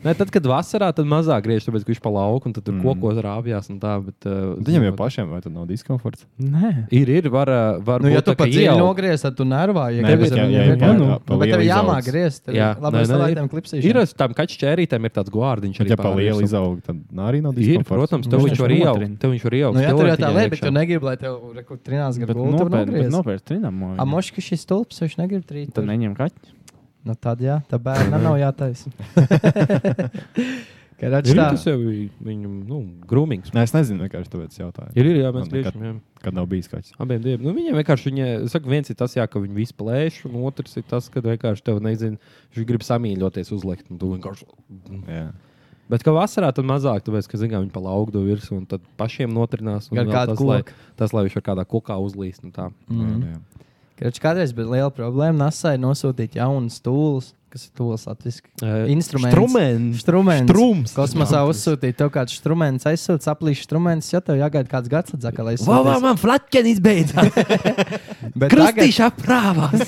Nē, tad, kad vasarā, tad mazāk griež, tāpēc, ka viņš pa lauku un tad tur mm. kokos rāpjās un tā. Bet, uh, Viņam jau pašiem vai tad nav diskomforts? Nē. Ir, ir, var, ā, var Nu, būt ja tu tā, ka pat dzīvi ieelp. nogriezt, tad tu nervāji. Nē, bet jā, jā, jā, jā, jā, pa Nu, bet tev lielu jāmāk izaugs. griezt. tev Jā, Labi, nē, es nē, tālāk tam ir. Ir klipsīšu. uz tām kaķķērītēm ir tāds guārdiņš. Bet, arī ja pa pārvirs. lielu izaug, tad arī nav Ir, diskomforts. Mm. protams, tev Nu, viņš var ieaugt. Tev viņš var ieaugt. Nu, jā, tur jau tā tev līnija, bet iekšā. tu negribi, lai tev re, kur trinās Bet gada gulta nopērn- bet nogriezt. nopērc trināmo, jā. A moški šis stulps, viņš negrib trīt. Tad neņem kaķi. Nu, tad jā, tā bērnam nav jātaisa. Kā redz Ir, tā? Tas jau ir viņam, nu, grūmīgs. Nē, es nezinu, vienkārši tāpēc jautāju. Ir, ir, jā, mēs Man nekad- griežam, jā. Kad nav bijis kaķis. Abiem diviem. Nu, viņiem vienkārši, viņa, saka, viens ir tas, jā, ka viņi visu plēš, un otrs ir tas, ka vienkārši tev nezina, viņš grib samīļoties, uzlikt. un tu vienkārši- Jā. Bet, kā vasarā, tad mazāk, tāpēc, ka, zinām, viņi pa laukdu virsmu un tad pašiem notrinās. un Gar vēl kādu tas, lai, koku. tas, lai viņš var kādā kokā uzlīst. un tā. Mhm. Kreč, kādreiz bija liela problēma NASA nosūtīt jaunas tūlus, kas ir tūlis latviešu Eh, instruments. štrumens. Strumens. Štrums. Kosmosā uzsūtīt tev kādu strumens, aizsūtīt saplīšu strumens, ja tev jāgaida kāds gads, atzaka, lai Vau, vau, man flatkenis beidzās! Kristīša aprāvās!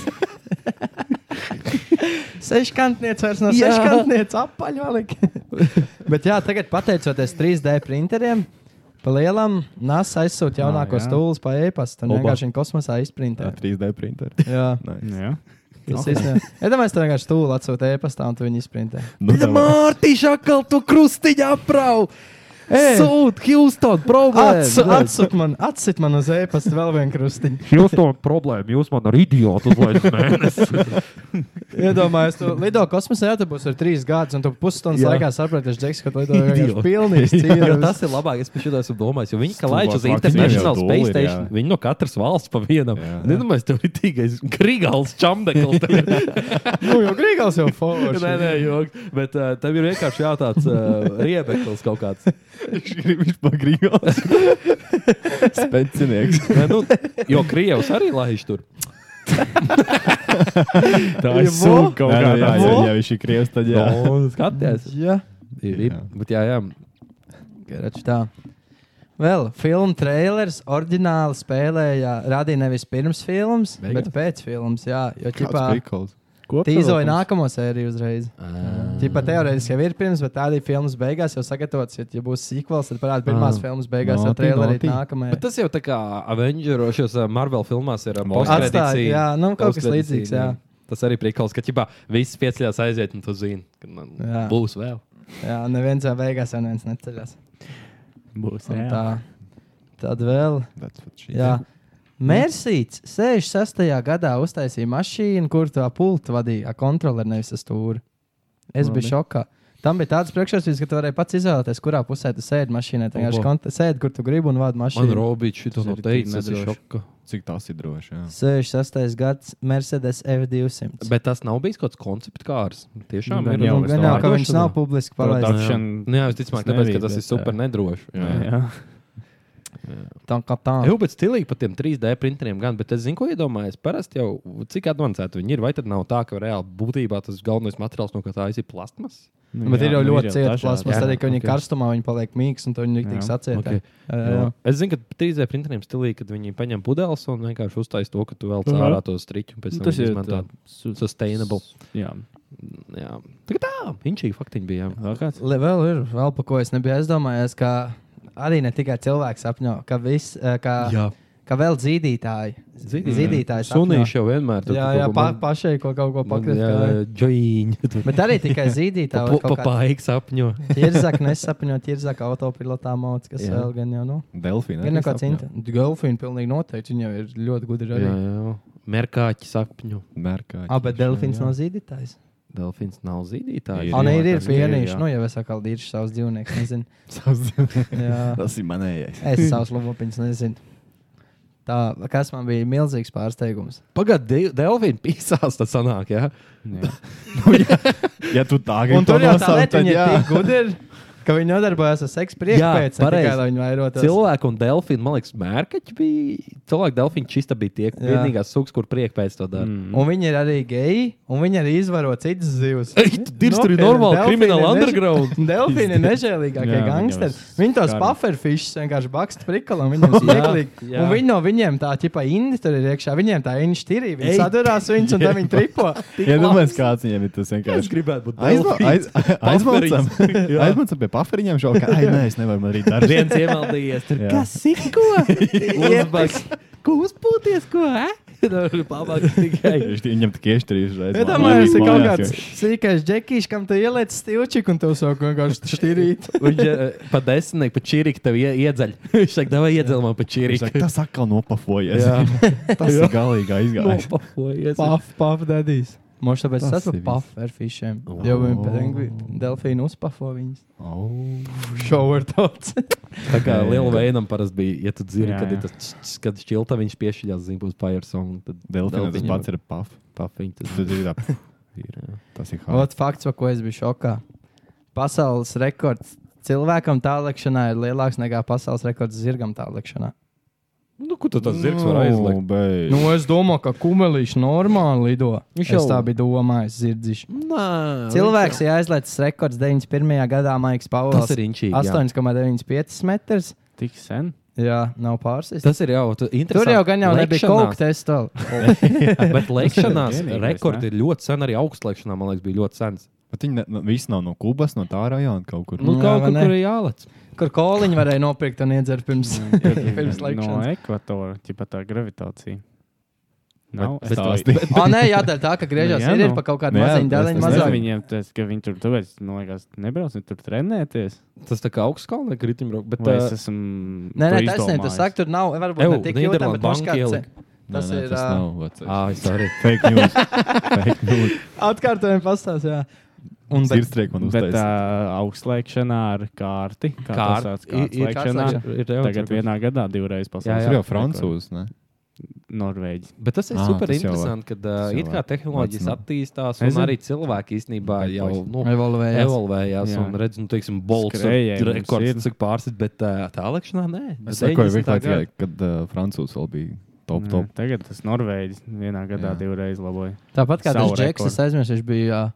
Seškantnieks vairs nav Jā. seškantnieks, apaļvalīgi. Bet jā, tagad pateicoties 3D printeriem. Pa lielam NASA aizsūta jaunākos jā. tūlus pa e-pastu. un Oba. Vienkārši viņi kosmosā izprintē. 3D printeri. Jā. Nice. Nu, jā. Nu, Tas īstenībā. Es domāju, ka tā vienkārši tūlīt atsūta e-pastā, un tu viņu izprintē. Nu, tā Mārtiņš atkal tu krustiņā aprāv! Eh. Sūta, Houston, Ats, problēma! atsūt man, atsit man uz e-pasta vēl vienu krustiņu. Jūs to problēmu, jūs man ar idiotu uzlaižat. Iedomājieties, tu lido kosmosā, jā, tu būsi ar trīs gadus, un tu pusstundas Jā. laikā sapratīsi, Džeks, ka tu lido vienkārši pilnīgi Jā, cīnās. tas ir labāk. Es pēc tam esmu domājis, jo viņi kā Stulbāk laiž uz vakcīnas International jau tūlī Space ir, Station. jā. Viņi no katras valsts pa vienam. Nedomāju, tev ir tīgais grigāls čamdekls. Nu, jau grīgās jau Nē, forši. nē, joks. Bet uh, tev ir vienkārši jātāds uh, riebeklis kaut kāds. Viņš pa grīgās. Specinieks. Nē, nu, jo Krievs arī laiž tur. Tā ir Jebo? sūka kaut Jā, jā, kādā. jā, jā, viņš ir krievs, tad jā. Nu, Skaties. Jā, Ir, ir. Bet jā, jā. Garač, tā. Vēl filmu trailers oriģināli spēlēja, radīja nevis pirms filmas, Beigās? bet pēc filmas. Jā, jo ķipā Kāds prikols. tīzoja nākamo sēriju uzreiz. Ā. Ķipā teorētiski jau ir pirms, bet tāda ir filmas beigās jau sagatavots. Ja, ja būs sīkvels, tad parādās pirmās Ā. filmas beigās, Noti, jau trailerī noti. nākamajā. Bet tas jau tā kā Avengeros, Marvel filmās ir eh, Atstāja, jā, nu, kaut kas Postkredīcija, līdzīgs, jā. Tas arī prikals, ka ķipā viss pieceļās aiziet, un tu zini, ka man Jā. būs vēl. Jā, neviens jau beigās, jau neviens neceļas. Būs. Un jā. Tā. Tad vēl. That's what she Jā. Mērsīts 66. gadā uztaisīja mašīnu, kur tā pulta vadīja kontroleri, nevis uz stūri. Es biju šokā. Tam bija tāds priekšstats, ka tu vari pats izvēlēties, kurā pusē tu sēdi mašīnā. Tā vienkārši Oho. kont- sēdi, kur tu gribi un vadi Man mašīnu. Robičs to Tas nav ir teicis, tas ir nedroši. šoka. Cik tas ir droši, jā. 66. gads Mercedes F200. Bet tas nav bijis kaut kāds koncepts kārs. Tiešām Nu, ir. gan jau, nu, gan jau, ka viņš nav Pārdošanā. publiski Production. palaists. Production. Nu, jā, Tas visticamāk, tāpēc, nebija, ka tas bet, ir super jā. nedroši. Jā. Jā. Jā. jā. Tā kā tā. Jau pēc stilīgi par tiem 3D printeriem gan, bet es zinu, ko iedomājos. Parasti jau cik advancēti viņi ir, vai tad nav tā, ka reāli būtībā tas galvenais materiāls, no kā tā aiziet, ir plasmas? Nu, Bet jā, jā, ir jau nu, ļoti cieta dažādi. plasmas, jā. arī ka viņi Ok. okay. karstumā viņi paliek mīksti un to viņi Jā. tiks atcietīt. Ok. Okay. Jā. Es zinu, ka 3D printeriem stilīgi, kad viņi paņem pudeles un vienkārši uztais to, ka tu vēl Mhm. cārā to striķu. un Pēc Nu, tam Tas ir izmanto. tā su- Sustainable. Jā. Jā, tā ir tā. Viņš ir faktiņš. Vēl kāds? Le, vēl ir, vēl par ko es nebiju aizdomājies, ka arī ne tikai cilvēks sapņo, ka, vis, eh, ka, Jā. ka vēl zīdītāji. Zīdītāji. zīdītāji sapņo. Sunīši jau vienmēr tur Jā, kaut jā ko pa, man- pašai ko kaut ko pakristu. Džojiņa. Bet arī tikai zīdītāji. var kaut kā- nu Papaiks apņo. Tirzāk nesapņot, tirzāk autopilotā mācās, kas Jā. vēl gan jau nav. Delfīna Gan arī nekāds sapņo. inter. Delfīna pilnīgi noteikti. Viņa jau ir ļoti gudra Jā, arī. jā. Merkāķi sapņu. Merkāķi. Ah, bet delfīns nav zīdītājs. Delfīns nav zīdītājs. Ah, nē, ir, ir tas pienīši. jā. Nu, jau es atkal dīšu savus dzīvniekus, nezinu. Savs dzīvnieks. Jā. Tas ir manējais. Es savus lopiņus nezinu. Tā, kas man bija milzīgs pārsteigums. Pagaidiet, Delfīna pīsās, tas sanāk, jā. Ja tu tā gribi, Un tur jau tā nosauc, lieta, tad viņa jā. ir tik gudra, ka viņa nodarbojas ar seksu priekšpēc, ne tikai lai viņa vairotos. Cilvēki un delfīni, man liekas, mērkaķi bija. Cilvēki delfīni čista bija tie Jā. vienīgās sugas, kur prieka pēc to dara. Mm. Un viņi ir arī geji, un viņi arī izvaro citas zivs. Dirz tur ir normāli krimināli underground. Delfīni ir nežēlīgākie Jā, gangsteri. viņiem Viņi tos skar. pufferfišus vienkārši baksta prikalam, viņiem smieklīgi. jā. Un viņi no viņiem tā ķipa indi tur ir iekšā, viņiem tā indi štirī, viņi Ei. sadurās viņus un tad viņi tripo. Ja domājat, kāds viņam ir tas Es vienkārši. gribētu būt Aizma- aiz- Aizmaucam, aizmaucam pie pafariņiem šo, ka, ai, nē, es nevaru man arī darīt. Viens iemaldījies, tur Jā. kas ir ko? Uzbaks. Ko uzpūties, ko? eh? Tur pabaks tikai. Viņš ti- Viņam tik iešķirījuši reizes. Iedomājieties, ka kaut kāds sīkais džekijs, kam tu ieliec stilčiku un tev sāk vienkārši štirīt. Viņš eh, pa desmitnieku, pa čiriku tev ie- iedzeļ. Viņš saka, davai iedzeļ man pa čiriku. Saka, tas atkal nopafojies. Jā. tas ir galīgi aizgājis. Nopafojies. Paf, paf, dadīs. Mums tāpēc Tas tas ir ir pufferfišiem. Jo viņi Oh. pēdējā delfīnu uzpafo viņus. Oh. Šovers tāds. Tā kā Jā, jā, Lielā jā. Veinam parasti bija, ja tu dzirdi, Jā, kad ir jā. tas ts- ts- kad šķilta, viņš piešķiļās zīmēs Fire Song. Tad Delfīna tas pats ir paf. Pafiņ, tas Tu dzirdi, tā, ir. jā. Tas ir hard. Ot, fakts, par ko es biju šokā. Pasaules rekords cilvēkam tālākšanā ir lielāks nekā pasaules rekords zirgam tālākšanā. Nu, kur tu tas zirgs var aizlikt? aizlikt. Nu, es domāju, ka kumelīši normāli lido. Viņš Viņš jau- jau tā bija domājis, zirdziši. Nā, Nu, Cilvēks ir aizlaists rekords 91. gadā Maiks Pauls. Tas ir inčīgi. jā. 8,95 metrus. Tik sen. Jā, nav pārsvars. Tas ir jau tu- interesanti. Tur jau gan jau nebija Lekšanās- koks tests. Bet lēkšanās Vienīgais, rekordi ne? ir ļoti sen, arī augstlēkšanā, man liekas, bija ļoti sens. Bet viņi ne- nu, visi nav no Kubas, no tā rajona kaut kur. Nu, Jā, kaut vai kur ne? tur ir jālec. Kur koliņu varēja nopirkt un iedzert pirms, pirms no laikšanas? ekvatora, ķipa tā gravitācija. Nav Bet stāsti. No, ah, nē, jādara tā, ka griežās. Jā, Jā, ir, nu. ir pa kaut kāda Nu, jā, maziņa tas- dēliņa, tas mazāk. Mazāk viņiem tas, ka viņi tur tāpēc, man liekas, nebrauc, viņi tur trenēties. Tas tā kā augstskalnieks ritimbrauks, bet Vai tā, es esmu. Nē, nē, to tas nē, tas izdomājis? saka, tur nav. eh, Varbūt Ew, ne tik jūtama, Nīderlandes bet banka noškāpts. ielika. Tas Nē, nē, ir. eh, Tas ā, nav vats. ah, es arī. Fake news. Fake news. Atkārtojam pastāst, jā. Un bet, Sirdsprieks man Bet uztaisīja. tā augstlēkšanā ar kārti. Kā Kārt- tā sauc, i- ir kārtslēkšanā. kārtslēkšana. Ir jau Tagad vienā gadā divreiz Jā, pasaules jā. Tur jau rekords. francūzs. ne? Norvēģi. Bet tas ir Ah, super tas jau interesanti, ka uh, tas jau it kā var. tehnoloģijas Vats, attīstās, un Es zinu. arī cilvēki īstenībā jau nu, Evolvējās. evolvējās. Jā. Un redz, nu, teiksim, Bolts Skrējēji ir mums ir. rekords, cik pārsvarā, bet uh, tālākšanā nē. Es Bet sakoju, 90. vienkārši, gadi. jā, kad uh, francūzs vēl bija top, Nē, top. Tagad tas Norvēģis vienā gadā Jā. divreiz laboja. Tāpat kā tas Savu Džeks, rekordu. es aizmirsu, viņš bija ā,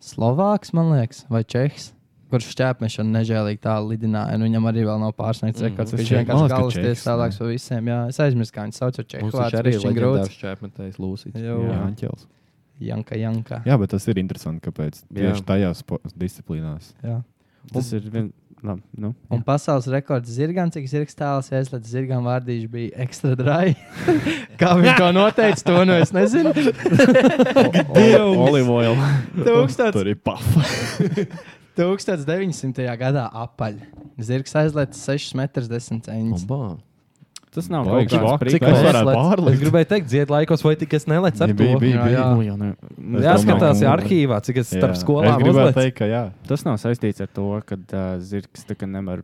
Slovāks, man liekas, vai Čehs. Kurš šķērsmešana nežēlīgi tālu lidināja, un viņam arī vēl nav pārsniegts rekords. Tas Viņš Čehs, man vienkārši liekas, ka galvas Čehs, tiesas tālāks par visiem. Jā, es aizmirsu, kā viņu sauc ar Čehu. Mums viņš vārds, arī bišķiņ ir grūts. grūts čēpmetējs Lūsis. Jā, Jā, jā. Anķels. Janka, Janka. Jā, bet tas ir interesanti, kāpēc Jā. tieši tajās spo- disciplīnās. Jā. Tas ir viens. Labi, nu. Un pasaules rekords zirgam, cik zirgs tāls aizslēdz zirgam vārdīši bija ekstra drai. Kā viņš to noteica, to nu es nezinu. Olive oil. Tur 1000 ir pafa. 1900. gadā apaļ. Zirgs aizslēdz 6 metrus 10 centimetrus. Oba. Tas nav kaut Baigi kāds švaki. priklis. Cik es varētu Es pārlikt? gribēju teikt, dzied laikos, vai tik es nelēcu ar Ja bija- to. bija- Jā, jā. Nu, jau ne- Jāskatās domāju, ka- arhīvā, cik es starp Jā. skolām Es gribēju uzlecu. teikt, ka jā. Tas nav saistīts ar to, ka uh, zirgs tā kā nevar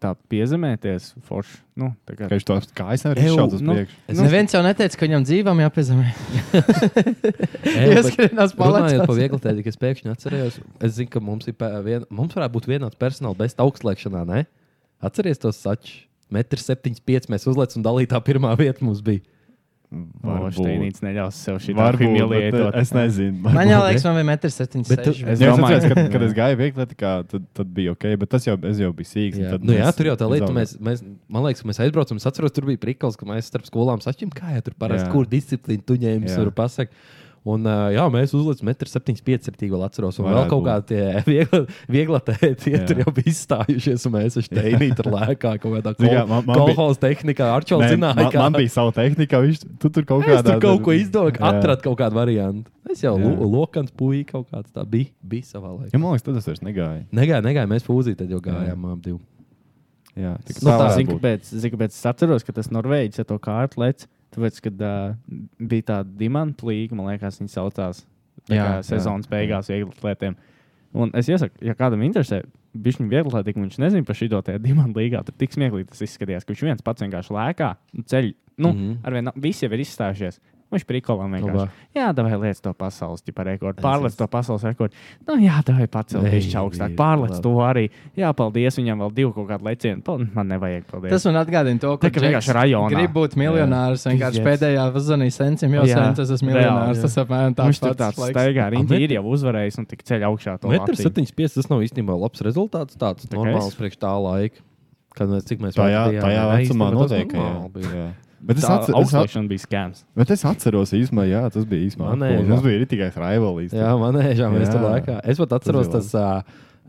tā piezemēties forši. Nu, tā kā, Ka viņš tos kājas nevar Ew, izšaut uz nu. priekšu. Es neviens jau neteica, ka viņam dzīvam jāpiezemē. Ieskrienās Runājot par palēcās. vieglu tēmu, es pēkšņi atceros, es zinu, ka mums, ir, pē- vien, mums varētu būt vienāds personāla bez augstlēkšanā. Ne? Atcerieties to saču. 1,75 mēs uzliekam, un dalītā pirmā vieta mums bija. Lošteņdārza neļaus sev šī tā Varbūt, bet, humilietot. eh, es nezinu. Man varbūt. jau liekas, man bija Bet tu- 1,76 m. Es Es jau domāju, atceros, kad, kad jā. es gāju viegli, tad, tad bija ok, bet tas jau, es jau biju sīgs. un Jā, tad nu, jā es tur jau tā lieta, izaugu. mēs, mēs, man liekas, ka mēs aizbraucām. Es atceros, tur bija prikals, ka mēs starp skolām sačiem, kā jau tur parasti, Jā. kur disciplīna tu ņēmis, Jā. varu pasakāt. Un, uh, jā, mēs uzlicām 1,75 m. Vēl atceros, un vēl Varētu kaut kādi viegli, viegli tēti Jā. tur jau bija izstājušies, un mēs esam teinīti ar lēkā kaut kādā Zini, kā, man- man bija- kolhoza tehnikā. Ar čau Nē, zināju, man, man bija sava tehnika, viņš tu tur kaut Es kādā tur kaut ko izdomāju, Jā. atradu kaut kādu variantu. Es jau Jā. lo- lokans puika kaut kāds tā bija, bija savā laikā. Ja man liekas, tad es vairs negāju. Negāja, negāja, mēs pūzīt, tad jau gājām ap divu. Jā, tik Nu, tā varētu zina, būt. kāpēc, zin, kāpēc es atceros, ka tas Norvēģis ar to kārtu lec. Tāpēc, kad uh, bija tāda dimanta līga, man liekas, viņas saucās tā Jā, kā jā, sezonas beigās vieglatlētiem. Un es iesaku, ja kādam interesē, viņš viņu vieglatlētību, viņš nezina par šī dotajā dimanta līgā, tad tik smieklīgi tas izskatījās, ka viņš viens pats vienkārši lēkā un ceļ. Nu, mm Mhm. -hmm. Arvien visi jau ir izstājušies. Viņš prikolā vienkārši. Labā. Jā, tā vai liec to pasaules tipa rekordu. Pārlec to pasaules rekordu. Nu, jā, tā vai pacelt Ei, viņš augstāk. labi. Pārlec to arī. Jā, paldies viņam vēl divu kaut kādu lecienu. Pal- Man nevajag paldies. Tas man atgādina to, ka Tā kā vienkārši Džeks rajonā. Grib būt miljonārs. Jā. Viņš vienkārši Pizdies. pēdējā pazudīja sencim, jau Jā, sen tas esmu miljonārs. reāli. Tas apmēram tāds Viņš tur tāds staigā arī A, ir jau uzvarējis un tik ceļā augšā. to Metrs latiņu. 75 tas nav īstenībā labs rezultāts. Tāds kā normāls es. priekš tā laika. Kad mēs cik mēs Tajā, vērtējām, tajā jā, vecumā īstenībā tas noteikti. normāli bija. Jā. Jā. Bet es, Tā atcer, es, at, augstliekšana bija skēms. bet es atceros, īsumā, jā, tas bija īsumā. Man nē, apgūlis. Mums bija tikai rivalīs. Jā, manēžā mēs Jā. tur laikā. Es pat atceros, bija tas uh,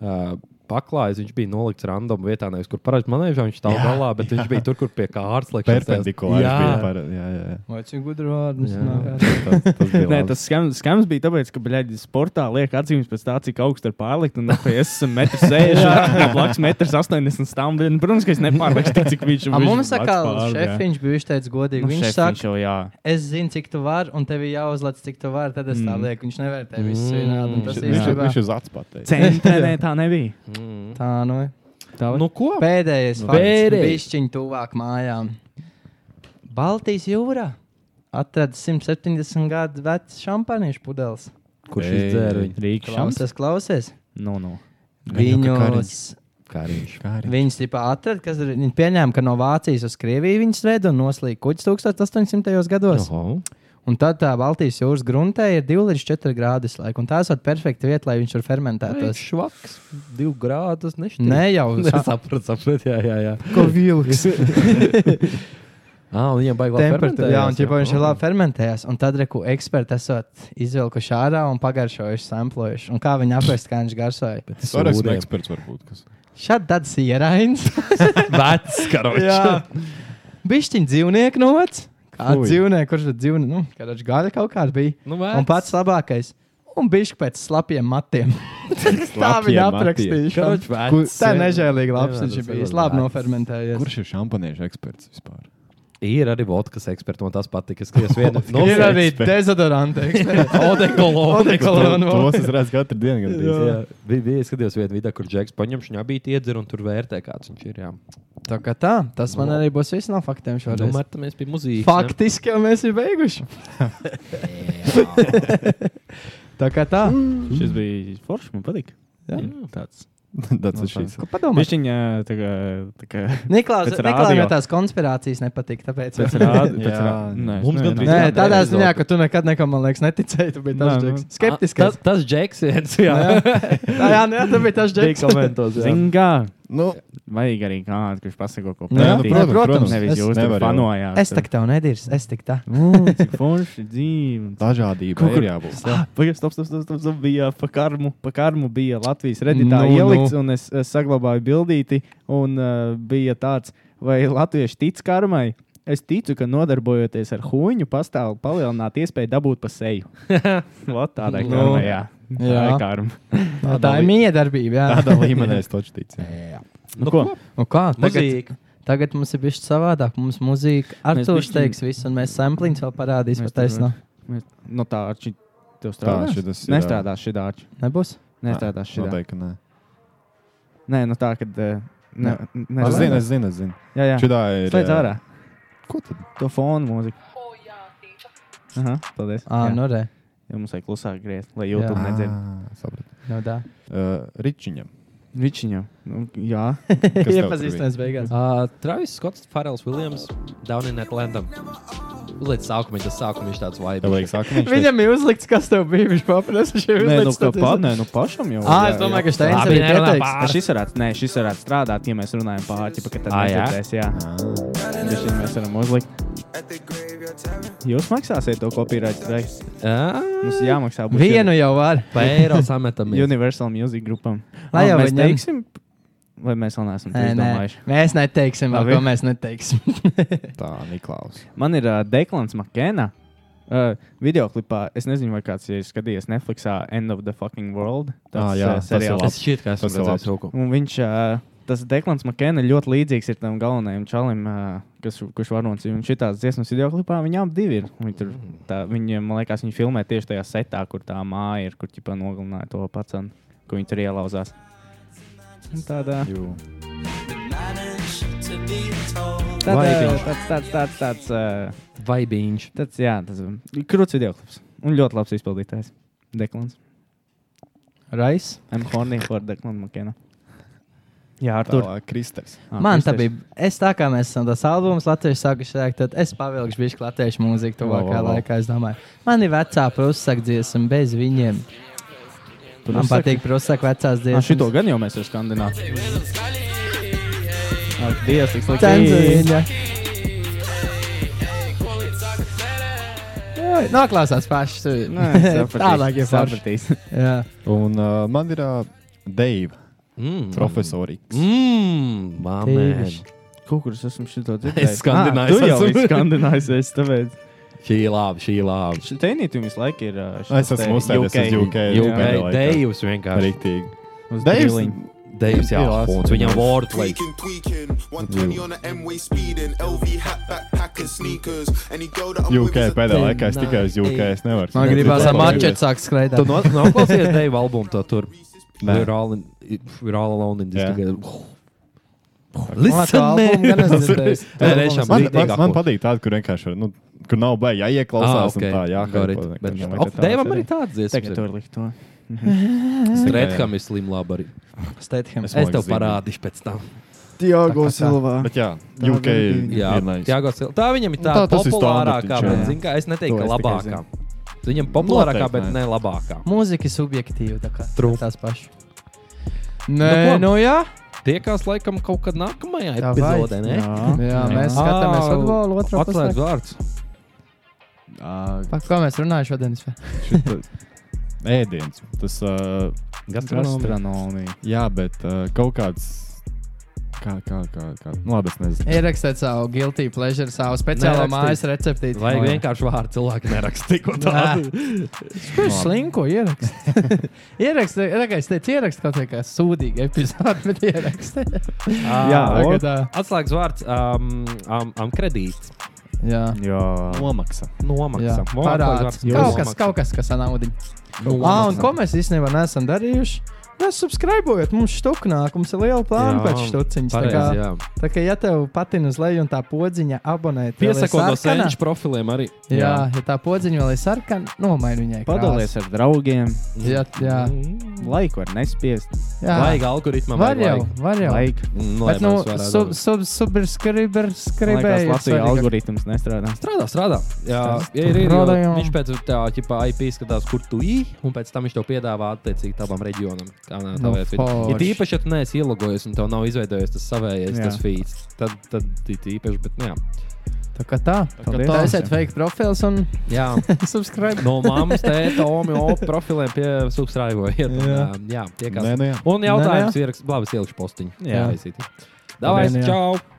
uh, paklājs, viņš bija nolikts random vietā, nevis kur parasti manēžā viņš stāv galā, bet viņš bija tur, kur pie kārtas liekas. Perpendikulāri Jā, bija. Par, jā, jā, jā. Vai cik gudri vārdi? Jā. Tas, tas bija Nē, labi. tas skams, skams bija tāpēc, ka, bļaļ, sportā liek atzīmes pēc tā, cik augstu ir pārlikt. Un, ja es esmu 1,60 m, blakus 1,80 m, nu, protams, ka es nepārlieku, cik viņš A, mums viņš tā kā blakus pār, jā. šefiņš bija izteicis godīgi. Nu, Viņš šefiņš saka, jau, jā. es zinu, cik tu vari, un tev ir jāuzlaic, cik tu vari. Tad es tā lieku. Viņš nevērtē visu Mm. vienādi. un Tas Viņš- viņš, īstenībā viņš uz acu pateica. Centrē tā nebija. Mm. tā nu ir. Tā Nu, ko? Pēdējais pēdējais. fakts, kas bija tuvāk mājām. Baltijas jūrā atradas 170 gadu vecs šampaniešu pudelis. Kurš Ei. izdzēra viņu? Rīgas šāds. Klausies, klausies. Nu, nu. Viņus, Kariņš. viņus tipā atrada, kas ir- viņi pieņēma, ka no Vācijas uz Krieviju viņas veda un noslīd kuģis 1800. gados. Oho. Un tad tā Baltijas jūras gruntē ir 2 līdz 4 grādi laika, un tā ir perfekta vieta, lai viņš tur fermentētos. Švaks, divu grādus nešķiet. Nē, jau Es sapratu, sapratu, jā, jā. jā. ko vilks. Ah, un viņam baigās Temperatūra. Jā, un ķipa, viņš ir labi fermentējis. Un tad, reku, eksperti esat izvilkuši ārā un pagaršojuši, samplojuši. Un kā viņi apēst, kā viņš garšoja. Tas var būt eksperts, varbūt. Kas. Šādi tāds ierains. Vecs karoči. Bišķiņ dzīvnieku novads. Kā Fui. dzīvnieku, kurš ir dzīvnieku, nu, kad viņš gaļa kaut kāda bija. Nu, Un pats labākais. Un bišķi pēc slapjiem matiem. tā viņa aprakstīja. šo. Karoči vecs. Tā ir nežēlīga labs, Jā, viņš ir tas ir bijis labi vecs. nofermentējies. Kurš ir šampaniešu eksperts vispār? Ir arī vodkas eksperts, man tas patīk. Es skatos vienu Nu, no ir arī eksperts. dezodorants. To- Tos Odekolons. es redzu katru dienu. gan drīz, jā. Bija, bija skatījos vienā video, kur Džeks paņemš viņa abīt iedzer un tur vērtē, kāds viņš ir. Jā. Tā kā tā, tas man arī būs viss no faktiem šodien. Tomēr tam mēs bijām muzīka. Faktiski jau mēs esam beiguši. tā kā tā. Šis bija foršs, man patīk. Nu, Jā. tāds. Tas ir šīs. Ko padomā? Viņš viņa eh, tā kā. Tā kā Niklaus, Pēc Niklaus, radio. jau tās konspirācijas nepatīk. Tāpēc pēc rāda, pēc Jā. rāda. Nē, Mums nē, gan nē. bija Nē, Visām tādā neizdodas. ziņā, ka tu nekad nekam, man liekas, neticēji. Tu biji Nē, tas nu. džeks. Skeptisks. Tas, tas Džeks viens jā. Jā. Jā, nu jā, nē, tu biji tas bija džeks. komentos. Jā. Zini, kā Nu, vajag arī kādu, kurš pasako, ko Jā, nu, Jā, patīk. protams, protams. protams. Nevis es jūs tur nevaru jau. panojāt. Es tā kā tev nedirs, es tik tā. Ū, Cik forši dzīve. Dažādība Kaut kur- ir jābūt. Pagaidām, Ah, stop, stop, stop, stop, stop. Bija pa karmu, pa karmu bija Latvijas redītā Nu, nu, ielikts, nu. un es, es saglabāju bildīti. Un uh, bija tāds, vai latvieši tic karmai? Es ticu, ka nodarbojoties ar huņu, pastāv palielināta iespēja dabūt pa seju. Vat Tādai Nu, karmai, jā. Tā jā. ir karma. Tā ir miedarbība. jā. Tādā līmenī es taču ticu. jā. Nu, ko? Nu kā? Tagad, Muzīka. tagad mums ir bijis savādāk. Mums mūzika ar to bišķiņ- teiks visu, un mēs samplīns vēl parādīsim. Mēs Taisnība. Mēs- Nu, tā arči, tev Tā, strādā. šitas ir, jā. Nestrādā šī dārča. Nebūs. Nestrādā šī dārča. Noteikti, ka nē. Nē, nu tā, kad. eh, Ne, ne, Es zinu, es zinu, es zinu. Jā, jā. Šitā ir. Ah, Slēdz jā. ārā. Ko tad? To fonu mūziku. Aha, paldies. Ah, jā. nu re. Ja mums vajag klusāk griezt, lai YouTube nedzird. Ā, sapratu. Nu, tā. Ā, Ričiņam. Vičiņam. Nu, jā. Kas tev tur bija? Iepazīstināts beigās. Uh, Travis Skots, Farels Williams, Down in Atlanta. Uzliek sākumā, tas sākumā viņš tāds Tev vajag vibes. sākumā. Viņam ir uzlikts, kas tev bija. Viņš paprasa šī Nē, nu, kā pat, nē, nu pašam jau. Ah, es domāju, ka Steins Labi, arī nē, labi, pieteiks. pār. Ar šis varētu, nē, Ah, šis varētu strādāt, ja mēs runājam pārķi, ka tad Ā, jā? nedzirdēs, jā. Dažiem mēs varam uzlikt. Jūs maksāsiet to kopīraitu daļu. Mums jāmaksā. būs Vienu jau var. Pa eiro sametamies. Universal Music grupam. Lai Vai jau mēs viņam- teiksim, vai mēs vēl neesam to Nē, nē. izdomājuši? Mēs neteiksim, vēl, Labi. ko mēs neteiksim. Tā, Niklaus. Man ir uh, Deklans Makena. Uh, videoklipā, es nezinu, vai kāds ir skatījies Netflixā End of the Fucking World. Ah, jā, ā, tas ir seriāls. labs. Es šķiet, ka esmu Tas ir redzējis labs. kaut ko. Un viņš, uh, tas Deklans Makena ļoti līdzīgs ir tam galvenajam čalim, uh, kas, kurš varonis ir. Un šitās dziesmas videoklipā viņām divi ir. Viņi tur, tā, viņi, man liekas, viņi filmē tieši tajā setā, kur tā māja ir, kur ķipa nogalināja to pacientu, ko viņi tur ielauzās. Un Tādā. Tad, Vaibiņš. eh, Tāds, tāds, tāds, tāds. eh, Vaibiņš. Tāds, jā, tas ir krūts videoklips. Un ļoti labs izpildītājs. Deklans. Rais. I'm horny for Deklans Makena. Jā, ar to. Tālāk, Kristers. Ah, Man tā Kristers. bija. Es tā kā mēs esam tas albums, Latvijas sākuši rēkt, tad es pavilkšu bišķi latviešu mūziku tuvākajā Vau, vau, vau. laikā. Es domāju, man ir vecā prusaku dziesma bez viņiem. Tu Man prusaki? patīk prusaku vecās Ah, dziesmas. šito gan jau mēs esam skandināti. Ak, Dievs, cik slikti. Tanzīņa. Oi, Noklausās paši. Nē, sapratīs, Tālāk ir sapratīs. Jā. Un uh, man ir uh, Deiva. Mm. Profesori. Mmm, Tīvišķi. Kaut kur es esmu šito dzirdējis. Es skandināju, Ah, tu jau esmu. esi skandinājis, es tāpēc. Šī ir labi, šī ir labi. Tenītum visu laiku ir. ā, šis Es te esmu uzstājies uz UK. UK, Deivs vienkārši. Rīktīgi. Uz Deivs- driliņu. Deivs jā, un viņam wordplay. UK pēdējā laikā es tikai uz UK. Es nevaru. Man gribās ar mačetu sākt Tu skraidīt. no- noklausies Deiva albumu, to tur. Nē. We're all, in, we're all alone in this Jā. together. Man to Listen, albumu gan es man. Tas ir- dzirdēju. Nē, tiešām Man, man, brīdīgāko. man patīk tāda, kur vienkārši var, nu, kur nav baigta jāieklausās. Ah, ok. un Tā, jā, Got it. Bet- Op, Deivam arī tāds Tagad tur dziesmas. likt to. Redham ir slim labi arī. Stetham. Es Es tev zinu. parādīšu pēc tam. Tiago Silva. Bet jā, UK Jā, ir nice. Tiago Silva. tā viņam ir tā, Nu, tā tā tas ir populārākā, standartiņš, jā. bet zin kā, es To neteiktu, ka es tikai labākā. Viņam populārākā, bet ne Noteikti labākā. Mūzika ir subjektīva. tā kā True. Tās pašas. Nu, ko? Nē, nu jā. Tiekās laikam kaut kad nākamajā Tā epizodē, ne? Jā, mēs skatāmies futbolu otrā pusē. Atklāts vārds. Par ko mēs runājam šodien? vispār? Ēdiens. Tas, uh, Gastronomija. Gastronomija. jā, bet uh, kaut kāds. Kā, kā, kā, kā. Nu, labi, es nezinu. Ierakstiet savu guilty pleasure, savu speciālo Nerakstīt. mājas receptīti. Vajag vienkārši vārdu cilvēku nerakstīt, ko tādu. Kurš slinko ierakstīt? ierakstīt, kā es teicu, ierakstīt kaut kādā sūdīgā epizodē, bet ierakstīt. Jā, tagad. ā, Atslēgas vārds um, um, um, kredīts. Jā. Jā. Nomaksa. Jā, Nomaksa. parāds. Kaut kas, kaut kas, kas ir naudiņa. Ah, un ko mēs īstenībā neesam darījuši? Nesubscribējot, mums štuknāk, mums ir liela plāna Jā, pēc štuciņas. Tā kā, Pareizi, jā. tā kā, ja tev patīk uz leju un tā podziņa abonē, vēl ir Piesako no sarkana, senču profiliem arī. Jā, ja tā podziņa vēl ir sarkana, nomaini viņai. Padalies krāsu. ar draugiem. Jā, jā. Laiku var nespiest. jā. Mm. Vajag Mm, algoritmam. Var jau, var jau. Laiku. Bet, nu, sub, sub, sub, subscriber, Man skribēji. liekas, Latvijā algoritms nestrādā. Strādā, strādā. Jā, ja ir, ir, Strādā, jo jā. viņš pēc tā ķipa IP skatās, kur tu ej, un pēc tam viņš tev piedāvā attiecīgi tavam reģionam. Kā nē, Nu, tā ir. Ir forši. īpaši, ja tu neesi ielogojies un tev nav izveidojies tas savējais, Jā. tas feeds. Tad, tad ir īpaši, bet nu jā. Tā kā tā. Paldies. Tā esiet fake profils un jā. subscribe. No mammas, tēta, omio profiliem pie subscribējiet. Jā, Jā. jā tiekās. Nē, nu jā. Un jautājums ir, labi, es ieliku postiņu. Jā. aizsīt. Davai, Labi, nu jā. čau!